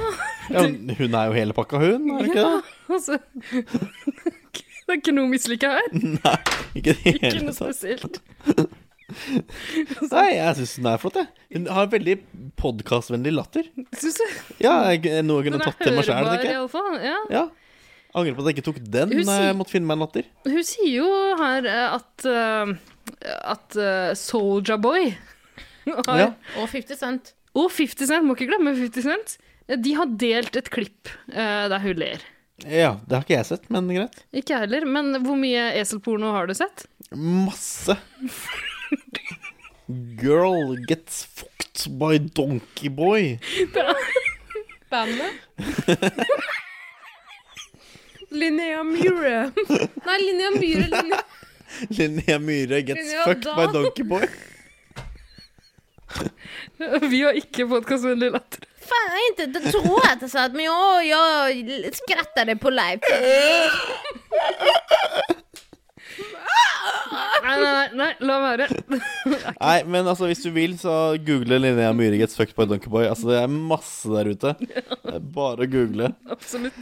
Speaker 3: Ja, men hun er jo hele pakka, hun. Er det ikke det?
Speaker 4: altså Det er ikke noe å mislike her.
Speaker 3: Ikke det
Speaker 4: Ikke
Speaker 3: hele
Speaker 4: noe
Speaker 3: tatt.
Speaker 4: spesielt.
Speaker 3: Nei, jeg syns hun er flott, jeg. Hun har veldig podkastvennlig latter.
Speaker 4: Syns du?
Speaker 3: Ja, jeg, noe jeg
Speaker 4: Den
Speaker 3: kunne
Speaker 4: er
Speaker 3: tatt til meg sjæl,
Speaker 4: hørbar,
Speaker 3: tenker jeg.
Speaker 4: iallfall. Ja.
Speaker 3: Ja. Angrer på at jeg ikke tok den.
Speaker 4: Hun
Speaker 3: når Jeg
Speaker 4: sier-
Speaker 3: måtte finne meg en latter.
Speaker 4: Hun sier jo her eh, at eh, at eh, Soulja Boy har,
Speaker 3: Ja.
Speaker 1: Og 50 Cent.
Speaker 4: og 50 Cent, må ikke glemme 50 Cent, eh, de har delt et klipp eh, der hun ler.
Speaker 3: ja, det har ikke jeg sett, men greit.
Speaker 4: Ikke jeg heller, men hvor mye eselporno har du sett?
Speaker 3: Masse. Girl gets fucked by donkey boy.
Speaker 1: Bandet. Linnea Myhre. Nei, Linnea Myhre. Linne...
Speaker 3: Linnea Myhre gets
Speaker 1: Linnea
Speaker 3: fucked by
Speaker 1: Dan.
Speaker 3: donkey boy.
Speaker 4: Vi har ikke podkastvennlig latter.
Speaker 5: Fan, jag inte, det tror jag inte så att, men jag, jag skrattade på live.
Speaker 4: Nei, nei, nei, nei, la være.
Speaker 3: Nei, men altså, hvis du vil, så google Linnea Myhre gets fucked by donkey boy. Altså, det er masse der ute. Det er bare å google.
Speaker 4: Absolutt.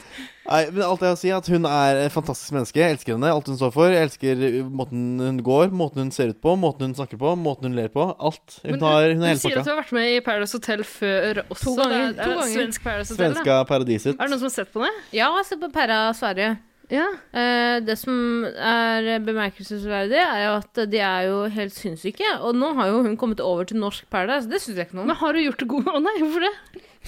Speaker 3: Nei, men alt jeg har å si, er at hun er et fantastisk menneske. Jeg elsker henne, alt hun står for. Jeg elsker uh, måten hun går, måten hun ser ut på, måten hun snakker på, måten hun ler på. Alt. Hun,
Speaker 4: Men uh,
Speaker 3: har, hun
Speaker 4: Du
Speaker 3: er
Speaker 4: sier at du
Speaker 3: helpakka.
Speaker 4: har vært med i Paradise Hotel før også.
Speaker 1: To ganger,
Speaker 4: Det
Speaker 1: to
Speaker 4: er, det er
Speaker 1: ganger.
Speaker 4: svensk Paradise Hotel. da.
Speaker 3: Svenska paradiset.
Speaker 4: Er det noen som har sett på det?
Speaker 1: Ja, se på Perra Sverige.
Speaker 4: Ja.
Speaker 1: Eh, det som er bemerkelsesverdig, er jo at de er jo helt sinnssyke. Og nå har jo hun kommet over til norsk Paradise. Det syns jeg ikke noe om.
Speaker 4: Men har du gjort det gode Å nei, hvorfor det?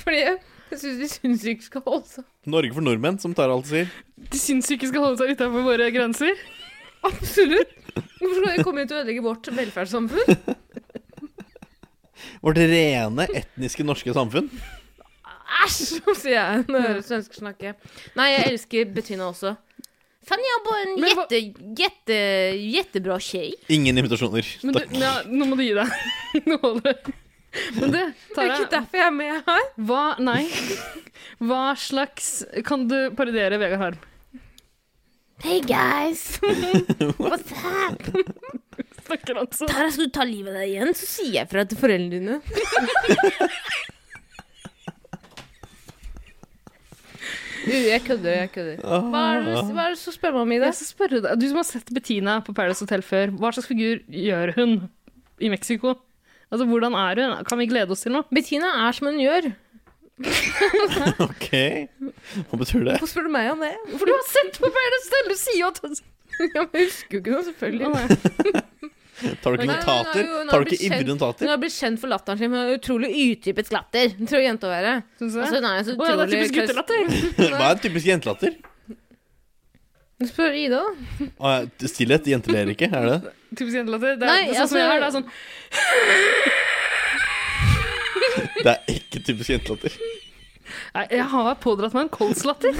Speaker 1: Fordi Jeg syns de sinnssyke skal holde seg
Speaker 3: Norge for nordmenn, som Tara alltid sier.
Speaker 4: De sinnssyke skal holde seg utafor våre grenser.
Speaker 1: Absolutt. Hvorfor skal de komme hit og ødelegge vårt velferdssamfunn?
Speaker 3: Vårt rene etniske norske samfunn.
Speaker 1: Æsj, sier jeg når jeg hører svensker snakke. Nei, jeg elsker Bettina også. Fan, jeg er bare en jette, jette, jettebra tjej.
Speaker 3: Ingen invitasjoner.
Speaker 4: Men du,
Speaker 3: Takk.
Speaker 4: ja, nå må du gi deg. Nå holder det. Men du,
Speaker 1: Det er ikke
Speaker 4: Tara,
Speaker 1: derfor jeg er med her.
Speaker 4: hva Nei. Hva slags Kan du parodiere Vegard Harm?
Speaker 5: Hey guys! What's up?
Speaker 4: Snakker han sånn?
Speaker 1: Tara, skal du ta livet av deg igjen, så sier jeg fra til foreldrene dine. Du, jeg kødder, jeg kødder. Hva er det, hva er det som spør meg om i det?
Speaker 4: Jeg skal spørre deg, Du som har sett Bettina på Paradise Hotel før, hva slags figur gjør hun i Mexico? Altså, Hvordan er hun? Kan vi glede oss til noe?
Speaker 1: Bettina er som hun gjør.
Speaker 3: Ok. Hva betyr det?
Speaker 1: Hvorfor spør du meg om det?
Speaker 4: For du har sett på Paradise Hotel! Du sier jo at hun
Speaker 1: Ja, men jeg husker jo ikke noe, selvfølgelig.
Speaker 3: Tar du
Speaker 1: Nei,
Speaker 3: ikke
Speaker 1: men hun har jo-
Speaker 3: notater?
Speaker 1: hun har
Speaker 3: Tar du
Speaker 1: blitt
Speaker 3: ikke ivrige
Speaker 1: kjent- Hun
Speaker 3: notater?
Speaker 1: har blitt kjent for latteren sin, men hun har utrolig utdypet latter. Det tror jeg jenta å være. Altså, hun er så
Speaker 4: Å ja, det er typisk
Speaker 1: utrolig
Speaker 4: guttelatter!
Speaker 3: Hva er typisk jentelatter?
Speaker 1: Spør Ida, da.
Speaker 3: Å, ja, Stillhet. Jenter ler ikke, er det det?
Speaker 4: Typisk jentelatter. Det er,
Speaker 1: Nei,
Speaker 4: det er sånn som jeg
Speaker 1: altså-
Speaker 4: har. Det er sånn
Speaker 3: Det er ikke typisk jentelatter.
Speaker 4: Nei, jeg har pådratt meg en kolslatter.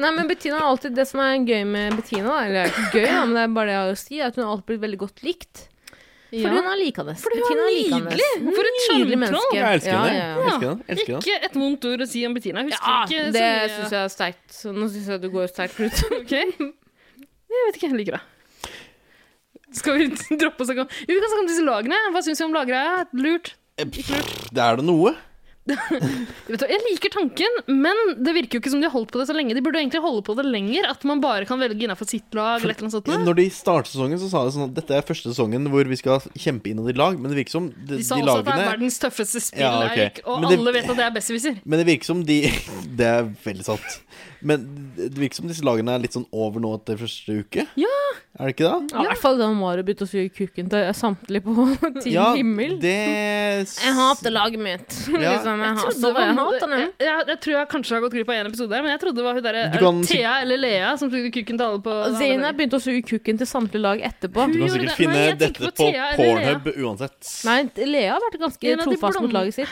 Speaker 1: Nei, men Bettina er alltid det som er gøy med Bettina. da. Eller det er ikke gøy, da, men det er bare det jeg har å si, er at hun har alltid blitt veldig godt likt. Fordi hun er likandes.
Speaker 4: Fordi hun er nydelig! For et
Speaker 1: Nydelig
Speaker 4: sjarmtroll!
Speaker 1: menneske.
Speaker 3: Jeg elsker
Speaker 1: Ja,
Speaker 3: henne.
Speaker 1: ja,
Speaker 3: Jeg
Speaker 1: ja.
Speaker 3: elsker henne. Jeg elsker henne.
Speaker 4: Ikke et vondt ord å si om Bettina. Jeg
Speaker 1: Ja,
Speaker 4: husker ikke
Speaker 1: det
Speaker 4: så mye.
Speaker 1: syns jeg er sterkt. Så nå syns jeg du går sterkt ut.
Speaker 4: Ok. Jeg vet ikke, jeg liker det. Skal vi droppe å snakke om Jo, vi kan snakke om disse lagene. Hva syns vi om laggreia? Lurt.
Speaker 3: Eh, pff, Det er det noe.
Speaker 4: Vet du, hva, jeg liker tanken, men det virker jo ikke som de har holdt på det så lenge. De burde egentlig holde på det lenger, at man bare kan velge innafor sitt lag. eller et eller annet sånt. noe.
Speaker 3: Når de startet sesongen, så sa de sånn at dette er første sesongen hvor vi skal kjempe innad i lag, men det virker som de,
Speaker 4: De sa
Speaker 3: de
Speaker 4: også at det er
Speaker 3: lagene
Speaker 4: verdens tøffeste spill,
Speaker 3: Ja, ok.
Speaker 4: Eirik, og
Speaker 3: Men det-
Speaker 4: alle vet at det er besserwisser.
Speaker 3: Men det virker som de Det er veldig sant. Men det virker som disse lagene er litt sånn over nå etter første uke.
Speaker 4: Ja.
Speaker 3: Er det ikke det?
Speaker 1: Ja, I hvert fall da Mario begynte å suge kuken til samtlige på Team Himmel.
Speaker 3: det
Speaker 1: Jeg hater laget mitt.
Speaker 3: Ja.
Speaker 1: liksom, jeg,
Speaker 4: Jeg
Speaker 1: hater-
Speaker 4: trodde det var
Speaker 1: jeg
Speaker 4: hun-
Speaker 1: hater dem.
Speaker 4: jeg, jeg, jeg tror jeg kanskje har gått glipp av en episode, her, men jeg trodde det var hun der,
Speaker 3: Du
Speaker 4: er
Speaker 3: kan
Speaker 4: det Thea eller Lea som sugde kukken til alle på
Speaker 1: Zainab begynte å suge kuken til samtlige lag etterpå.
Speaker 3: Du
Speaker 4: Hun
Speaker 3: kan
Speaker 4: gjorde
Speaker 3: sikkert
Speaker 4: det. Nei,
Speaker 3: finne
Speaker 4: jeg
Speaker 3: dette
Speaker 4: tenker på
Speaker 3: på
Speaker 4: Thea eller Lea.
Speaker 3: Pornhub uansett.
Speaker 1: Nei, Lea har vært ganske
Speaker 4: En av de
Speaker 1: trofast mot
Speaker 4: blonde-
Speaker 1: laget sitt.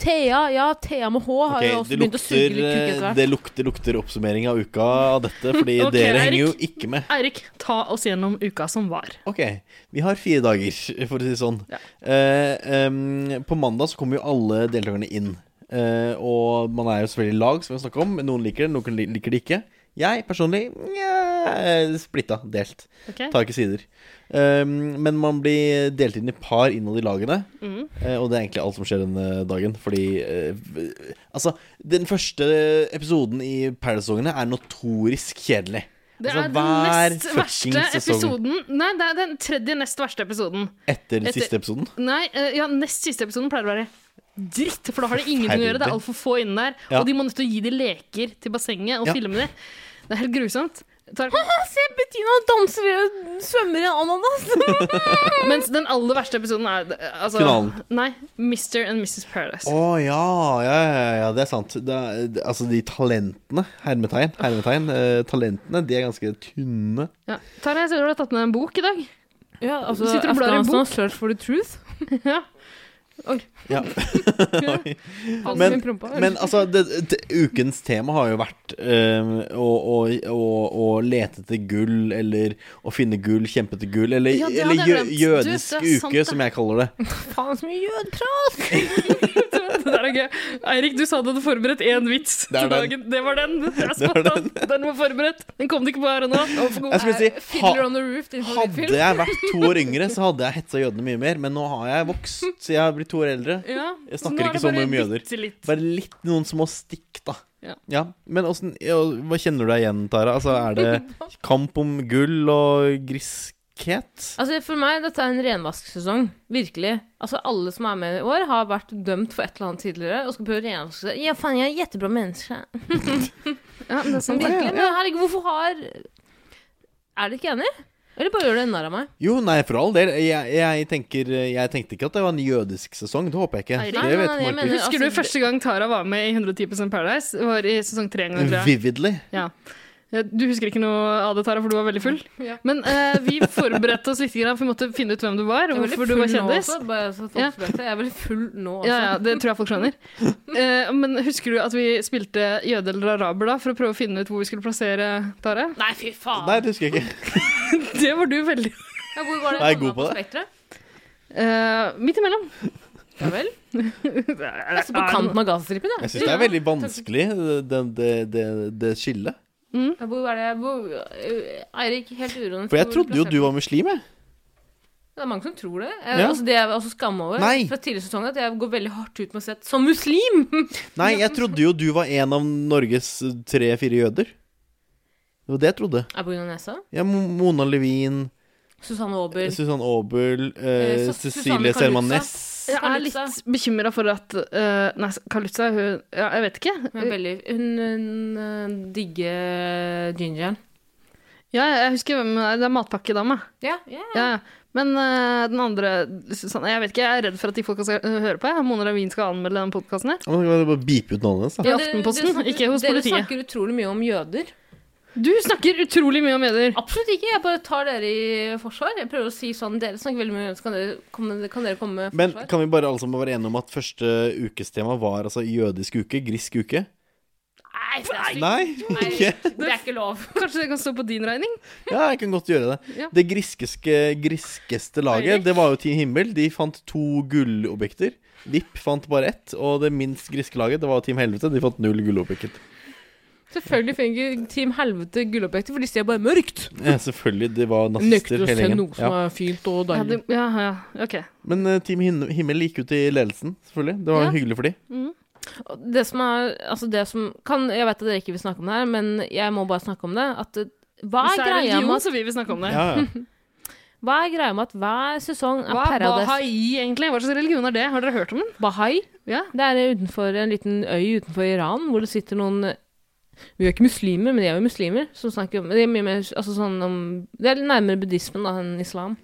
Speaker 1: Thea, ja, Thea med H har
Speaker 3: Ok,
Speaker 1: jo også
Speaker 3: det,
Speaker 1: begynt å suge
Speaker 3: lukter, eh,
Speaker 1: litt kuk etter hvert.
Speaker 3: det lukter, lukter oppsummering av uka av dette, fordi
Speaker 4: Ok,
Speaker 3: dere henger jo
Speaker 4: Erik.
Speaker 3: ikke med.
Speaker 4: Eirik, ta oss gjennom uka som var.
Speaker 3: Ok, vi har fire dager, for å si det sånn.
Speaker 4: Ja.
Speaker 3: Eh, em, på mandag så kommer jo alle deltakerne inn. Eh, og man er jo selvfølgelig i lag, som vi har snakket om. Noen liker det, noen li- liker det ikke. Jeg personlig nja, splitta, delt.
Speaker 4: Ok?
Speaker 3: Tar ikke sider. Em, men man blir delt inn i par innad i lagene.
Speaker 4: Mm.
Speaker 3: Eh, og det er egentlig alt som skjer denne dagen. Fordi eh, v- Altså, den første episoden i Paradise-sesongene er notorisk kjedelig.
Speaker 4: Det
Speaker 3: altså,
Speaker 4: er
Speaker 3: hver
Speaker 4: den nest
Speaker 3: fucking
Speaker 4: verste
Speaker 3: sesong.
Speaker 4: episoden Nei, det er den tredje nest verste episoden.
Speaker 3: Etter,
Speaker 4: Etter-
Speaker 3: siste episoden.
Speaker 4: Nei, eh, ja, nest siste episoden pleier å være dritt, for da har det ingenting å gjøre. Det er altfor få inne der.
Speaker 3: Ja.
Speaker 4: Og de må nødt til å gi de leker til bassenget og
Speaker 3: Ja.
Speaker 4: filme de. Det er helt grusomt. Tar-
Speaker 1: Se, Bettina danser og svømmer i en ananas!
Speaker 4: Mens den aller verste episoden er eh, altså,
Speaker 3: Finalen.
Speaker 4: Nei, Mr. and Mrs. Paradise.
Speaker 3: Å ja, ja, ja, ja, det er sant. Det er, det- altså, de talentene, hermetegn, hermetegn eh, talentene, de er ganske tynne.
Speaker 4: Ja. Tara, jeg ser du har tatt med en bok i dag.
Speaker 1: Ja, altså,
Speaker 4: Sitter og blar i en
Speaker 1: Afghanistan
Speaker 4: bok.
Speaker 1: search for the truth.
Speaker 4: ja.
Speaker 3: Ja.
Speaker 1: Altså,
Speaker 3: Men-
Speaker 1: min prompa, eller?
Speaker 3: Men altså, det, det, ukens tema har jo vært eh, å, å, å, å lete etter gull, eller å finne gull, kjempe etter gull, eller,
Speaker 4: Ja, det hadde
Speaker 3: eller
Speaker 4: jeg
Speaker 3: jø,
Speaker 4: glemt. Du, det er
Speaker 3: jødisk
Speaker 4: sant,
Speaker 3: uke,
Speaker 4: det.
Speaker 3: som jeg kaller det.
Speaker 1: faen så mye jødprat!
Speaker 4: Det der er gøy. Eirik, du sa du hadde forberedt én vits
Speaker 3: Det er
Speaker 4: til dagen. Det var den. Det er spot on. Den var forberedt. Den kom det ikke på her og nå. Den var for god.
Speaker 3: Jeg skulle si,
Speaker 1: Fiddler
Speaker 3: ha-
Speaker 1: on the roof,
Speaker 4: liksom.
Speaker 1: din
Speaker 3: hadde
Speaker 1: favorittfilm.
Speaker 3: jeg vært to år yngre, så hadde jeg hetsa jødene mye mer, men nå har jeg vokst, så jeg har blitt to år eldre.
Speaker 4: Ja.
Speaker 3: Jeg snakker ikke sånn om jøder.
Speaker 4: Litt.
Speaker 3: Bare litt noen små stikk, da.
Speaker 4: Ja.
Speaker 3: Men åssen ja, Hva kjenner du deg igjen, Tara? Altså, er det kamp om gull og griskhet?
Speaker 1: Altså, for meg, dette er en renvasksesong. Virkelig. Altså, alle som er med i år, har vært dømt for et eller annet tidligere, og skal prøve å renvaske seg. Ja, faen, jeg er et jettebra menneske.
Speaker 4: Ja, men det er
Speaker 1: Sånn
Speaker 4: sant.
Speaker 1: virkelig. Men herregud, hvorfor har Er dere ikke enig? Eller bare gjør du narr av meg?
Speaker 3: Jo, nei, for all del. Jeg, jeg, tenker, jeg tenkte ikke at det var en jødisk sesong. Det håper jeg ikke.
Speaker 1: Nei,
Speaker 3: Det
Speaker 1: nei,
Speaker 3: vet
Speaker 1: nei, jeg
Speaker 3: Markus.
Speaker 1: mener-
Speaker 4: Husker
Speaker 1: altså,
Speaker 4: du første gang Tara var med i 110 Paradise? Det Var i sesong tre en gang, tror jeg.
Speaker 3: Vividly.
Speaker 4: Ja. Du husker ikke noe av det, Tara, for du var veldig full.
Speaker 1: Ja.
Speaker 4: Men eh, vi forberedte oss litt, grann, for vi måtte finne ut hvem du var,
Speaker 1: Jeg
Speaker 4: og
Speaker 1: er veldig
Speaker 4: hvorfor du var
Speaker 1: full nå
Speaker 4: kjendis.
Speaker 1: også, bare så folk
Speaker 4: Ja.
Speaker 1: vet det. Jeg er veldig full nå også.
Speaker 4: Ja, ja, det tror jeg folk skjønner. Eh, men husker du at vi spilte jøde eller araber da, for å prøve å finne ut hvor vi skulle plassere Tara?
Speaker 1: Nei, fy faen!
Speaker 3: Nei, det husker jeg ikke.
Speaker 4: Det var du veldig
Speaker 1: Ja, hvor var det?
Speaker 3: Jeg er god på det.
Speaker 1: Spektret?
Speaker 4: Eh, Midt imellom.
Speaker 1: Ja vel? Altså på kanten av Gazastripen, ja.
Speaker 3: Jeg syns det er veldig vanskelig, det, det, det, det skillet.
Speaker 1: Ja, Hvor er det hvor, øh, Eirik, helt urolig
Speaker 3: For jeg trodde jo du var muslim, jeg.
Speaker 1: Det er mange som tror det. Jeg,
Speaker 3: Ja.
Speaker 1: altså, det er jeg også skamma over
Speaker 3: Nei.
Speaker 1: fra tidligere sesong at jeg går veldig hardt ut med å si at som muslim
Speaker 3: Nei, jeg trodde jo du var en av Norges tre-fire jøder. Det var det jeg trodde.
Speaker 1: Er på grunn av nesa.
Speaker 3: Ja, Mo- Mona Levin,
Speaker 1: Susanne Aabel.
Speaker 3: Susann Aabel, eh,
Speaker 1: Eh, Sus- Susanne
Speaker 3: Cecilie Selman
Speaker 1: Kalutza.
Speaker 3: Næss.
Speaker 4: Jeg er litt bekymra for at eh, Nei, Kalutza, hun ja, Jeg vet ikke.
Speaker 1: Hun, er veldig, hun, hun øh, digger gingeren.
Speaker 4: Ja, jeg husker hvem hun er. Det er matpakkedama.
Speaker 1: Ja, ja.
Speaker 4: Ja, ja. Men eh, den andre Susanne, Jeg vet ikke, jeg er redd for at de folka skal eh, høre på. Jeg. Mona Ravin skal anmelde den podkasten her.
Speaker 3: Ja, men Bare bare beepe ut navnet hennes, da.
Speaker 4: I
Speaker 1: Men dere-
Speaker 4: Aftenposten,
Speaker 1: dere snakker-
Speaker 4: ikke hos
Speaker 1: dere
Speaker 4: politiet.
Speaker 1: snakker utrolig mye om jøder.
Speaker 4: Du snakker utrolig mye om jøder.
Speaker 1: Absolutt ikke. Jeg bare tar dere i forsvar. Jeg prøver å si sånn Dere snakker veldig mye om jøder, så kan dere komme, kan dere komme med
Speaker 3: Men
Speaker 1: forsvar?
Speaker 3: kan vi bare alle sammen være enige om at første ukestema var altså jødisk uke? Grisk uke?
Speaker 1: Nei, det er, stygt.
Speaker 3: Nei? Ikke?
Speaker 1: det er ikke lov.
Speaker 4: Kanskje det kan stå på din regning?
Speaker 3: Ja, jeg kan godt gjøre det.
Speaker 4: Ja.
Speaker 3: Det griskeste, griskeste laget, det var jo Team Himmel. De fant to gullobjekter. VIP fant bare ett. Og det minst griske laget, det var Team Helvete. De fant null gullobjekter.
Speaker 1: Selvfølgelig finner Team Helvete gullobjekter, for de ser bare mørkt.
Speaker 3: Ja, selvfølgelig. Det var nazister
Speaker 1: Nekter å
Speaker 3: hele
Speaker 1: se
Speaker 3: gjengen.
Speaker 1: noe som
Speaker 3: Ja.
Speaker 1: er fint og
Speaker 4: Ja,
Speaker 1: deilig.
Speaker 4: det, ja, ja, ok.
Speaker 3: Men eh, Team Hin- Himmel gikk ut i ledelsen, selvfølgelig. Det var
Speaker 1: Ja.
Speaker 3: hyggelig for de.
Speaker 1: Og Det som er Altså, det som kan Jeg vet at dere ikke vil snakke om det her, men jeg må bare snakke om det. At eh, hva
Speaker 4: Hvis
Speaker 1: er,
Speaker 4: det er
Speaker 1: greia
Speaker 4: religion,
Speaker 1: med at,
Speaker 4: så vil vi snakke om det.
Speaker 3: Ja, ja.
Speaker 1: hva er greia med at hver sesong er
Speaker 4: Hva er
Speaker 1: Paradise
Speaker 4: bahai, egentlig? Hva slags religion er det? Har dere hørt om den?
Speaker 1: Bahai?
Speaker 4: Ja.
Speaker 1: Det er eh, utenfor en liten øy utenfor Iran hvor det sitter noen eh, Vi er jo ikke muslimer, men de er jo muslimer. Som snakker om Det er mye mer altså, sånn om Det er nærmere buddhismen da enn islam.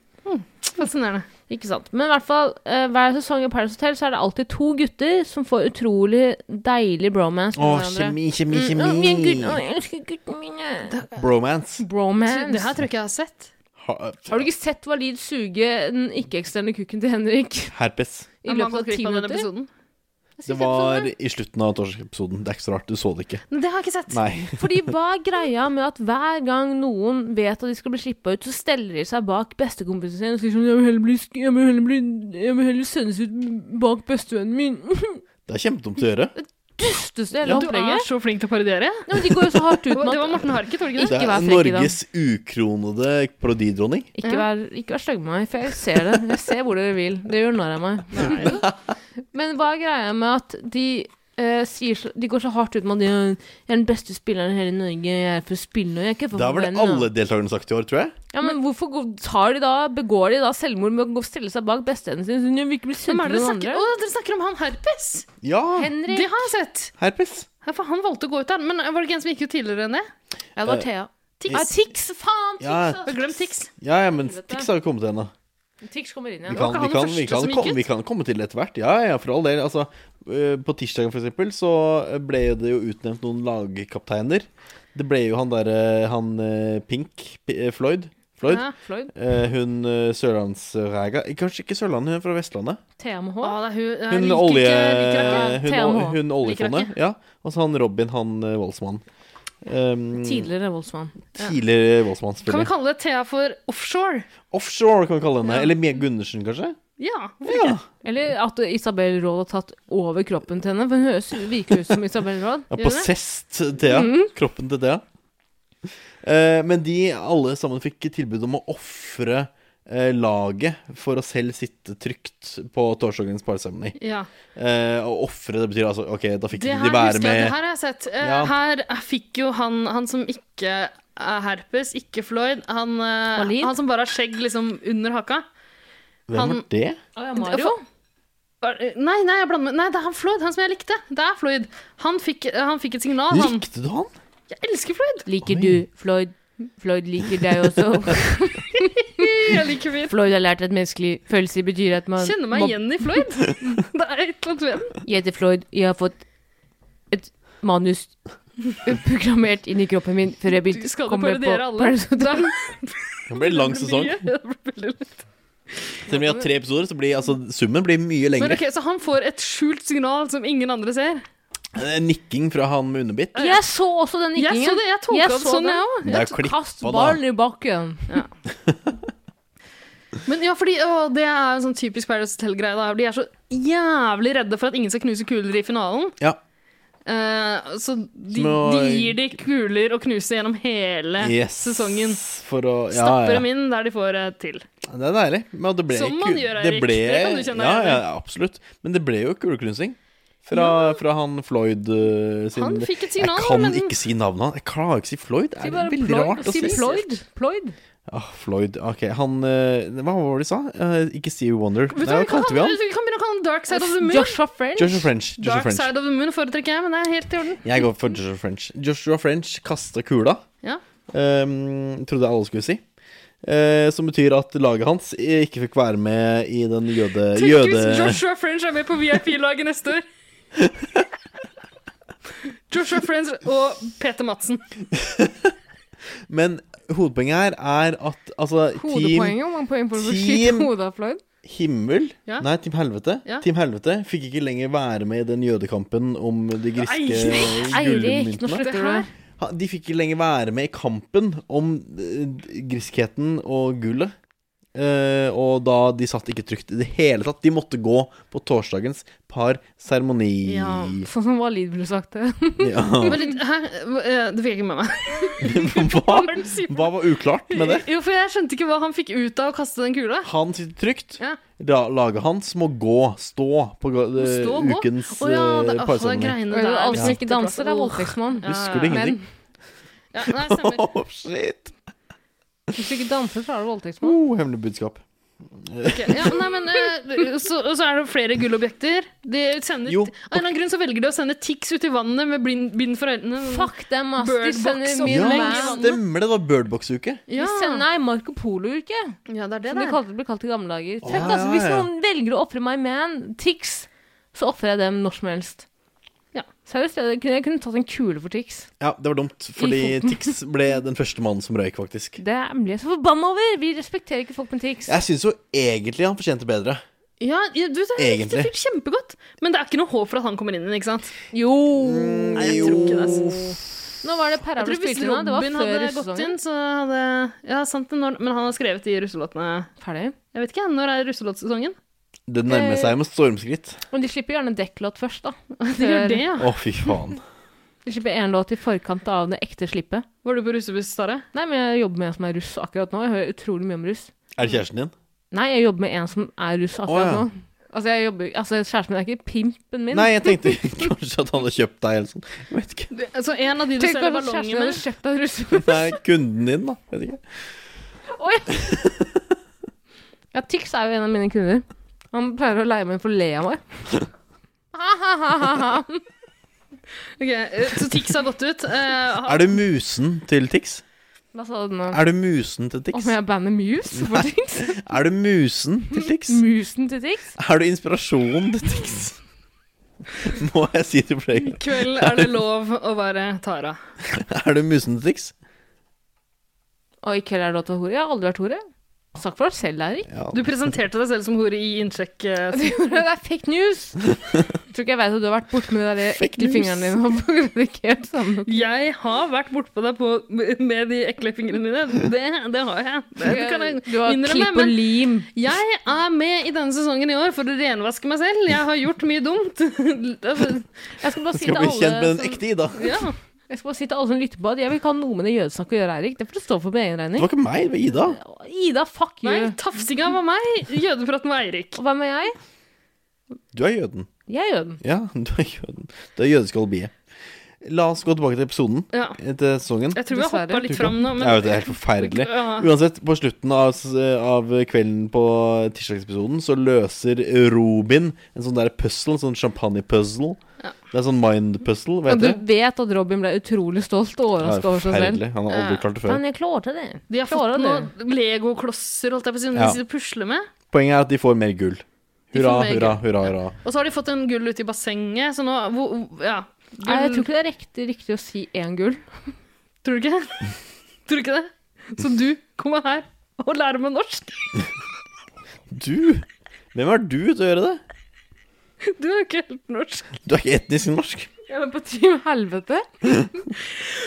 Speaker 4: Fascinerende.
Speaker 1: Ikke sant. Men i hvert fall, eh, hver sesong i Paradise Hotel så er det alltid to gutter som får utrolig deilig bromance
Speaker 3: Å,
Speaker 1: med hverandre.
Speaker 3: kjemi, kjemi,
Speaker 1: Mm, å, min
Speaker 3: kjemi.
Speaker 1: gutt, å, jeg elsker guttene mine.
Speaker 3: Bromance.
Speaker 1: Bromance.
Speaker 4: Det her tror jeg ikke jeg har sett.
Speaker 3: Ha-
Speaker 1: Har du ikke sett Walid suge den ikke-eksterne kukken til Henrik
Speaker 3: Herpes.
Speaker 1: i
Speaker 4: Jeg må ha
Speaker 1: løpet
Speaker 4: gått
Speaker 1: av ti
Speaker 4: glipp av den
Speaker 1: minutter?
Speaker 4: episoden.
Speaker 3: Det
Speaker 1: sånn,
Speaker 3: var i slutten av torsdagsepisoden. Det er ikke så rart. Du så det ikke.
Speaker 4: Nei, Det har jeg ikke sett.
Speaker 3: Nei.
Speaker 1: Fordi hva er greia med at hver gang noen vet at de skal bli slippa ut, så steller de seg bak bestekompisen sin og sier sånn 'Jeg vil heller bli, sk- jeg vil heller bli, jeg vil heller sendes ut bak bestevennen min.'
Speaker 3: Det er kjempedumt å gjøre.
Speaker 1: Dusteste hele
Speaker 3: Ja.
Speaker 4: Du er
Speaker 1: opplegget.
Speaker 4: så flink til å parodiere.
Speaker 1: Nei, men de går jo så hardt
Speaker 4: Det
Speaker 1: ut med
Speaker 4: var det var
Speaker 1: at
Speaker 4: Morten Harket, var det ikke det?
Speaker 3: Det
Speaker 1: Ikke vær
Speaker 3: er
Speaker 1: frekk i dag.
Speaker 3: Norges ukronede parodidronning.
Speaker 1: Ikke vær, ikke vær stygg med meg, for jeg ser det. Jeg ser hvor dere vil. Det gjør narr av meg. Men hva er greia med at de eh, sier så, De går så hardt ut med at de er jeg er den beste spilleren i hele Norge, jeg er for å spille, og jeg er ikke for
Speaker 3: Det har vel
Speaker 1: forventning».
Speaker 3: alle deltakerne sagt i år, tror jeg.
Speaker 1: Ja, men hvorfor går- tar de da, begår de da selvmord med å gå- stelle seg bak bestevennen sin? Så de vil ikke bli
Speaker 4: Hvem
Speaker 1: sint
Speaker 4: er
Speaker 1: med
Speaker 4: det dere
Speaker 1: noen
Speaker 4: snakker
Speaker 1: andre?
Speaker 4: om? Å, dere snakker om han herpes!
Speaker 3: Ja!
Speaker 1: Henrik.
Speaker 4: Det har jeg sett.
Speaker 3: Herpes.
Speaker 4: Ja, for han valgte å gå ut der. Men var det ikke en som gikk ut tidligere enn det?
Speaker 1: Ja, det var Thea.
Speaker 4: Tix.
Speaker 1: Nei, Tix, faen! Tix,
Speaker 3: Ja.
Speaker 1: altså.
Speaker 4: Glem Tix.
Speaker 3: Ja, ja, men Tix har jo kommet ennå.
Speaker 1: Tix kommer inn
Speaker 3: Vi
Speaker 1: igjen.
Speaker 3: kan,
Speaker 4: ikke
Speaker 3: vi, kan,
Speaker 4: han den
Speaker 3: vi,
Speaker 4: første
Speaker 3: kan,
Speaker 4: som gikk
Speaker 3: kom,
Speaker 4: ut?
Speaker 3: vi kan komme til det etter hvert. Ja, ja, for all del. Altså, eh, på tirsdagen, for eksempel, så øh, ble jo det jo utnevnt noen lagkapteiner. Det ble jo han derre Han eh, Pink P- eh, Floyd. Floyd.
Speaker 4: Ja.
Speaker 1: Floyd.
Speaker 3: Eh, Hun eh, sørlandsræga Kanskje ikke Sørlandet, hun er fra Vestlandet.
Speaker 1: Thea med
Speaker 4: Å,
Speaker 1: H.
Speaker 4: det er hun. Jeg
Speaker 3: Hun,
Speaker 4: liker
Speaker 3: olje,
Speaker 4: ikke- liker henne ikke.
Speaker 3: hun,
Speaker 1: TMH.
Speaker 3: ol- hun oljefondet. Ja. Og så han Robin, han eh, voldsmannen. Um,
Speaker 1: Tidligere voldsmann.
Speaker 3: Tidligere voldsmann,
Speaker 4: Kan vi
Speaker 3: selvfølgelig.
Speaker 4: kalle Thea for offshore?
Speaker 3: Offshore, kan vi kalle henne. Eller Mia Gundersen, kanskje?
Speaker 4: Ja.
Speaker 3: Ja.
Speaker 1: Eller at Isabel Råd har tatt over kroppen til henne. For hun høres, virker ut som Isabel Råd.
Speaker 3: ja
Speaker 4: Gjør det? Mhm.
Speaker 3: possessed Thea. Kroppen til Thea. Eh, men de alle sammen fikk tilbud om å ofre eh, laget for å selv sitte trygt på torsdagens parseremoni.
Speaker 4: ja.
Speaker 3: Eh, å ofre, det betyr altså OK, da fikk ikke
Speaker 4: Det her,
Speaker 3: de være
Speaker 4: husker jeg, det
Speaker 3: med.
Speaker 4: her har jeg sett. Eh,
Speaker 3: Ja.
Speaker 4: Her fikk jo han, han som ikke er herpes, ikke Floyd, han, eh,
Speaker 1: Walid?
Speaker 4: han som bare har skjegg liksom under haka.
Speaker 3: Hvem var
Speaker 4: han-
Speaker 3: det?
Speaker 1: Å ja, Mario.
Speaker 4: Var- Nei, nei, jeg blander med Nei, det er han Floyd, han som jeg likte. Det er Floyd. Han fikk, han fikk et signal, han.
Speaker 3: Likte du han?
Speaker 4: Jeg elsker Floyd!
Speaker 1: Liker du Floyd? Floyd liker deg også.
Speaker 4: Jeg liker Floyd.
Speaker 1: Floyd har lært at menneskelig følelse betyr at man
Speaker 4: Kjenner meg
Speaker 1: må-
Speaker 4: igjen i Floyd. Det er et eller annet ved den.
Speaker 1: Jeg heter Floyd. Jeg har fått et manus programmert inn i kroppen min før jeg
Speaker 4: Du
Speaker 1: begynte
Speaker 4: skal
Speaker 1: å
Speaker 4: jo
Speaker 1: komme
Speaker 4: parodiere
Speaker 1: på
Speaker 4: alle. Da
Speaker 3: Det blir en lang
Speaker 4: blir det
Speaker 3: sesong.
Speaker 4: mye. Det blir veldig langt.
Speaker 3: Selv om vi har tre episoder, så blir altså, summen blir mye
Speaker 4: Men
Speaker 3: lengre.
Speaker 4: ok, Så han får et skjult signal som ingen andre ser?
Speaker 3: Eh, Nikking fra han med underbitt.
Speaker 1: Jeg så også den nikkingen.
Speaker 4: Jeg så det, jeg tolka det sånn, jeg òg.
Speaker 3: Det er jo klippa,
Speaker 1: Kast
Speaker 3: da.
Speaker 1: ballen i bakken.
Speaker 4: Men ja, fordi å, det er en sånn typisk Paradise Hotel-greie. da. De er så jævlig redde for at ingen skal knuse kuler i finalen.
Speaker 3: Ja.
Speaker 4: Eh, så de,
Speaker 3: Små-
Speaker 4: de gir de kuler å knuse gjennom hele
Speaker 3: Yes.
Speaker 4: sesongen.
Speaker 3: For å ja,
Speaker 4: Stapper
Speaker 3: ja.
Speaker 4: dem inn der de får eh, til.
Speaker 3: Det er deilig. Men det ble
Speaker 4: Som
Speaker 3: ku-
Speaker 4: man gjør, Eirik.
Speaker 3: ble,
Speaker 4: Det kan du kjenne
Speaker 3: ja,
Speaker 4: deg igjen i.
Speaker 3: ja, absolutt. Men det ble jo kuleknusing. Fra, fra han Floyd eh, sin
Speaker 4: Han fikk et signal,
Speaker 3: Jeg kan
Speaker 4: men-
Speaker 3: ikke si navnet hans. Jeg klarer ikke å si Floyd. Det
Speaker 1: Si
Speaker 3: er
Speaker 1: bare
Speaker 3: veldig
Speaker 1: Floyd.
Speaker 3: rart å
Speaker 1: Si
Speaker 3: si.
Speaker 1: Floyd. Floyd.
Speaker 3: Ah, Floyd. Ok, han eh, Hva var det de sa? Eh, ikke Stevie Wonder. Nei,
Speaker 4: Vet du hva,
Speaker 3: hva
Speaker 4: vi kan,
Speaker 3: kalte vi han?
Speaker 4: vi kan begynne å kalle han Dark Side of the Moon.
Speaker 1: Joshua French.
Speaker 3: Joshua French. Joshua
Speaker 4: Dark
Speaker 3: French. Eh,
Speaker 4: Side of the Moon foretrekker jeg, men det er helt i orden.
Speaker 3: Jeg går for Joshua French. Joshua French kasta kula.
Speaker 4: Ja.
Speaker 3: Ehm, trodde jeg alle skulle si. Eh, som betyr at laget hans ikke fikk være med i den jøde...
Speaker 4: Tenk
Speaker 3: jøde...
Speaker 4: hvis Joshua French er med på VIP-laget neste år. Joshua French og Peter Madsen.
Speaker 3: Men hovedpoenget her er at altså, Team
Speaker 1: Hodepoenget. Hvor mange poeng får du for å
Speaker 3: Team-
Speaker 1: skyte hodet av Floyd?
Speaker 3: Himmel
Speaker 4: Ja.
Speaker 3: Nei, Team Helvete.
Speaker 4: Ja.
Speaker 3: Team Helvete fikk ikke lenger være med i den jødekampen om de griske
Speaker 1: Eirik, nå
Speaker 3: gullmyntene.
Speaker 1: slutter du.
Speaker 3: Ha- De fikk ikke lenger være med i kampen om eh, griskheten og gullet. Eh, og da de satt ikke trygt i det hele tatt. De måtte gå på torsdagens parseremoni.
Speaker 4: Ja.
Speaker 1: Sånn som Walid ville sagt det.
Speaker 3: Ja.
Speaker 4: Men litt, hæ? Eh, Det fikk jeg ikke med meg.
Speaker 3: Hva,
Speaker 4: Hva var det du sier?
Speaker 3: hva var uklart med det?
Speaker 4: Jo, for jeg skjønte ikke hva han fikk ut av å kaste den kula.
Speaker 3: Han sitter trygt.
Speaker 4: Ja.
Speaker 3: La- Laget hans må gå, stå, på ga- eh,
Speaker 4: Stå og gå?
Speaker 3: ukens
Speaker 4: Å ja, det,
Speaker 3: eh,
Speaker 4: åh, det er
Speaker 3: parseremoni.
Speaker 4: greiene der.
Speaker 1: Alle
Speaker 4: med
Speaker 1: som ikke danser, er
Speaker 4: sitteplass.
Speaker 1: voldtektsmann.
Speaker 4: Ja,
Speaker 3: Husker du
Speaker 4: ja, ja.
Speaker 3: ingenting?
Speaker 4: Ja, nei, stemmer.
Speaker 3: Åh, shit!
Speaker 1: Hvis du ikke danser, så er du voldtektsmann.
Speaker 3: Oh, hemmelig budskap.
Speaker 4: Ok, Ja, nei, men, eh, så, og så er det flere gullobjekter. De sender,
Speaker 3: Jo,
Speaker 4: av en eller annen grunn så velger de å sende Tix ut i vannet med blind, bind for øynene.
Speaker 1: Fuck dem, ass. De
Speaker 4: Bird Box
Speaker 1: sender
Speaker 4: og
Speaker 1: min
Speaker 3: Ja,
Speaker 4: lenge
Speaker 1: man.
Speaker 3: stemmer det. Det var birdbox-uke.
Speaker 1: De
Speaker 4: Ja,
Speaker 1: sender nei, Marco Polo-uke.
Speaker 4: ja, det er det
Speaker 1: Som det
Speaker 4: der.
Speaker 1: kalte, ble kalt i gamle dager.
Speaker 3: Å,
Speaker 1: Fuck,
Speaker 3: ja,
Speaker 1: altså, hvis
Speaker 3: ja.
Speaker 1: noen velger å ofre my man, Tix, så ofrer jeg dem når som helst.
Speaker 4: Ja.
Speaker 1: Seriøst, jeg kunne, jeg kunne tatt en kule for Tix.
Speaker 3: Ja, det var dumt, fordi
Speaker 1: I foten.
Speaker 3: Tix ble den første mannen som røyk, faktisk.
Speaker 1: Det blir jeg så forbanna over! Vi respekterer ikke folk med Tix.
Speaker 3: Jeg syns jo egentlig han fortjente bedre.
Speaker 4: Ja, ja, du, det er
Speaker 3: Egentlig.
Speaker 4: riktig fyrt kjempegodt. Men det er ikke noe håp for at han kommer inn igjen, ikke sant?
Speaker 1: Jo!
Speaker 4: Nei, jeg tror ikke det. altså.
Speaker 1: Nå var det Perra
Speaker 4: Jeg
Speaker 1: du
Speaker 4: tror hvis
Speaker 1: spilte nå. Det var
Speaker 4: Robin
Speaker 1: før
Speaker 4: hadde gått
Speaker 1: russesongen.
Speaker 4: inn, så hadde Ja, sant, det, når, men han har skrevet de russelåtene
Speaker 1: Ferdig.
Speaker 4: Jeg vet ikke, når er russelåtsesongen?
Speaker 3: Det nærmer seg
Speaker 4: Eh.
Speaker 3: med stormskritt.
Speaker 1: Men de slipper gjerne dekklåt først, da.
Speaker 4: De gjør det, ja.
Speaker 3: Å, fy faen.
Speaker 1: De slipper én låt i forkant av det ekte slippet.
Speaker 4: Var du på russebuss, Tare?
Speaker 1: Nei, men jeg jobber med en som er russ akkurat nå. Jeg hører utrolig mye om russ.
Speaker 3: Er det kjæresten din?
Speaker 1: Nei, jeg jobber med en som er russ akkurat
Speaker 3: Å, ja.
Speaker 1: nå. Altså, jeg jobber, altså, kjæresten min er ikke pimpen min.
Speaker 3: Nei, jeg tenkte kanskje at han hadde kjøpt deg eller sånn. Jeg vet ikke.
Speaker 4: Så altså, en av de du
Speaker 1: Tenk hva
Speaker 4: selger
Speaker 1: slags
Speaker 4: ballonger
Speaker 1: kjæresten hadde
Speaker 4: med?
Speaker 1: kjøpt av russen.
Speaker 3: Nei, kunden din, da. Vet ikke.
Speaker 1: Ja, Tix er jo en av mine kunder. Han pleier å leie meg for å le av meg. Ha-ha-ha-ha.
Speaker 4: Ok, eh, så Tix har gått ut. eh,
Speaker 3: Er du musen til Tix?
Speaker 1: Hva sa du nå?
Speaker 3: Er du musen til Tix?
Speaker 1: Om jeg bandet Muse for Tix?
Speaker 3: Er du musen til Tix?
Speaker 1: Musen til Tix?
Speaker 3: Er du inspirasjonen til Tix? Må jeg si til
Speaker 4: I
Speaker 3: Play?
Speaker 4: kveld er det lov å være Tara.
Speaker 3: Er du musen til Tix?
Speaker 1: Og i kveld er det lov til å være hore. Jeg har aldri vært hore. Snakk for deg selv, Eirik.
Speaker 3: Ja.
Speaker 4: Du presenterte deg selv som hore i innsjekk. eh,
Speaker 1: Du gjorde det, det er fake news! Tror ikke jeg veit at du har vært borte med de der
Speaker 3: Fake
Speaker 1: ekle
Speaker 3: news.
Speaker 1: fingrene dine. og predikert sammen.
Speaker 4: Jeg har vært bortpå deg på, med de ekle fingrene mine. Det, det har jeg. Det kan jeg
Speaker 1: Du har
Speaker 4: innrømme.
Speaker 1: klipp og
Speaker 4: Men
Speaker 1: lim.
Speaker 4: jeg er med i denne sesongen i år for å renvaske meg selv. Jeg har gjort mye dumt. Altså,
Speaker 1: Jeg skal bare si til
Speaker 3: Skal bli
Speaker 1: alle
Speaker 3: kjent med den
Speaker 1: som-
Speaker 3: ekte Ida.
Speaker 4: ja.
Speaker 1: Jeg skal bare si til alle som lytter på at jeg vil ikke ha noe med det jødesnakket å gjøre, Eirik. Det får du stå for på egen
Speaker 3: Det
Speaker 1: regning.
Speaker 3: var ikke meg, det var Ida.
Speaker 1: Ida, fuck
Speaker 4: Nei,
Speaker 1: you.
Speaker 4: tafsinga var meg. Jødepraten var Eirik.
Speaker 1: Og hvem er jeg?
Speaker 3: Du er jøden.
Speaker 1: Jeg er jøden.
Speaker 3: Ja, du er jøden. Du er jødisk albie. La oss gå tilbake til episoden.
Speaker 4: Ja.
Speaker 3: eh, Til sesongen.
Speaker 4: Jeg tror vi har Dessverre. hoppet litt
Speaker 3: Tror du ikke?
Speaker 4: fram nå, men-
Speaker 3: Jeg vet, det er helt forferdelig.
Speaker 4: Ja.
Speaker 3: Uansett, på slutten av, s- av kvelden på tirsdagsepisoden så løser Robin en sånn der puzzle, en sånn champagne-puzzle.
Speaker 1: Ja.
Speaker 3: Det er sånn mind-puzzle,
Speaker 1: Og
Speaker 3: vet
Speaker 1: du
Speaker 3: du.
Speaker 1: vet at Robin ble utrolig stolt og
Speaker 3: Ja,
Speaker 1: overraska
Speaker 3: det er
Speaker 1: over seg selv.
Speaker 3: forferdelig. Han har aldri klart det før.
Speaker 1: Men jeg klarte det.
Speaker 4: De har
Speaker 1: Klarer
Speaker 4: fått noen legoklosser holdt jeg på å si, som
Speaker 3: Ja.
Speaker 4: de sitter og pusler med.
Speaker 3: Poenget er at de får mer gull.
Speaker 4: De får
Speaker 3: Hurra,
Speaker 4: mer
Speaker 3: hurra,
Speaker 4: gull.
Speaker 3: hurra, hurra.
Speaker 4: Og så har de fått en gull ute i bassenget, så nå hvor, Ja.
Speaker 1: Nei, jeg tror ikke det er riktig, riktig å si én gull.
Speaker 4: Tror du ikke? tror du ikke det? Så du kommer her og lærer meg norsk?
Speaker 3: Du? Hvem er du til å gjøre det?
Speaker 4: Du er jo ikke helt norsk.
Speaker 3: Du er ikke etnisk norsk.
Speaker 1: Jeg er på team helvete.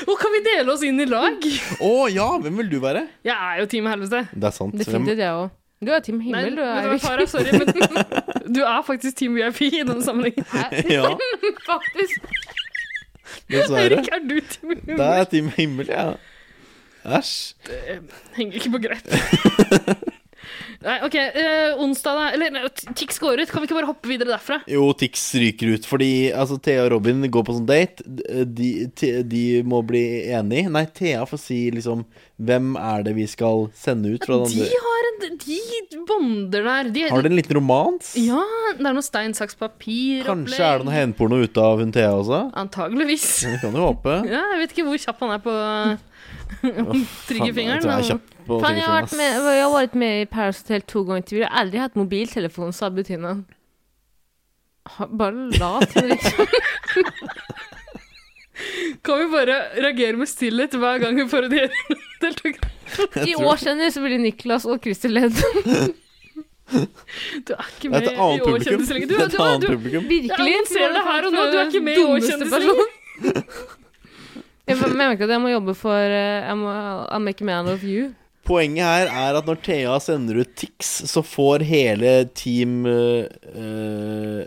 Speaker 4: Og kan vi dele oss inn i lag?
Speaker 3: Å ja, hvem vil du være?
Speaker 4: Jeg er jo Team Helvete.
Speaker 3: Det er sant.
Speaker 1: Definitivt jeg òg. Du er Team Himmel, du
Speaker 4: vet
Speaker 1: er
Speaker 4: du hva, Farah, sorry, men du er faktisk Team VIP i denne sammenhengen.
Speaker 3: Ja.
Speaker 1: Faktisk.
Speaker 3: Dessverre.
Speaker 4: Erik, er du Team VIP?
Speaker 3: Det er Team Himmel, ja. Æsj.
Speaker 4: Det henger ikke på greit. Nei, OK. eh, onsdag, da. Eller nei, Tix går ut. Kan vi ikke bare hoppe videre derfra?
Speaker 3: Jo, Tix ryker ut fordi altså, Thea og Robin går på sånn date. De, Te- de må bli enige. Nei, Thea får si liksom Hvem er det vi skal sende ut fra den
Speaker 4: De
Speaker 3: andre?
Speaker 4: har en De bonder der. De,
Speaker 3: Har dere en liten romans?
Speaker 4: Ja, det er noe stein, saks, papir
Speaker 3: Kanskje er det noe henporno ute av hun Thea også?
Speaker 4: Antageligvis.
Speaker 3: Vi kan jo håpe.
Speaker 4: Ja, jeg vet ikke hvor kjapp han er på
Speaker 3: Faen, jeg
Speaker 4: triggerfingeren.
Speaker 3: tror jeg er
Speaker 4: men-
Speaker 3: kjapp på
Speaker 1: Faen, jeg har vært
Speaker 3: triggerfingeren,
Speaker 1: med, jeg har vært med i Paris Hotel to ganger til. Jeg har aldri hatt mobiltelefon, sa Bettina. Ha- Bare lat. Liksom.
Speaker 4: Kan vi bare reagere med stillhet hver gang vi får en deltaker?
Speaker 1: I år kjenner så blir det Niklas og Christer Ledd.
Speaker 4: Du er ikke
Speaker 3: Det er
Speaker 4: med
Speaker 3: et annet
Speaker 4: i Å
Speaker 3: publikum.
Speaker 4: kjendislenge.
Speaker 3: Det
Speaker 4: Du,
Speaker 3: er
Speaker 4: du,
Speaker 3: et annet
Speaker 4: du,
Speaker 3: publikum.
Speaker 1: Virkelig.
Speaker 4: Jeg annonserer det her og nå, du er ikke med i Å
Speaker 1: Dummeste
Speaker 4: kjendislenge.
Speaker 1: person. Jeg mer- merker at jeg må jobbe for eh, jeg må, I'll make a man of you.
Speaker 3: Poenget her er at når Thea sender ut Tix, så får hele team eh, eh,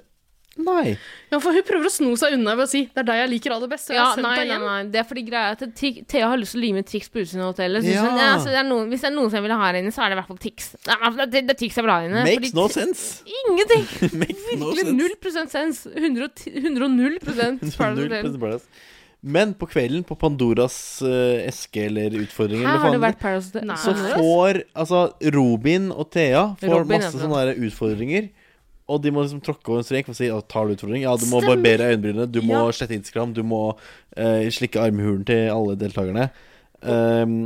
Speaker 3: Nei.
Speaker 4: Ja, for hun prøver å sno seg unna ved å si 'det er deg jeg liker aller best', og jeg
Speaker 1: Ja,
Speaker 4: har sendt
Speaker 1: nei,
Speaker 4: deg
Speaker 1: nei,
Speaker 4: hjem.
Speaker 1: nei. Det er fordi greia er at Ti- Thea har lyst til å lime Tix på utsiden av hotellet. Så
Speaker 3: Ja.
Speaker 1: sånn, ja, så det er noen, hvis det er noen som jeg vil ha her inne, så er det i hvert fall Tix. Det er, det er- det er Tix jeg vil ha her inne. fordi
Speaker 3: Makes no
Speaker 1: Ti-
Speaker 3: sense.
Speaker 1: Ingenting!
Speaker 3: Makes no
Speaker 1: Virkelig 0
Speaker 3: sense.
Speaker 1: sens. 110 100 Paradise
Speaker 3: Null
Speaker 1: Hotel.
Speaker 3: Princess Paradise. Men på kvelden, på Pandoras eh, eske eller utfordring,
Speaker 1: Her
Speaker 3: eller
Speaker 1: har det
Speaker 3: faen,
Speaker 1: vært Paradise Hotel.
Speaker 4: Nei.
Speaker 3: så får altså Robin og Thea får
Speaker 1: Robin, altså.
Speaker 3: masse
Speaker 1: ja.
Speaker 3: sånne der utfordringer. Og de må liksom tråkke over en strek for å si at tar du utfordring? Ja, du må barbere øyenbrynene, du må
Speaker 1: Ja.
Speaker 3: slette Instagram, du må eh, slikke armhulen til alle deltakerne. Ehm,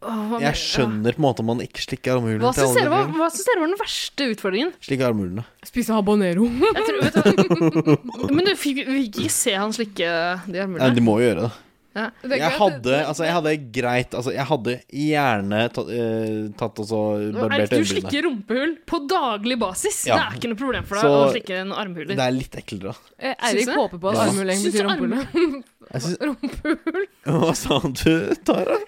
Speaker 4: Åh, hva mener-
Speaker 3: jeg skjønner på en måte om man ikke slikker armhulen
Speaker 4: Hva
Speaker 3: til
Speaker 4: syns
Speaker 3: alle
Speaker 4: dere, var-
Speaker 3: deltakerne.
Speaker 4: hva syns dere var den verste utfordringen?
Speaker 3: Slikke armhulene.
Speaker 1: Spise habanero.
Speaker 4: Jeg tror, vet du, hva- men du fikk vi fikk ikke se han slikke de
Speaker 3: Nei,
Speaker 4: armene.
Speaker 3: de må jo gjøre det.
Speaker 4: Ja.
Speaker 3: Jeg hadde, altså, jeg hadde greit Altså, jeg hadde gjerne tatt, eh, tatt og så
Speaker 4: Erik,
Speaker 3: barbert
Speaker 4: du
Speaker 3: øyenbrynene.
Speaker 4: slikker rumpehull på daglig basis.
Speaker 3: Ja.
Speaker 4: Det er ikke noe problem for deg
Speaker 3: Så-
Speaker 4: å slikke en armhuler.
Speaker 3: Det er litt ekkelt, da.
Speaker 1: Eh,
Speaker 4: Syns
Speaker 1: Eirik
Speaker 4: du?
Speaker 1: håper på at
Speaker 3: Ja.
Speaker 1: armhulen
Speaker 4: Syns du
Speaker 1: betyr rumpehull.
Speaker 3: Jeg syns-
Speaker 1: Rumpehull.
Speaker 3: Hva sa du, Tara?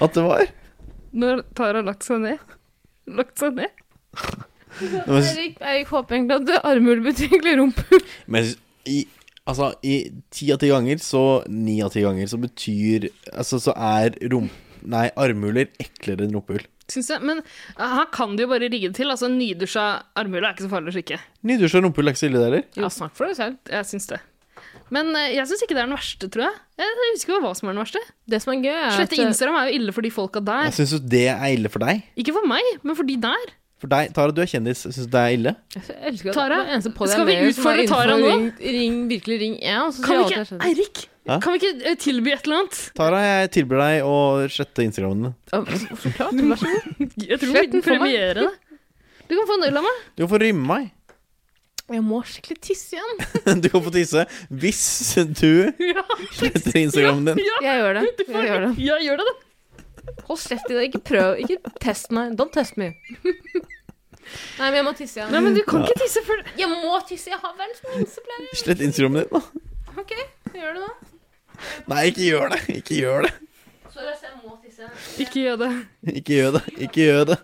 Speaker 3: At det var?
Speaker 4: Når Tara har lagt seg ned Lagt seg ned?
Speaker 3: Nei, Men jeg syns-
Speaker 1: Eirik Eirik håper egentlig at armhull betyr egentlig rumpehull.
Speaker 3: men jeg syns- i Altså, i ti av ti ganger, så ni av ti ganger, så betyr Altså, så er rom... Nei, armhuler eklere enn rumpehull.
Speaker 4: Syns jeg. Men eh, her kan de jo bare rigge det til. Altså, en Nydusja armhule er ikke så farlig å slikke.
Speaker 3: Nydusja rumpehull er ikke så ille, det heller.
Speaker 4: Ja, snakk for deg selv. Jeg syns det. Men eh, jeg syns ikke det er den verste, tror jeg. Jeg husker hva som er den verste.
Speaker 1: Det som er gøy, er at eh,
Speaker 4: Slette Instagram er jo ille for de folka der.
Speaker 3: Jeg syns jo det er ille for deg.
Speaker 4: Ikke for meg, men for de der.
Speaker 3: For deg, Tara, du er kjendis. Syns du det er ille?
Speaker 1: Jeg elsker at
Speaker 4: Tara,
Speaker 1: det eneste podden
Speaker 4: skal vi
Speaker 1: jeg vet som er
Speaker 4: utfordre Tara
Speaker 1: innenfor
Speaker 4: nå?
Speaker 1: Ring, ring, virkelig ring én, og så sier
Speaker 4: Kan
Speaker 1: jeg sånn, alt jeg
Speaker 4: vi ikke,
Speaker 1: skjønner.
Speaker 4: Eirik,
Speaker 3: Hæ?
Speaker 4: kan vi ikke eh, tilby et eller annet?
Speaker 3: Tara, jeg tilbyr deg å slette Instagramen din.
Speaker 1: Ja, Så klart, vær så god.
Speaker 4: Jeg tror
Speaker 1: Slett
Speaker 4: vi
Speaker 1: den for meg.
Speaker 4: premierer det. Du kan få en øl av meg.
Speaker 3: Du får rymme meg.
Speaker 1: Jeg må skikkelig tisse igjen.
Speaker 3: Du kan få tisse hvis du
Speaker 4: Ja,
Speaker 3: sletter Instagramen din.
Speaker 4: ja,
Speaker 1: Jeg gjør det.
Speaker 4: du får-
Speaker 1: Jeg gjør det.
Speaker 4: ja, gjør det, da.
Speaker 1: Hold kjeft i det. Ikke prøv. Ikke test meg. Don't test me. Nei, men jeg må tisse
Speaker 4: Nei,
Speaker 1: igjen.
Speaker 4: men du kan ikke tisse før
Speaker 1: Jeg må tisse. Jeg har verdens minste pleie.
Speaker 3: Slett Instagramen din, da.
Speaker 1: OK, gjør det nå.
Speaker 3: Nei, ikke gjør det. Ikke gjør det.
Speaker 1: Sorry, ass, jeg må tisse.
Speaker 4: Ikke gjør det.
Speaker 3: Ikke gjør det. Ikke gjør det.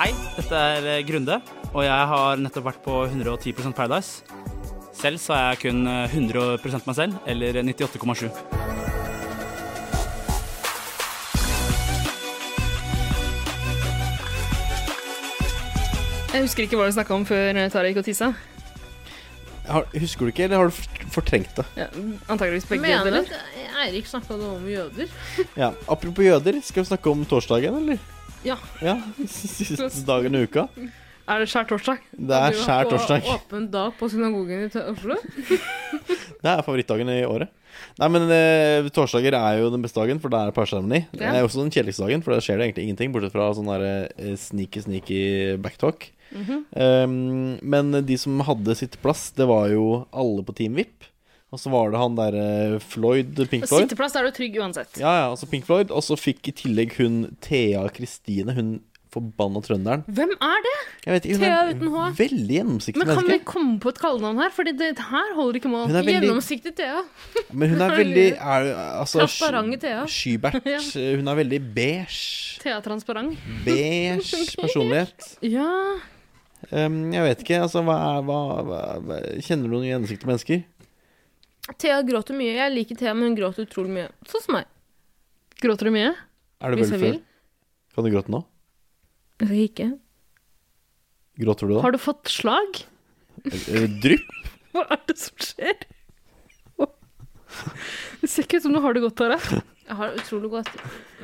Speaker 11: Hei, dette er eh, Grunde, og jeg har nettopp vært på 110 Paradise. Selv så er jeg kun eh, 100 meg selv, eller 98,7.
Speaker 4: Jeg husker ikke hva vi snakka om før eh, Tara gikk og tissa.
Speaker 3: Har, husker du ikke, eller har du fort- fortrengt det?
Speaker 4: Ja, antageligvis begge
Speaker 1: Mener
Speaker 4: deler.
Speaker 1: at Eirik snakka noe om jøder.
Speaker 3: Ja. Apropos jøder, skal vi snakke om torsdagen, eller?
Speaker 1: Ja.
Speaker 3: Ja, Siste dagen i uka.
Speaker 4: Er det skjær torsdag?
Speaker 3: Det er
Speaker 1: Du var
Speaker 3: skjær
Speaker 1: på
Speaker 3: torsdag.
Speaker 1: Åpen dag på synagogen i Tø- Oslo.
Speaker 3: Det er favorittdagen i året. Nei, men eh, Torsdager er jo den beste dagen, for da er det parseremoni. Det
Speaker 1: Ja.
Speaker 3: er også den kjedeligste dagen, for da skjer det egentlig ingenting, bortsett fra sånn der, eh, sneaky, sneaky backtalk.
Speaker 1: Mhm.
Speaker 3: Um, men de som hadde sitteplass, det var jo alle på Team VIP. Og så var det han derre Floyd Pink Floyd.
Speaker 4: Sitteplass er du trygg uansett.
Speaker 3: Ja, ja, altså Pink Floyd. Og så fikk i tillegg hun Thea Kristine, hun forbanna trønderen.
Speaker 4: Hvem er det?
Speaker 3: Jeg vet ikke, hun
Speaker 4: Thea
Speaker 3: er
Speaker 4: uten H.
Speaker 3: veldig gjennomsiktig
Speaker 4: Men kan vi
Speaker 3: menneske.
Speaker 4: komme på et kallenavn her? Fordi det her holder ikke mål.
Speaker 3: Hun er veldig- Gjennomsiktig
Speaker 1: Thea.
Speaker 3: Men hun er veldig er, altså,
Speaker 4: Transparente Thea.
Speaker 3: Skybert.
Speaker 4: Ja.
Speaker 3: Hun er veldig beige.
Speaker 4: Thea Transparent.
Speaker 3: Beige personlighet.
Speaker 4: Ja
Speaker 3: Um, jeg vet ikke, altså hva, er- hva, hva, hva Kjenner du noen gjennomsiktige mennesker?
Speaker 1: Thea gråter mye. Jeg liker Thea, men hun gråter utrolig mye. Sånn som meg.
Speaker 4: Gråter du mye?
Speaker 3: Er det
Speaker 1: Hvis jeg
Speaker 3: veldig
Speaker 1: vil.
Speaker 3: før? Kan du gråte nå?
Speaker 1: Jeg skal ikke.
Speaker 3: Gråter du da?
Speaker 4: Har du fått slag?
Speaker 3: Eh, Drypp?
Speaker 4: Hva er det som skjer? Det ser ikke ut som du har det godt, Tara.
Speaker 1: Jeg har det utrolig godt.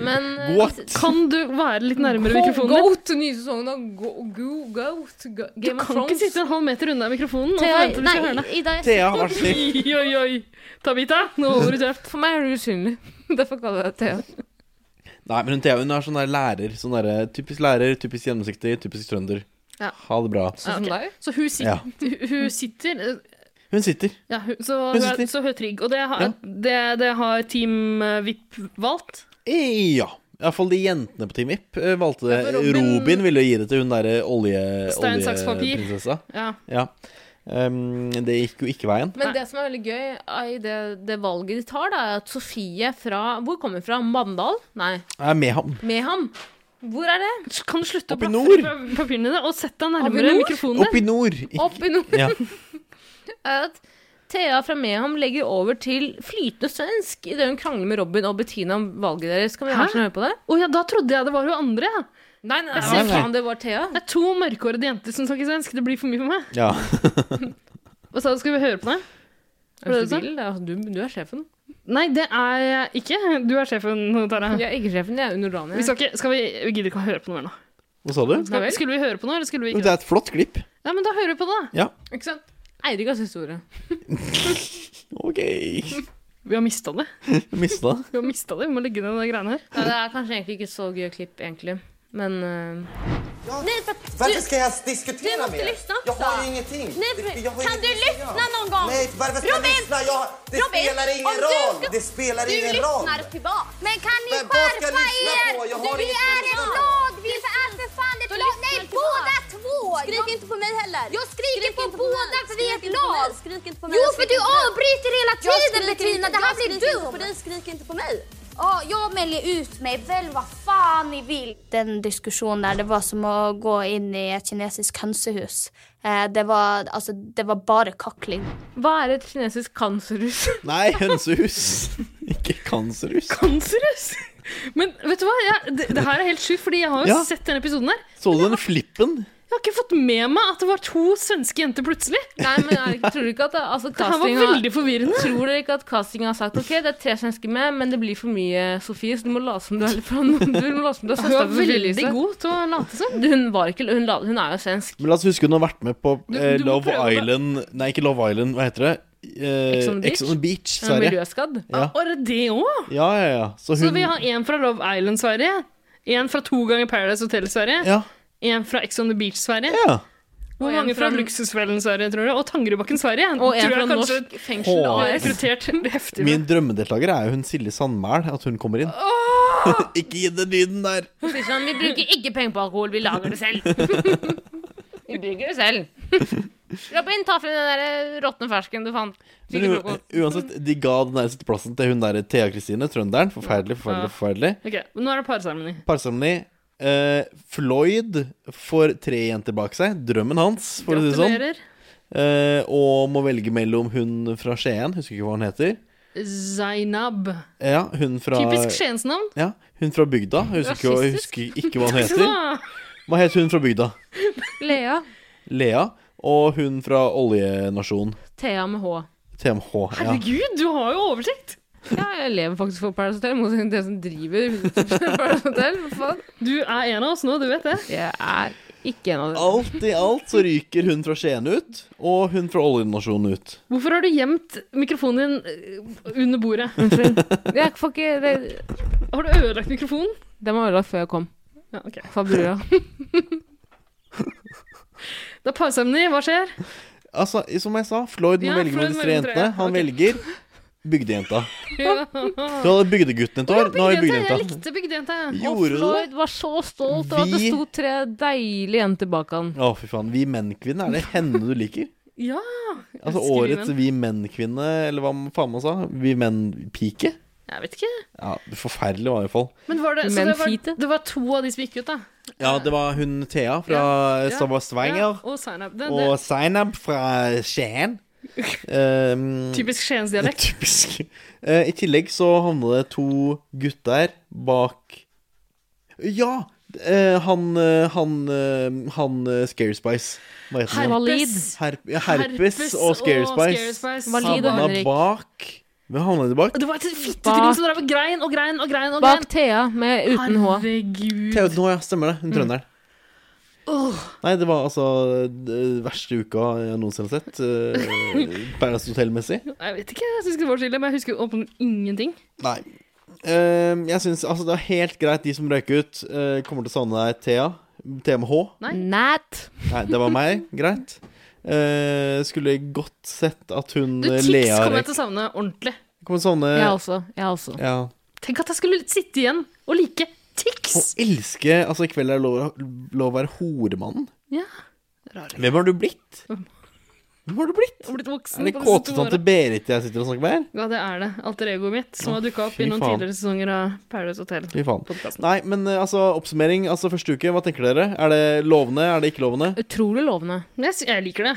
Speaker 1: Men eh, hvis-
Speaker 4: Kan du være litt nærmere
Speaker 1: Go-
Speaker 4: mikrofonen?
Speaker 1: Go
Speaker 4: din?
Speaker 1: til nye sesongen av Go, go, go to go,
Speaker 4: Du
Speaker 1: Game of
Speaker 4: kan ikke
Speaker 1: Thrones.
Speaker 4: sitte en halv meter unna mikrofonen. og
Speaker 1: Thea-
Speaker 4: forvente at du
Speaker 1: nei,
Speaker 4: skal høre det.
Speaker 1: i- i dag- Thea har vært
Speaker 4: Oi, oi, oi. Tabita, nå holder du kjeft.
Speaker 1: For meg er du usynlig. Derfor kaller jeg deg Thea. sånn
Speaker 3: Nei, men hun Thea hun er sånn der lærer. Sånn der, typisk lærer, typisk gjennomsiktig, typisk trønder.
Speaker 4: Ja.
Speaker 3: Ha
Speaker 1: Ah,
Speaker 3: det bra.
Speaker 4: Ja, ok. Så hun
Speaker 3: Ja.
Speaker 4: sitter, hun sitter eh,
Speaker 3: Hun sitter.
Speaker 4: ja, hun, så,
Speaker 3: Hun
Speaker 4: hun er,
Speaker 3: sitter.
Speaker 4: så hun er trygg. Og det har,
Speaker 3: Ja.
Speaker 4: det, det har Team eh, VIP valgt.
Speaker 3: Eh, Ja. Iallfall de jentene på Team VIP eh, valgte det.
Speaker 4: for
Speaker 3: Robin,
Speaker 4: Robin-
Speaker 3: ville gi det til hun derre olje...
Speaker 4: Stein, saks, papir.
Speaker 3: oljeprinsessa.
Speaker 4: Ja.
Speaker 3: Ja. Um, det gikk jo ikke veien.
Speaker 1: Men det som er veldig gøy eh, i det, det valget de tar, da, er at Sofie fra Hvor kommer hun fra? Mandal? Nei,
Speaker 3: Jeg er med ham.
Speaker 1: Meham. Hvor er det?
Speaker 4: Kan du slutte
Speaker 1: å blaffe?
Speaker 3: nord.
Speaker 4: Papirene dine, og sett deg
Speaker 1: Opp i
Speaker 4: nærmere
Speaker 1: nord?
Speaker 4: mikrofonen din.
Speaker 3: Opp i nord.
Speaker 1: Opp i nord.
Speaker 3: Ja.
Speaker 1: er at Thea fra Meham legger over til flytende svensk idet hun krangler med Robin og Bettina om valget deres. Kan vi
Speaker 4: Hæ?
Speaker 1: ha sånn høre på det?
Speaker 4: Å ja, da trodde jeg det var hun andre. ja.
Speaker 1: Nei, nei,
Speaker 4: Jeg
Speaker 1: nei,
Speaker 4: ser
Speaker 1: nei.
Speaker 4: faen,
Speaker 1: faen, det var Thea.
Speaker 4: Det er to mørkhårede jenter som snakker svensk. Det blir for mye for meg.
Speaker 3: Ja.
Speaker 4: Hva sa du, skal vi høre på det? Hva var det du sa?
Speaker 1: du, du er sjefen.
Speaker 4: Nei, det er jeg ikke. Du er sjefen, Tara.
Speaker 1: Jeg er ikke sjefen, jeg er underdanig.
Speaker 4: Vi skal ikke, skal vi, vi gidder ikke å høre på noe mer nå.
Speaker 3: Hva sa du?
Speaker 4: Skal, skulle vi høre på noe, eller skulle vi
Speaker 3: Jo,
Speaker 4: ikke?
Speaker 3: Det er et flott klipp.
Speaker 4: Ja, men da hører vi på det, da.
Speaker 3: Ja.
Speaker 1: Ikke sant? Eirikas historie.
Speaker 3: OK.
Speaker 4: Vi har mista det.
Speaker 3: Mista.
Speaker 4: Vi har mistet det. Vi må legge ned de greiene her.
Speaker 1: Ja, det er kanskje egentlig ikke så gøy klipp, egentlig. Men eh,
Speaker 5: Nej, för att
Speaker 12: Varför
Speaker 5: du-
Speaker 12: ska jag diskutera
Speaker 5: Du måste
Speaker 12: med er?
Speaker 5: lyssna
Speaker 12: Jag
Speaker 5: också.
Speaker 12: har ju ingenting.
Speaker 5: Nej,
Speaker 12: Det-
Speaker 5: men
Speaker 12: jag har
Speaker 5: kan du
Speaker 12: ingenting att
Speaker 5: lyssna
Speaker 12: göra.
Speaker 5: någon gång?
Speaker 12: Nej, varför ska
Speaker 5: Robin,
Speaker 12: jag lyssna? Jag, det
Speaker 5: Robin,
Speaker 12: spelar
Speaker 5: om
Speaker 12: ingen
Speaker 5: du
Speaker 12: roll.
Speaker 5: ska-
Speaker 12: Det spelar
Speaker 5: Du
Speaker 12: ingen roll.
Speaker 5: lyssnar tillbaka. Men kan ni
Speaker 12: Men vad ska jag
Speaker 5: skärpa
Speaker 12: lyssna
Speaker 5: er?
Speaker 12: på? Jag har
Speaker 5: Det
Speaker 12: inget
Speaker 5: är ett
Speaker 12: lyssnat.
Speaker 5: lagvis, det är för fan ett lag. Nej, båda två!
Speaker 9: Skrik inte på mig heller.
Speaker 5: Jag skriker på
Speaker 9: inte på
Speaker 5: båda
Speaker 9: mig.
Speaker 5: för vi är
Speaker 9: Skrik
Speaker 5: ett
Speaker 9: inte på
Speaker 5: lag.
Speaker 9: mig. Skrik inte på mig.
Speaker 5: Jo,
Speaker 9: Jag
Speaker 5: för
Speaker 9: skriker
Speaker 5: du
Speaker 9: inte på dig.
Speaker 5: avbryter hela
Speaker 9: Jag
Speaker 5: tiden
Speaker 9: skriker
Speaker 5: Bettina.
Speaker 9: inte-
Speaker 5: Det här
Speaker 9: jag
Speaker 5: blir
Speaker 9: skriker inte på
Speaker 5: dumt.
Speaker 9: dig. Skrik inte på mig.
Speaker 5: Ja, jag väljer ut mig. Välj vad fan ni vill.
Speaker 13: Den diskusjonen der, det var som å gå inn i et kinesisk hønsehus. Eh, Det var, altså, det var bare kakling.
Speaker 1: hva er et kinesisk kanserhus?
Speaker 3: Nei, hønsehus. Ikke kanserhus.
Speaker 4: Kanserhus? Men vet du hva? Jeg, det, det her er helt sjukt, fordi jeg har jo
Speaker 3: Ja.
Speaker 4: sett denne episoden her.
Speaker 3: Så du den flippen?
Speaker 4: Jeg har ikke fått med meg at det var to svenske jenter plutselig.
Speaker 1: Nei, men er det ikke- tror du ikke at det, altså,
Speaker 4: her var
Speaker 1: castinga-
Speaker 4: veldig forvirrende.
Speaker 1: Tror dere ikke at castinga har sagt OK, det er tre svensker med, men det blir for mye Sofie, så du må late som du er fra noen. Du må late som du er
Speaker 4: Hun
Speaker 1: søster
Speaker 4: var
Speaker 1: på
Speaker 4: veldig
Speaker 1: Sofie-lyset.
Speaker 4: god til å late som.
Speaker 1: Hun var ikke Hun, la- hun er jo svensk.
Speaker 3: Men la oss huske hun har vært med på eh,
Speaker 1: du må
Speaker 3: Love
Speaker 1: prøve det.
Speaker 3: Island Nei, ikke Love Island, hva heter det? Eh,
Speaker 4: Ex on the
Speaker 3: Ex on the Beach,
Speaker 1: Hun er
Speaker 3: Sverige.
Speaker 1: miljøskadd.
Speaker 3: Ja.
Speaker 4: Og er det det òg?
Speaker 3: ja, ja, ja. Så
Speaker 4: Så
Speaker 3: hun
Speaker 4: vi har en fra Love Island Sverige, en fra to ganger Paradise Hotel Sverige,
Speaker 3: Ja.
Speaker 4: en fra Ex on the Beach Sverige.
Speaker 3: Ja.
Speaker 4: Hvor
Speaker 1: Og en
Speaker 4: mange fra,
Speaker 1: fra-
Speaker 4: Luksusfellen Sverige, tror du? Og Tangerudbakken Sverige.
Speaker 1: Og en
Speaker 4: tror jeg
Speaker 1: fra
Speaker 4: kanskje
Speaker 1: Norsk Fengsel
Speaker 4: har
Speaker 1: AS.
Speaker 4: Rekruttert heftig.
Speaker 3: Min drømmedeltaker er jo hun Silje Sandmæl, at hun kommer inn. ikke gi den lyden der.
Speaker 1: Hun sier sånn Vi bruker ikke penger på alkohol, vi lager det selv. vi bruker det selv. Robin, ta frem den der eh, råtne fersken du fant.
Speaker 3: Men u- uansett, de ga den der sitteplassen til hun der Thea Kristine, trønderen. Forferdelig,
Speaker 4: Ja.
Speaker 3: forferdelig, forferdelig.
Speaker 4: Ok, men Nå er det parseremoni.
Speaker 3: Parseremoni. Eh, Floyd får tre jenter bak seg. Drømmen hans, for å si det sånn.
Speaker 4: Gratulerer.
Speaker 3: Eh, og må velge mellom hun fra Skien, husker ikke hva hun heter.
Speaker 4: Zainab.
Speaker 3: Ja, hun fra
Speaker 4: Typisk Skiens navn.
Speaker 3: Ja, hun fra bygda. Jeg Husker ikke, jeg
Speaker 4: Rasistisk.
Speaker 3: husker ikke hva hun heter. Hva het hun fra bygda?
Speaker 1: Lea.
Speaker 3: Lea. Og hun fra oljenasjonen.
Speaker 1: Thea med H.
Speaker 3: TMH. Ja.
Speaker 4: Herregud, du har jo oversikt!
Speaker 1: Ja, jeg lever faktisk for Paradise Hotel, i motsetning til det som driver Paradise Hotel. Hva faen?
Speaker 4: Du er en av oss nå, du vet det.
Speaker 1: Jeg er ikke en av dem.
Speaker 3: Alt i alt så ryker hun fra Skien ut, og hun fra oljenasjonen ut.
Speaker 4: Hvorfor har du gjemt mikrofonen din eh, under bordet?
Speaker 1: Unnskyld. Jeg får ikke det-
Speaker 4: Har du ødelagt mikrofonen?
Speaker 1: Den var ødelagt før jeg kom.
Speaker 4: Ja, ok.
Speaker 1: Fra brura.
Speaker 4: Det er parsemne, hva skjer?
Speaker 3: Altså, som jeg sa, Floyd må
Speaker 4: Ja,
Speaker 3: velge mellom
Speaker 4: Floyd må
Speaker 3: disse tre
Speaker 4: velge
Speaker 3: jentene.
Speaker 4: mellom tre,
Speaker 3: Han
Speaker 4: ja.
Speaker 3: velger bygdejenta. Du
Speaker 4: Du
Speaker 3: hadde bygdegutten et år, nå har vi
Speaker 4: Jeg
Speaker 3: bygdejenta.
Speaker 4: likte bygdejenta. jeg.
Speaker 3: Gjorde du det?
Speaker 1: Floyd var så stolt av at det
Speaker 3: Vi-
Speaker 1: sto tre deilige jenter bak han.
Speaker 3: Å, fy faen. Vi menn-kvinne, er det henne du liker?
Speaker 4: Ja.
Speaker 3: Altså
Speaker 4: elsker vi
Speaker 3: årets
Speaker 4: menn.
Speaker 3: Vi menn-kvinne, eller hva faen man sa? Vi menn-pike?
Speaker 4: Jeg vet ikke.
Speaker 3: Ja, forferdelig var det i hvert fall.
Speaker 4: Men var det, så
Speaker 1: Men
Speaker 4: det, var,
Speaker 1: fite.
Speaker 4: det var to av de som gikk ut, da.
Speaker 3: Ja, det var hun Thea fra
Speaker 4: Ja,
Speaker 3: som var
Speaker 4: ja,
Speaker 3: Stavanger.
Speaker 4: Og Zainab. Det, det,
Speaker 3: Og Zainab fra Skien. Um,
Speaker 4: typisk Skiens dialekt.
Speaker 3: Typisk. Eh, I tillegg så havna det to gutter bak Ja! eh, han eh, han, eh, han eh, Scare Spice. Hva heter han?
Speaker 1: Valid.
Speaker 3: Herp ja, herpes,
Speaker 4: Herpes
Speaker 3: og Scare
Speaker 4: og Scare Spice.
Speaker 3: Spice.
Speaker 1: Valid og
Speaker 3: Havna
Speaker 1: Henrik.
Speaker 3: bak Hvem havna de bak?
Speaker 4: Det var et fittetryne som drev og grein og grein og grein. og grein.
Speaker 1: Bak Thea med uten H.
Speaker 4: Herregud.
Speaker 3: Theoden H, ja. Stemmer det. Hun trønderen.
Speaker 4: Mm. Åh,
Speaker 3: Nei, det var altså den verste uka jeg noensinne har sett. eh, Paradise Hotel-messig.
Speaker 4: jeg vet ikke, jeg syns det var så ille, men jeg husker åpenbart ingenting.
Speaker 3: Nei. Eh, jeg syns altså, det er helt greit, de som røyker ut. eh, kommer til å savne deg, Thea. TMH.
Speaker 1: Nat.
Speaker 3: Nei, det var meg. Greit. Eh, skulle godt sett at hun
Speaker 4: Du,
Speaker 3: eh,
Speaker 4: Tix
Speaker 3: Lea
Speaker 4: kommer
Speaker 3: røyk.
Speaker 4: jeg til å savne ordentlig.
Speaker 3: Kommer sånne
Speaker 1: Jeg også. Jeg også.
Speaker 3: ja.
Speaker 4: Tenk at jeg skulle sitte igjen og like
Speaker 3: Å
Speaker 4: Tix!
Speaker 3: elske Altså, i kveld er det lov, lov å være horemannen.
Speaker 4: Ja.
Speaker 3: Hvem har du blitt? Hvem har du blitt?
Speaker 4: Og blitt voksen.
Speaker 3: Er det
Speaker 4: på disse to
Speaker 3: kåtetante
Speaker 4: årene.
Speaker 3: Berit jeg sitter og snakker med her?
Speaker 4: Ja, det er det. Alter egoet mitt, som har dukka opp
Speaker 3: fy
Speaker 4: i noen
Speaker 3: faen.
Speaker 4: tidligere sesonger av Paradise Hotel.
Speaker 3: Fy faen.
Speaker 4: Podcasten.
Speaker 3: Nei, men eh, altså, oppsummering. Altså, første uke, hva tenker dere? Er det lovende? Er det ikke lovende?
Speaker 1: Utrolig lovende.
Speaker 4: Men Jeg, sy- jeg liker det.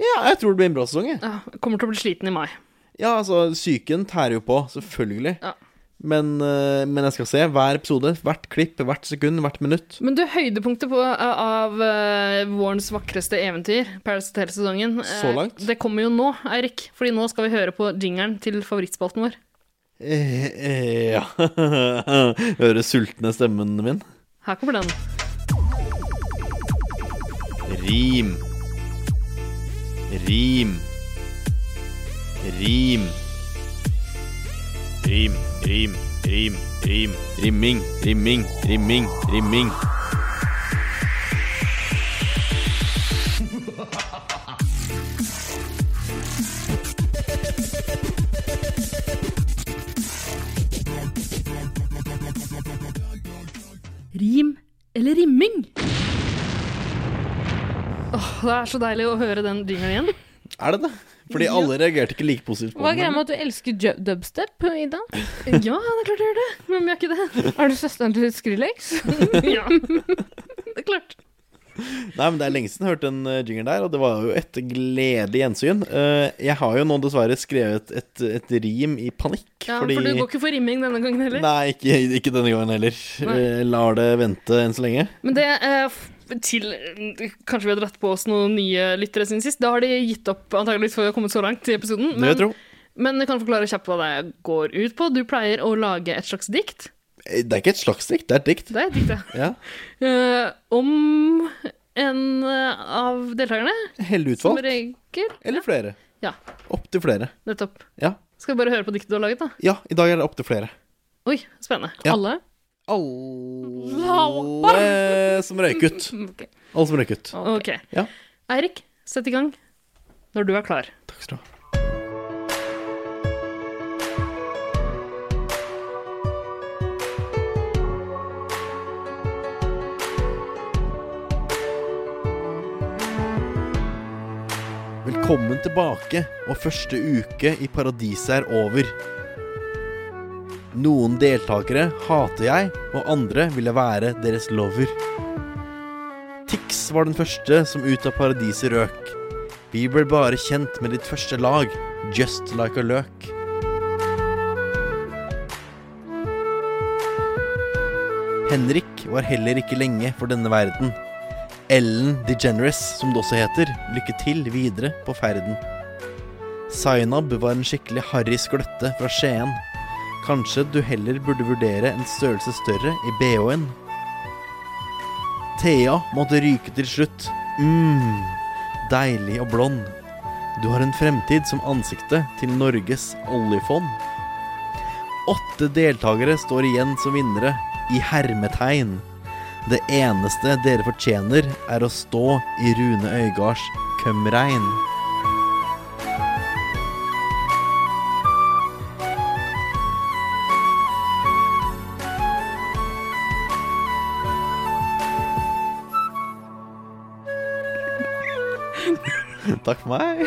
Speaker 3: Ja, jeg tror det blir en bra sesong, jeg.
Speaker 4: Ja, kommer til å bli sliten i mai.
Speaker 3: Ja, altså, psyken tærer jo på, selvfølgelig.
Speaker 4: Ja.
Speaker 3: Men, eh, men jeg skal se hver episode, hvert klipp, hvert sekund, hvert minutt.
Speaker 4: Men du, høydepunktet på, av eh, vårens vakreste eventyr, Paradise Hotel-sesongen, eh,
Speaker 3: Så langt?
Speaker 4: det kommer jo nå, Eirik. Fordi nå skal vi høre på jingeren til favorittspalten vår.
Speaker 3: Eh, eh, ja Høre sultne stemmen min.
Speaker 4: Her kommer den.
Speaker 3: Rim. Rim. Rim. Rim, rim, rim, rim. Rimming, rimming, rimming, rimming.
Speaker 4: Rim eller rimming? Åh, Det er så deilig å høre den jingeren igjen.
Speaker 3: Er det det? Fordi alle reagerte ikke like positivt på
Speaker 1: Hva er greia
Speaker 3: den.
Speaker 1: med at du elsker ju- dubstep, Ida?
Speaker 4: Ja, det er klart jeg gjør det. Hvem gjør ikke det?
Speaker 1: Er du søsteren til Skrillex?
Speaker 4: Ja, det er klart.
Speaker 3: Nei, men Det er lenge siden jeg har hørt den eh, jingeren der, og det var jo et gledelig gjensyn. Eh, Jeg har jo nå dessverre skrevet et, et rim i panikk,
Speaker 4: Ja,
Speaker 3: fordi
Speaker 4: For du går ikke for rimming denne gangen heller.
Speaker 3: Nei, ikke, ikke denne gangen heller.
Speaker 4: Nei.
Speaker 3: Eh, Lar det vente enn så lenge.
Speaker 4: Men det eh, f- til Kanskje vi har dratt på oss noen nye lyttere siden sist. Da har de gitt opp antageligvis for å ha kommet så langt i episoden.
Speaker 3: Det vil jeg tro.
Speaker 4: men du kan forklare kjapt hva det går ut på. Du pleier å lage et slags dikt.
Speaker 3: Eh, Det er ikke et slags dikt, det er et dikt.
Speaker 4: Det er et dikt, ja.
Speaker 3: Ja.
Speaker 4: Eh, om en eh, av deltakerne.
Speaker 3: Hell
Speaker 4: Som
Speaker 3: utvalgt.
Speaker 4: regel.
Speaker 3: Eller flere.
Speaker 4: Ja,
Speaker 3: Opptil flere.
Speaker 4: nettopp.
Speaker 3: Ja.
Speaker 4: Skal vi bare høre på diktet du har laget, da?
Speaker 3: ja, i dag er det opptil flere.
Speaker 4: Oi, spennende.
Speaker 3: Ja.
Speaker 1: Alle?
Speaker 3: Alle som røyk ut.
Speaker 4: Ok.
Speaker 3: Alle som røyk ut.
Speaker 4: Ok.
Speaker 3: Ja.
Speaker 4: Eirik, sett i gang når du er klar.
Speaker 3: Takk skal du ha. Velkommen tilbake, og første uke i paradiset er over. Noen deltakere hater jeg, og andre vil jeg være deres lover. Tix var den første som ut av paradiset røk. Vi ble bare kjent med ditt første lag, Just Like a Løk. Henrik var heller ikke lenge for denne verden. Ellen DeGeneres, som det også heter, lykke til videre på ferden. Zainab var en skikkelig harry skløtte fra Skien. Kanskje du heller burde vurdere en størrelse større i bh-en. Thea måtte ryke til slutt. mm, deilig og blond. Du har en fremtid som ansiktet til Norges oljefond. Åtte deltakere står igjen som vinnere, i hermetegn. Det eneste dere fortjener, er å stå i Rune Øygards Kømregn. Takk for meg.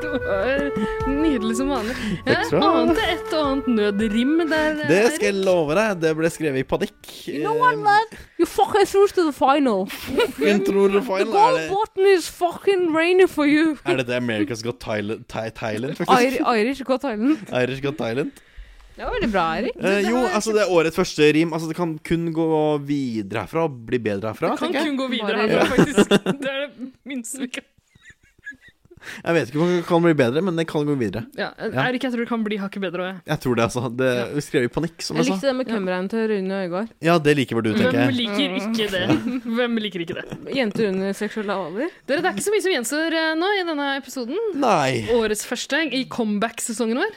Speaker 4: Det var Eh, nydelig som vanlig.
Speaker 3: Takk
Speaker 4: Jeg
Speaker 3: skal du ha.
Speaker 4: ante et og annet nødrim der.
Speaker 3: Det skal jeg love deg. Det ble skrevet i panikk.
Speaker 1: No one left. You fucking through to the final.
Speaker 3: Eh, Intro to
Speaker 1: The
Speaker 3: final. Er
Speaker 1: gold
Speaker 3: det,
Speaker 1: button is fucking raining for you.
Speaker 3: er dette America's Got Thailand, Thai, Thailand
Speaker 1: Ir
Speaker 3: faktisk?
Speaker 1: Irish got island.
Speaker 3: Irish Got Thailand?
Speaker 1: Det var veldig bra, Erik.
Speaker 3: Eh, jo, altså det er årets første rim. Altså Det kan kun gå videre herfra og bli bedre herfra.
Speaker 4: Kan
Speaker 3: tenker jeg.
Speaker 4: kun gå videre
Speaker 3: Ja.
Speaker 4: her, faktisk. Det er det minste vi kan
Speaker 3: Jeg vet ikke om det kan bli bedre, men det kan gå videre.
Speaker 4: ja.
Speaker 3: Ja.
Speaker 4: Erik, jeg tror det kan bli hakket bedre òg, jeg.
Speaker 3: Jeg tror det, altså. Det vi skrev i panikk, som
Speaker 1: Jeg
Speaker 3: jeg
Speaker 1: likte
Speaker 3: sa.
Speaker 1: det med kømreien til Rune Øygard.
Speaker 3: Ja, det liker vel du, tenker
Speaker 4: Hvem
Speaker 3: jeg.
Speaker 4: liker ikke det? Hvem liker ikke det?
Speaker 1: Jenter under seksuell alder.
Speaker 4: Dere, Det er ikke så mye som gjenstår eh, nå i denne episoden.
Speaker 3: Nei.
Speaker 4: Årets første i comeback-sesongen vår.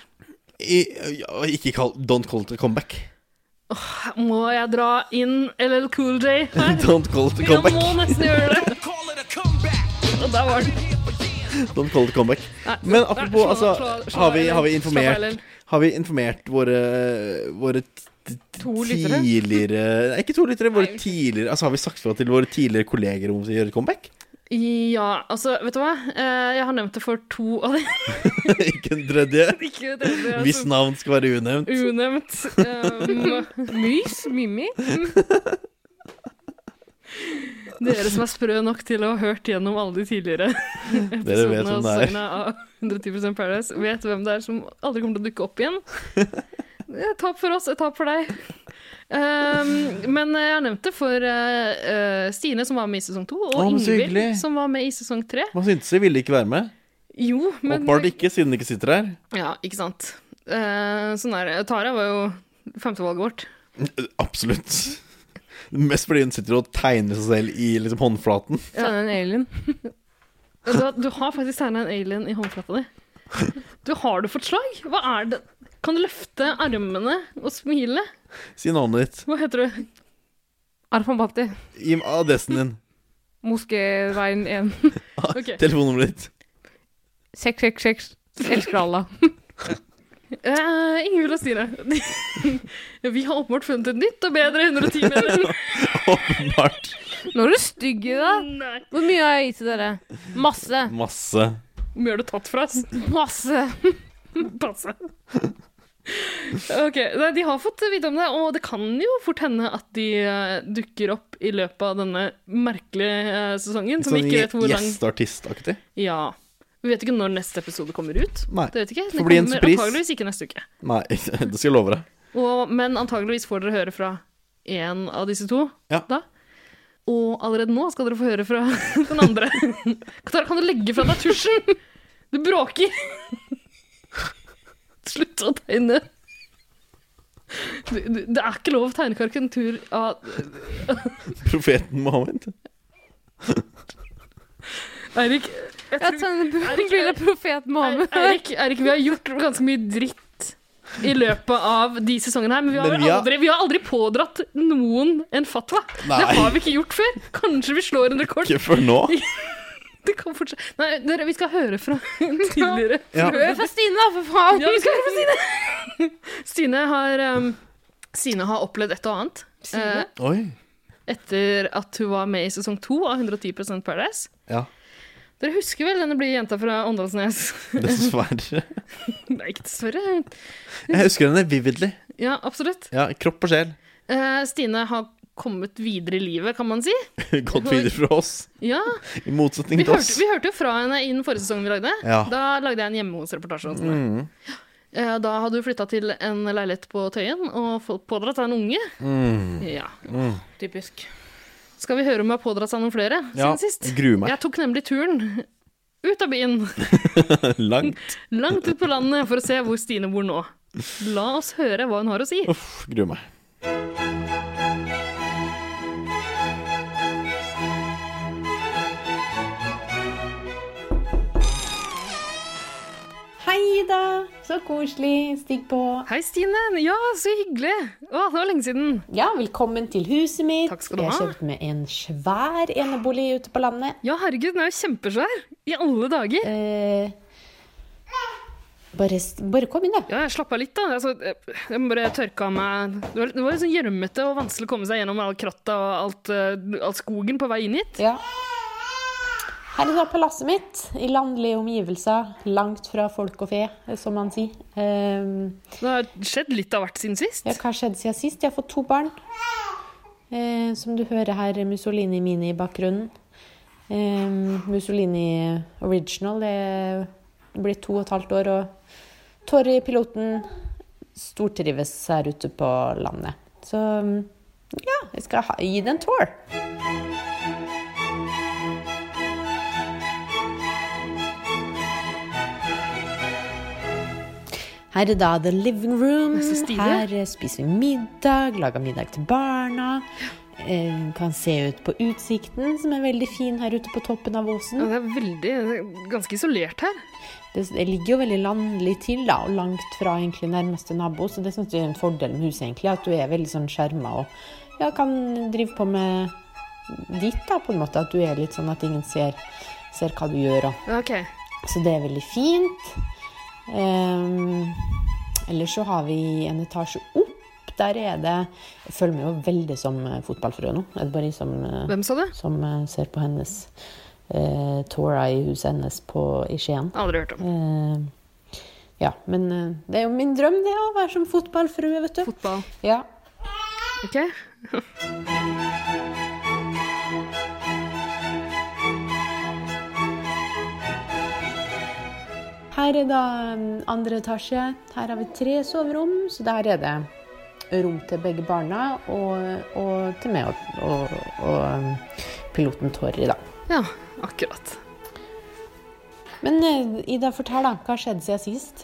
Speaker 3: I, ja, ikke kall Don't call it a comeback.
Speaker 4: Må jeg dra inn LL Cool J her?
Speaker 3: Don't call it a
Speaker 4: Jeg må
Speaker 3: comeback.
Speaker 4: nesten gjøre det. Og der var den.
Speaker 3: Don't call it a comeback.
Speaker 4: Nei.
Speaker 3: Men
Speaker 4: Nei, slå
Speaker 3: apropos,
Speaker 4: av,
Speaker 3: altså
Speaker 4: slå av, slå
Speaker 3: Har
Speaker 4: av,
Speaker 3: vi,
Speaker 4: LL.
Speaker 3: har vi
Speaker 4: Slapp av, LL.
Speaker 3: informert Har vi informert våre, våre t-
Speaker 4: To lyttere.
Speaker 3: tidligere Nei, Ikke to lyttere, våre tidligere Altså Har vi sagt fra til våre tidligere kolleger om å gjøre comeback?
Speaker 4: Ja, altså, vet du hva? Eh, Jeg har nevnt det for to av dem.
Speaker 3: ikke en tredje?
Speaker 4: Ikke det, det er
Speaker 3: Hvis
Speaker 4: så
Speaker 3: navn skal være unevnt.
Speaker 4: Unevnt. Um,
Speaker 1: Mys? Mimmi?
Speaker 4: Dere som er sprø nok til å ha hørt gjennom alle de tidligere
Speaker 3: Dere vet
Speaker 4: episodene
Speaker 3: hvem
Speaker 4: av
Speaker 3: det er.
Speaker 4: sesongene av 110 Paradise, vet hvem det er som aldri kommer til å dukke opp igjen. Et tap for oss, et tap for deg. Um, men jeg har nevnt det for eh, eh, Stine, som var med i sesong to, og
Speaker 3: Å, men så
Speaker 4: Ingvild,
Speaker 3: hyggelig.
Speaker 4: som var med i sesong tre.
Speaker 3: Man syntes de ville ikke være med.
Speaker 4: Jo, men
Speaker 3: Åpenbart ikke, siden de ikke sitter her.
Speaker 4: Ja, ikke sant. Eh, sånn er det. Tara var jo femtevalget vårt.
Speaker 3: Absolutt. Mest fordi hun sitter og tegner seg selv i liksom håndflaten.
Speaker 1: Sende en alien.
Speaker 4: Du, har- du har faktisk tegna en alien i håndflata di. Du har du fått slag? Hva er det? Kan du løfte armene og smile?
Speaker 3: Si navnet ditt.
Speaker 4: Hva heter du?
Speaker 1: Arfan Bhatti.
Speaker 3: Gi meg adressen din.
Speaker 1: Moskéveien 1.
Speaker 4: Ok.
Speaker 3: Telefonnummeret ditt.
Speaker 1: 666. Elsker Allah.
Speaker 4: Uh, Ingvild og Stine. Ja, Vi har åpenbart funnet et nytt og bedre 110-medlem.
Speaker 3: Åpenbart.
Speaker 1: Nå er du stygg i deg. Hvor mye har jeg gitt til dere? Masse.
Speaker 3: Masse.
Speaker 4: Hvor mye har du tatt fra oss?
Speaker 1: Masse.
Speaker 4: Passe. Ok, nei, De har fått vite om det, og det kan jo fort hende at de eh, dukker opp i løpet av denne merkelige eh, sesongen. Som vi
Speaker 3: Sånn
Speaker 4: ikke vet hvor lang
Speaker 3: Gjesteartistaktig.
Speaker 4: Ja. Vi vet ikke når neste episode kommer ut.
Speaker 3: Nei,
Speaker 4: Det vet ikke.
Speaker 3: får
Speaker 4: Den
Speaker 3: bli en
Speaker 4: kommer
Speaker 3: surprise.
Speaker 4: antageligvis ikke neste uke.
Speaker 3: Nei, det skal jeg love deg.
Speaker 4: Og, men antageligvis får dere høre fra én av disse to da. Og allerede nå skal dere få høre fra den andre. Tara, kan du legge fra deg tusjen? Du bråker! Slutt å tegne. Du, du, det er ikke lov å tegne karikatur av
Speaker 3: Profeten Mohammed.
Speaker 4: Eirik, jeg tror- Eirik, Eirik, Eirik, Eirik, vi har gjort ganske mye dritt i løpet av de sesongene her, men vi har,
Speaker 3: Men
Speaker 4: vel
Speaker 3: vi har-
Speaker 4: Aldri, vi har aldri pådratt noen en fatwa.
Speaker 3: Nei.
Speaker 4: Det har vi ikke gjort før. Kanskje vi slår en rekord.
Speaker 3: Ikke før nå.
Speaker 4: Det kan fortsette. Nei, dere, vi skal høre fra en tidligere.
Speaker 3: Ja.
Speaker 1: Hør fra Stine, da, for faen!
Speaker 4: Ja, vi skal høre fra Stine. Stine har, um, Stine har opplevd et og annet. eh,
Speaker 3: Oi.
Speaker 4: etter at hun var med i sesong to av 110 Paradise.
Speaker 3: Ja,
Speaker 4: Dere husker vel denne blide jenta fra Åndalsnes?
Speaker 3: dessverre.
Speaker 4: Nei, ikke dessverre.
Speaker 3: Jeg husker henne vividly.
Speaker 4: Ja, absolutt.
Speaker 3: Ja, kropp og sjel.
Speaker 4: Eh, Stine har kommet videre i livet, kan man si.
Speaker 3: Gått videre fra oss.
Speaker 4: Ja.
Speaker 3: I
Speaker 4: Vi
Speaker 3: motsetning til
Speaker 4: hørte,
Speaker 3: oss.
Speaker 12: Ah.
Speaker 4: vi hørte jo fra henne i den forrige sesongen vi lagde.
Speaker 3: Ja.
Speaker 4: Da lagde jeg en hjemme hos reportasje. om henne.
Speaker 3: Mm.
Speaker 4: Eh, Da hadde du flytta til en leilighet på Tøyen og fått pådratt deg en unge. Ja.
Speaker 12: Mm.
Speaker 1: Typisk.
Speaker 4: Skal vi høre om jeg har pådratt seg noen flere
Speaker 12: Ja,
Speaker 4: siden sist?
Speaker 12: jeg gruer meg.
Speaker 4: Jeg tok nemlig turen ut av byen,
Speaker 12: Langt.
Speaker 4: langt ut på landet, for å se hvor Stine bor nå. La oss høre hva hun har å si.
Speaker 12: Uff, gruer meg.
Speaker 14: Hei da, så koselig. Stig på.
Speaker 4: Hei, Stine. Ja, så hyggelig. Å, det var lenge siden.
Speaker 14: Ja, velkommen til huset mitt.
Speaker 4: Takk skal du
Speaker 14: Jeg
Speaker 4: ha.
Speaker 14: kjøpte meg en svær enebolig ute på landet.
Speaker 4: Ja, herregud, den er jo kjempesvær. I alle dager.
Speaker 14: Eh, bare, kom inn, da.
Speaker 4: Ja, jeg slapp av litt, da. Altså, jeg jeg må bare tørke av meg Det var, det var litt sånn gjørmete og vanskelig å komme seg gjennom all kratta og alt, eh, all skogen på vei inn hit.
Speaker 14: Ja. Her er da palasset mitt, i landlige omgivelser, langt fra folk og fe, som man sier. Ehm,
Speaker 4: Det har skjedd litt av hvert siden sist.
Speaker 14: ja, hva har skjedd siden sist? Jeg har fått to barn. Eh, som du hører her, Mussolini Mini i bakgrunnen. Ehm, Mussolini Original det blir to og et halvt år, og Torry piloten stortrives her ute på landet. Så ja, jeg skal ha, gi det en tour. Her er da the living room.
Speaker 4: Det er så stilig.
Speaker 14: Her eh, spiser vi middag, lager middag til barna. Eh, Kan se ut på utsikten, som er veldig fin her ute på toppen av åsen.
Speaker 4: Ja, det er veldig det er Ganske isolert her.
Speaker 14: Det, det ligger jo veldig landlig til, da, og langt fra egentlig nærmeste nabo, så det syns jeg er en fordel med huset, egentlig, at du er veldig sånn skjerma og ja, kan drive på med ditt, da, på en måte. At du er litt sånn at ingen ser, ser hva du gjør. Og.
Speaker 4: Ja, Ok.
Speaker 14: Så det er veldig fint. Um, ellers så har vi en etasje opp. Der er det Jeg føler meg jo veldig som eh, fotballfrø nå. Det er bare jeg som, eh,
Speaker 4: Hvem sa det?
Speaker 14: som eh, ser på hennes eh, Tora i huset hennes på, i Skien.
Speaker 4: Aldri hørt om.
Speaker 14: Eh, ja, men eh, det er jo min drøm, det, å være som fotballfrue, vet du.
Speaker 4: Fotball.
Speaker 14: Ja.
Speaker 4: Ok.
Speaker 14: Her er da mm, andre etasje. Her har vi tre soverom, så der er det rom til begge barna og, og til meg og, og, og mm, piloten Torry, da.
Speaker 4: Ja, akkurat.
Speaker 14: Men eh, Ida, fortell, da. Hva har skjedd siden sist?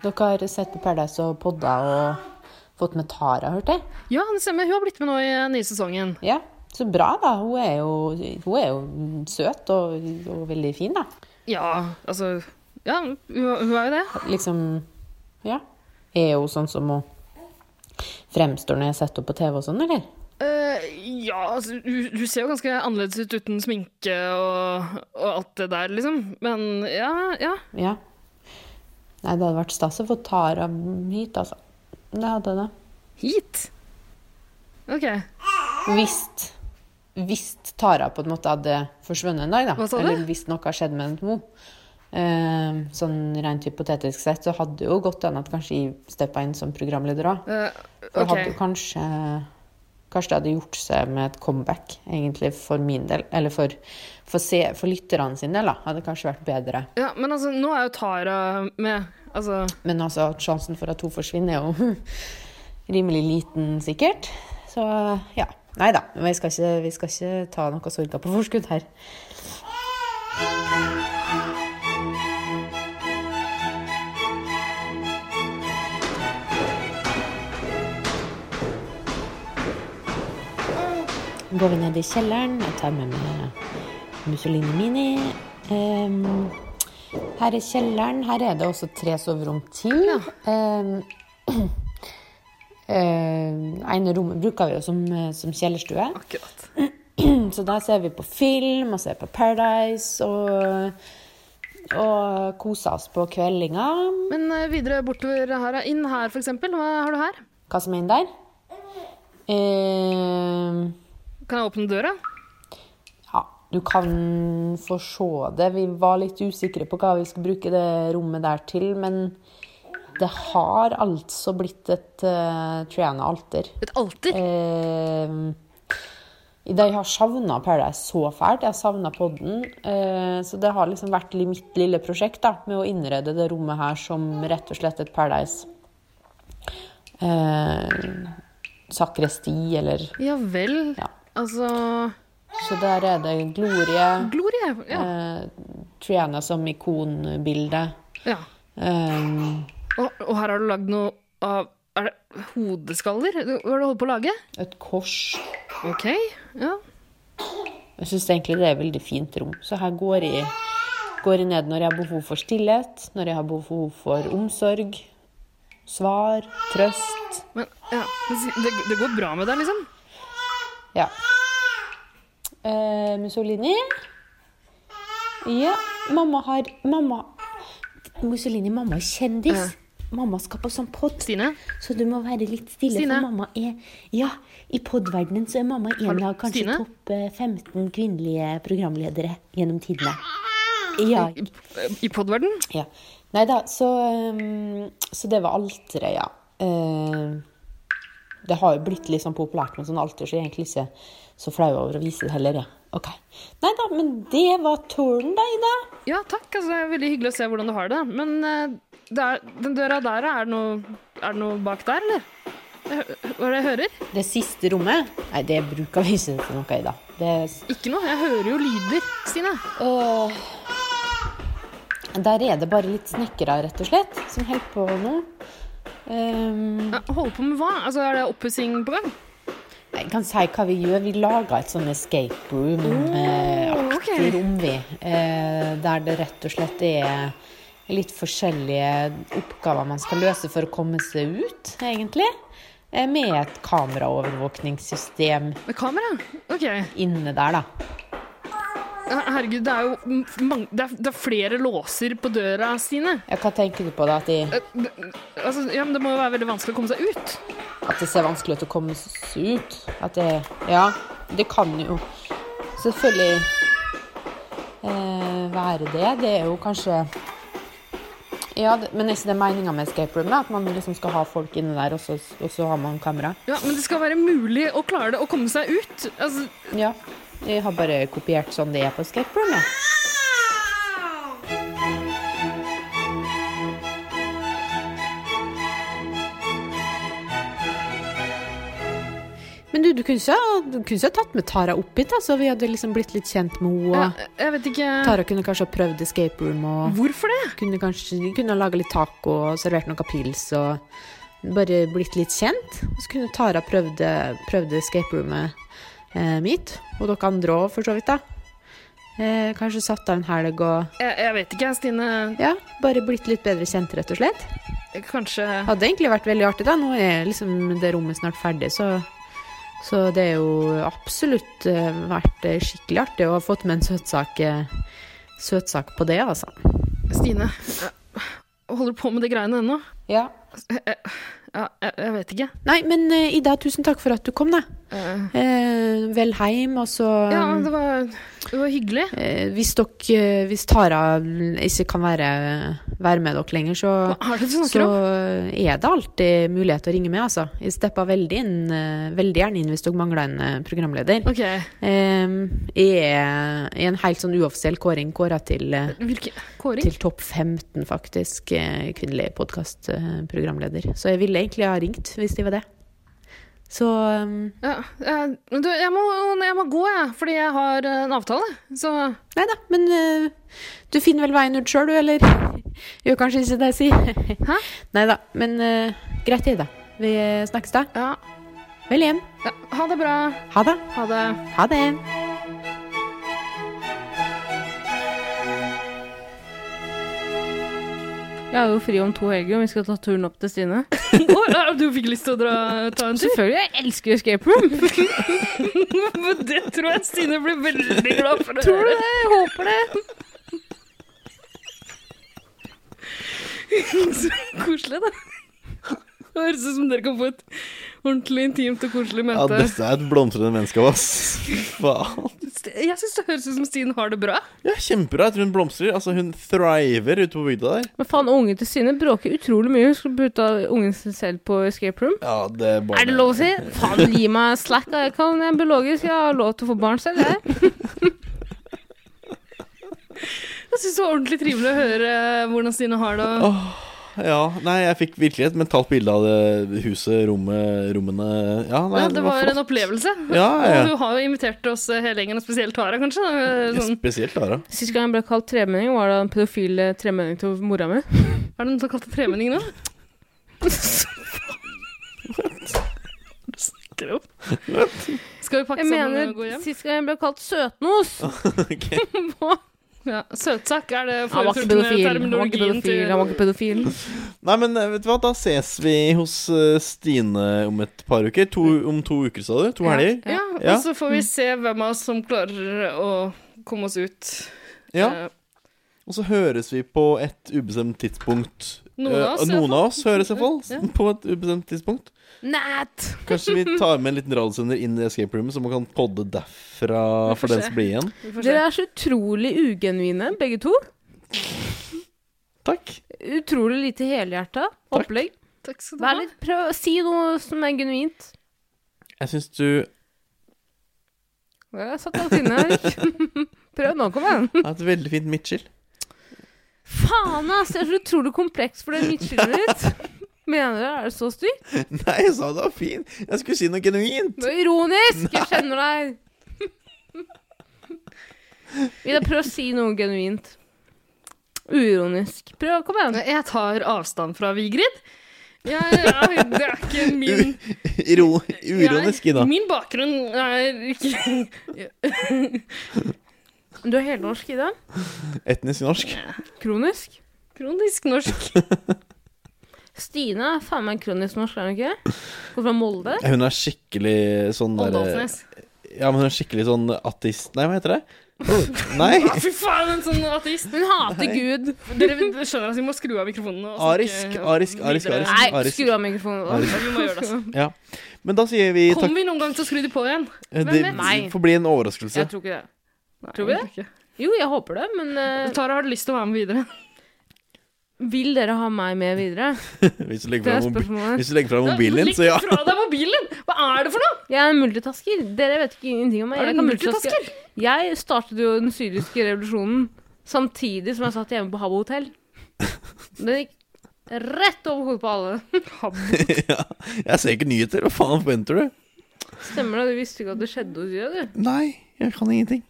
Speaker 14: Dere har sett på Paradise og podda og fått med Tara, hørte jeg?
Speaker 4: Ja, det stemmer. Hun har blitt med nå i den nye sesongen.
Speaker 14: Ja, så bra, da. Hun er jo, hun er jo søt og, og veldig fin, da.
Speaker 4: Ja, altså Ja, hun hun er jo det.
Speaker 14: Liksom Ja. Er hun sånn som hun fremstår når jeg setter henne på TV og sånn, eller?
Speaker 4: Eh, ja, altså, hun, hun ser jo ganske annerledes ut uten sminke og, og alt det der, liksom. Men ja, ja.
Speaker 14: Ja. Nei, det hadde vært stas å få Tara hit, altså. Det hadde det.
Speaker 4: Hit? OK. Eh,
Speaker 14: Hvis Hvis Tara på en måte hadde forsvunnet en dag, da.
Speaker 4: Hva sa du?
Speaker 14: Eller hvis noe har skjedd med henne. Eh, sånn rent hypotetisk sett, så hadde det jo gått an at kanskje jeg steppa inn som programleder òg.
Speaker 4: Eh,
Speaker 14: For
Speaker 4: ok.
Speaker 14: hadde kanskje Kanskje det hadde gjort seg med et comeback, egentlig, for min del. Eller for, for, se, for lytterne sin del, da. Hadde kanskje vært bedre.
Speaker 4: Ja, men altså, nå er jo Tara med. Altså
Speaker 14: Men altså, at sjansen for at hun forsvinner, er jo rimelig liten, sikkert. Så ja. Nei da. Vi skal ikke, vi skal ikke ta noe sorger på forskudd her. Går vi ned i kjelleren. Jeg tar med meg Mussolini Mini. Ehm, her er kjelleren. Her er det også tre soverom til. Ehm, ehm, ene rommet bruker vi jo som, eh, som kjellerstue. Så der ser vi på film og ser på Paradise og, og koser oss på kveldinga.
Speaker 4: Men eh, videre bortover her, inn her, for eksempel. Hva har du her?
Speaker 14: Hva som er inn der? Ehm,
Speaker 4: Kan jeg åpne døra?
Speaker 14: Ja, du kan få se det. Vi var litt usikre på hva vi skulle bruke det rommet der til, men det har altså eh, blitt et uh, Triana-alter.
Speaker 4: Et alter?
Speaker 14: Eh, Da jeg har savna Paradise så fælt. Jeg har savna podden. eh, Så det har liksom vært li- mitt lille prosjekt da, med å innrede det rommet her som rett og slett et Paradise. Eh, sakresti eller
Speaker 4: Ja vel. Altså
Speaker 14: Så der er det Glorie.
Speaker 4: Glorie, ja.
Speaker 14: eh, Triana som ikonbilde.
Speaker 4: Ja.
Speaker 14: Eh,
Speaker 4: Og, og her har du lagd noe av Er det hodeskaller? Hva har du holdt på å lage?
Speaker 14: Et kors.
Speaker 4: Ok, ja.
Speaker 14: Jeg syns egentlig det er et veldig fint rom. Så her går jeg, går jeg ned når jeg har behov for stillhet, når jeg har behov for omsorg, svar, trøst.
Speaker 4: Men, ja. men si- Det, det går bra med deg, liksom?
Speaker 14: Ja. Eh, Mussolini? Ja, mamma har Mamma Mussolini, mamma er kjendis. Mamma skal på sånn pod.
Speaker 15: Så du må være litt stille,
Speaker 14: Stine.
Speaker 15: for mamma er Ja, i podverdenen så er mamma
Speaker 14: Har
Speaker 15: en
Speaker 14: du-
Speaker 15: av kanskje
Speaker 14: Stine?
Speaker 15: topp eh, 15 kvinnelige programledere gjennom tidene. Ja.
Speaker 4: I, i podverden?
Speaker 14: Ja. Nei da, så, um, så det var alteret, ja. Eh, det har jo blitt litt sånn populært med sånn alter, så jeg er egentlig ikke så flau over å vise det heller, jeg. Ok. Nei da, men det var turen, da, Ida.
Speaker 4: Ja, takk. Altså, det er veldig hyggelig å se hvordan du har det. Men eh, det er, den døra der, er det, noe, er det noe bak der, eller? Jeg hø- Hva er det jeg hører?
Speaker 14: Det siste rommet? Nei, det bruker vi ikke til noe, Ida. Det,
Speaker 4: Ikke noe. Jeg hører jo lyder, Stine.
Speaker 14: der er det bare litt snekkere, rett og slett, som holder på nå. Um,
Speaker 4: Holder på med hva? Altså, Er det oppussing på gang?
Speaker 14: Jeg kan si hva vi gjør. Vi lager et sånn escape room-aktig
Speaker 4: ok.
Speaker 14: rom, vi. Eh, der det rett og slett er litt forskjellige oppgaver man skal løse for å komme seg ut, egentlig. Eh, med et kameraovervåkningssystem
Speaker 4: Med kamera? Ok.
Speaker 14: inne der, da.
Speaker 4: Her- Herregud, det er jo m- mange, det, er, det er flere låser på døra, Stine.
Speaker 14: Ja, hva tenker du på, da? At, de,
Speaker 4: Eh, det- Altså, ja, men Det må jo være veldig vanskelig å komme seg ut.
Speaker 14: at det ser vanskelig ut å komme seg ut? At det Ja, det kan jo selvfølgelig eh, være det. Det er jo kanskje Ja, det, men er ikke det meninga med escape room? da? At man liksom skal ha folk inne der, og så, og så har man kamera?
Speaker 4: Ja, Men det skal være mulig å klare det å komme seg ut. Altså,
Speaker 14: Ja. Jeg har bare kopiert sånn det er på escape room, jeg. Men du, du kunne ikke ha- du kunne ikke ha tatt med Tara opp hit, da, så vi hadde liksom blitt litt kjent med henne. og-
Speaker 4: jeg, jeg vet ikke
Speaker 14: Tara kunne kanskje ha prøvd escape room og
Speaker 4: Hvorfor det?
Speaker 14: Kunne kanskje de kunne ha laga litt taco og servert noen pils og bare blitt litt kjent. Og så kunne Tara prøvd, prøvd escape roomet eh, mitt, og dere andre òg, for så vidt, da. Eh, kanskje satt av en helg og
Speaker 4: Jeg, jeg vet ikke, Stine.
Speaker 14: ja, bare blitt litt bedre kjent, rett og slett.
Speaker 4: Kanskje
Speaker 14: Hadde egentlig vært veldig artig, da. Nå er liksom det rommet snart ferdig, så så det er jo absolutt eh, vært eh, skikkelig artig å ha fått med en søtsak, eh, søtsak på det, altså.
Speaker 4: Stine, eh, holder du på med de greiene ennå?
Speaker 14: Ja.
Speaker 4: Jeg, ja, jeg, jeg vet ikke.
Speaker 14: Nei, men eh, Ida, tusen takk for at du kom, da.
Speaker 4: Eh,
Speaker 14: Eh, vel heim, og så
Speaker 4: ja,
Speaker 1: Um,
Speaker 4: det var, det var hyggelig.
Speaker 14: eh, hvis, dere, eh, hvis Tara ikke kan være, være med dere lenger, så,
Speaker 4: Hva er det du snakker
Speaker 14: så er det alltid mulighet til å ringe med. Altså. Jeg stepper veldig, inn, eh, veldig gjerne inn hvis dere mangler en eh, programleder.
Speaker 4: Ok.
Speaker 14: Eh, jeg er i en helt sånn uoffisiell kåring kåra til, eh,
Speaker 4: Hvilken kåring?
Speaker 14: til topp 15, faktisk, eh, kvinnelig podkastprogramleder. Så jeg ville egentlig ha ringt hvis de var det. Så um,
Speaker 4: Ja, jeg, men du, jeg må, jeg må gå, jeg, fordi jeg har eh, en avtale. Så
Speaker 14: Nei da, men eh, du finner vel veien ut sjøl, du, eller? Gjør kanskje ikke det jeg sier.
Speaker 4: Hæ?
Speaker 14: Nei da, men eh, greit, Ida. Vi eh, snakkes da.
Speaker 4: Ja.
Speaker 14: Vel hjem.
Speaker 4: ja, ha det bra.
Speaker 14: Ha det.
Speaker 4: Ha det.
Speaker 14: Ha det.
Speaker 1: Jeg er jo fri om to helger, og vi skal ta turen opp til Stine.
Speaker 4: Å, ja, du fikk lyst til å dra, ta en tur?
Speaker 1: Selvfølgelig. Jeg elsker escape room.
Speaker 4: Men det tror jeg Stine blir veldig glad for å
Speaker 1: Tror du
Speaker 4: høre.
Speaker 1: det? Jeg håper det.
Speaker 4: Så koselig, da. Det høres ut som dere kan få et ordentlig intimt og koselig
Speaker 12: Ja,
Speaker 4: møte.
Speaker 12: dette er et blomstrende menneske av oss. Faen.
Speaker 4: Jeg syns det høres ut som Stine har det bra.
Speaker 3: Ja, kjempebra. Jeg tror hun blomstrer. Altså, hun thriver ute på bygda der.
Speaker 1: Men faen, ungen til Sine bråker utrolig mye. Hun skulle putta ungen sin selv på escape room.
Speaker 3: Ja, det er
Speaker 1: Er det lov å si? Faen, gi meg slack, da. Jeg kan jeg er biologisk. Jeg har lov til å få barn selv, jeg.
Speaker 4: Jeg syns det var ordentlig trivelig å høre eh, hvordan Stine har det.
Speaker 3: Åh, ja, nei, jeg fikk virkelig et mentalt bilde av det huset, rommet, rommene Ja, nei,
Speaker 4: ja, det var en
Speaker 3: flott.
Speaker 4: opplevelse.
Speaker 3: Ja, ja.
Speaker 4: Og du har jo invitert oss eh, hele gjengen, og spesielt Tara, kanskje. da. Sånn.
Speaker 3: Spesielt Tara.
Speaker 1: Sist gang jeg ble kalt tremenning, var da en pedofil eh, tremenning til mora mi.
Speaker 4: Er det noen som kalte tremenning nå? Skal vi pakke
Speaker 1: Jeg
Speaker 4: sammen og gå
Speaker 1: mener,
Speaker 4: hjem?
Speaker 1: sist gang jeg ble kalt søtnos.
Speaker 4: Ja, Søtsak er det
Speaker 1: Han var ikke pedofil. Han var ikke pedofil. Han var ikke pedofil.
Speaker 3: Nei, men eh, vet du hva, da ses vi hos eh, Stine om et par uker. To, om to uker, sa du? To helger?
Speaker 4: Ja,
Speaker 3: Ja.
Speaker 4: og så får vi se hvem av oss som klarer å komme oss ut.
Speaker 3: Ja.
Speaker 4: Eh,
Speaker 3: Og så høres vi på et ubestemt tidspunkt.
Speaker 4: Noen av
Speaker 3: Eh,
Speaker 4: oss, i hvert
Speaker 3: noen av oss høres iallfall
Speaker 4: Ja.
Speaker 3: på et ubestemt tidspunkt.
Speaker 1: Nat!
Speaker 3: Kanskje vi tar med en liten radiosender inn i escape roomet, så man kan podde derfra for den som blir igjen.
Speaker 1: Dere er så utrolig ugenuine, begge to.
Speaker 3: Takk.
Speaker 1: Utrolig lite helhjerta opplegg.
Speaker 4: Takk skal
Speaker 1: du ha. Litt, prøv, si noe som er genuint.
Speaker 3: Jeg syns du
Speaker 1: Jeg satt langt inne, Erik. Prøv nå, kom igjen.
Speaker 3: har et veldig fint midtskill.
Speaker 1: Faen, ass! Det er så utrolig kompleks for det midtskillet ditt. Mener du er det så stygt?
Speaker 3: Nei, jeg sa det var fint. Jeg skulle si noe genuint.
Speaker 1: Det er ironisk! Jeg kjenner deg. Ida, prøv å si noe genuint. Uironisk. Prøv, kom igjen.
Speaker 4: Jeg tar avstand fra Vigrid. Ja, ja, det er ikke min
Speaker 3: Iro, uironisk, Ida.
Speaker 4: Min bakgrunn er ikke
Speaker 1: Du er helnorsk, Ida.
Speaker 3: Etnisk norsk.
Speaker 1: Kronisk.
Speaker 4: Kronisk norsk.
Speaker 1: Stine er faen meg kronisk norsk, er hun ikke? Går fra Molde.
Speaker 3: Ja, Hun er skikkelig sånn der-
Speaker 1: Åndalsnes.
Speaker 3: Ja, men hun er skikkelig sånn ateist Nei, hva heter det? Nei!
Speaker 4: Ja, fy faen, en sånn ateist.
Speaker 1: Hun hater
Speaker 4: Nei.
Speaker 1: Gud.
Speaker 4: Dere skjønner at vi må skru av mikrofonen nå. og snakke
Speaker 3: Arisk, arisk, arisk.
Speaker 4: videre.
Speaker 3: arisk,
Speaker 1: Nei,
Speaker 3: arisk.
Speaker 1: skru av mikrofonen.
Speaker 3: Arisk.
Speaker 4: Ja, vi må gjøre det.
Speaker 3: Ja. Men da sier vi takk.
Speaker 4: Kommer vi noen gang til å skru de på igjen?
Speaker 3: Eh,
Speaker 4: Hvem
Speaker 3: Det
Speaker 4: vet?
Speaker 3: får bli en overraskelse.
Speaker 1: Jeg tror ikke det.
Speaker 4: Nei,
Speaker 1: Tror vi det? Jo, jeg håper det, men eh,
Speaker 4: Tara, har du lyst til å være med videre?
Speaker 1: Vil dere ha meg med videre?
Speaker 3: Hvis du legger
Speaker 1: Det er
Speaker 3: fra, mobi
Speaker 1: spørsmålet.
Speaker 3: hvis du legger fra mobilen din, så ja.
Speaker 4: Legg fra deg mobilen! Hva er det for noe?
Speaker 1: Jeg er en multitasker. Dere vet ikke ingenting om meg.
Speaker 4: Er du
Speaker 1: Jeg kan
Speaker 4: en
Speaker 1: multitaske. Jeg startet jo den syriske revolusjonen samtidig som jeg satt hjemme på Habbo hotell. Den gikk rett over hodet på alle.
Speaker 3: ja. Jeg ser ikke nyheter. Hva faen forventer du?
Speaker 1: Stemmer det? Du visste ikke at det skjedde hos Jød, du?
Speaker 3: Nei, jeg kan ingenting.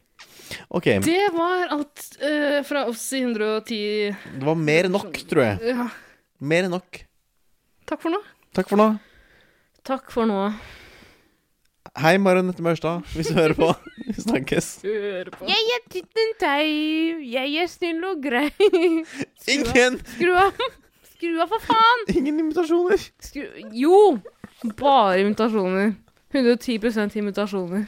Speaker 3: OK. Det
Speaker 4: Det var alt eh, fra oss i 110
Speaker 3: var mer enn nok, tror jeg.
Speaker 4: Ja.
Speaker 3: Mer enn nok.
Speaker 4: Takk for nå.
Speaker 3: Takk for nå.
Speaker 1: Takk for nå.
Speaker 3: Hei, Marionette Maurstad, hvis du hører på. Vi snakkes.
Speaker 1: Jeg er titten teiv, jeg er snill og grei. Skru av.
Speaker 3: Ingen-
Speaker 1: Skru av! Skru av, for faen!
Speaker 3: Ingen invitasjoner.
Speaker 1: Skru Jo! Bare invitasjoner. 110 invitasjoner.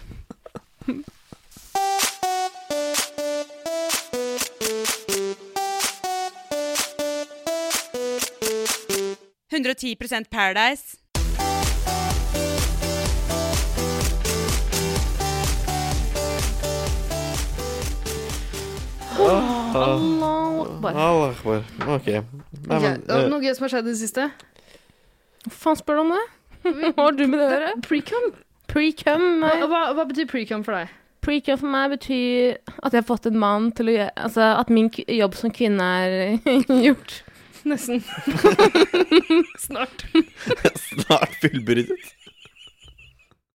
Speaker 6: Paradise. 110 Paradise.
Speaker 1: Allah akbar.
Speaker 3: Allah akbar. Ok. Nei, men,
Speaker 4: Ok, er det
Speaker 3: eh,
Speaker 4: noe gøy som har skjedd i det siste?
Speaker 1: Hva faen spør du om det? Hva har du med det å gjøre?
Speaker 4: Precum.
Speaker 1: Precum
Speaker 4: Hva,
Speaker 1: nei.
Speaker 4: hva, hva betyr precum for deg?
Speaker 1: Precum for meg betyr at jeg har fått en mann til å gjøre Altså at min k- jobb som kvinne er gjort.
Speaker 4: Nesten. Snart.
Speaker 3: eh, Snart fullbyrdet.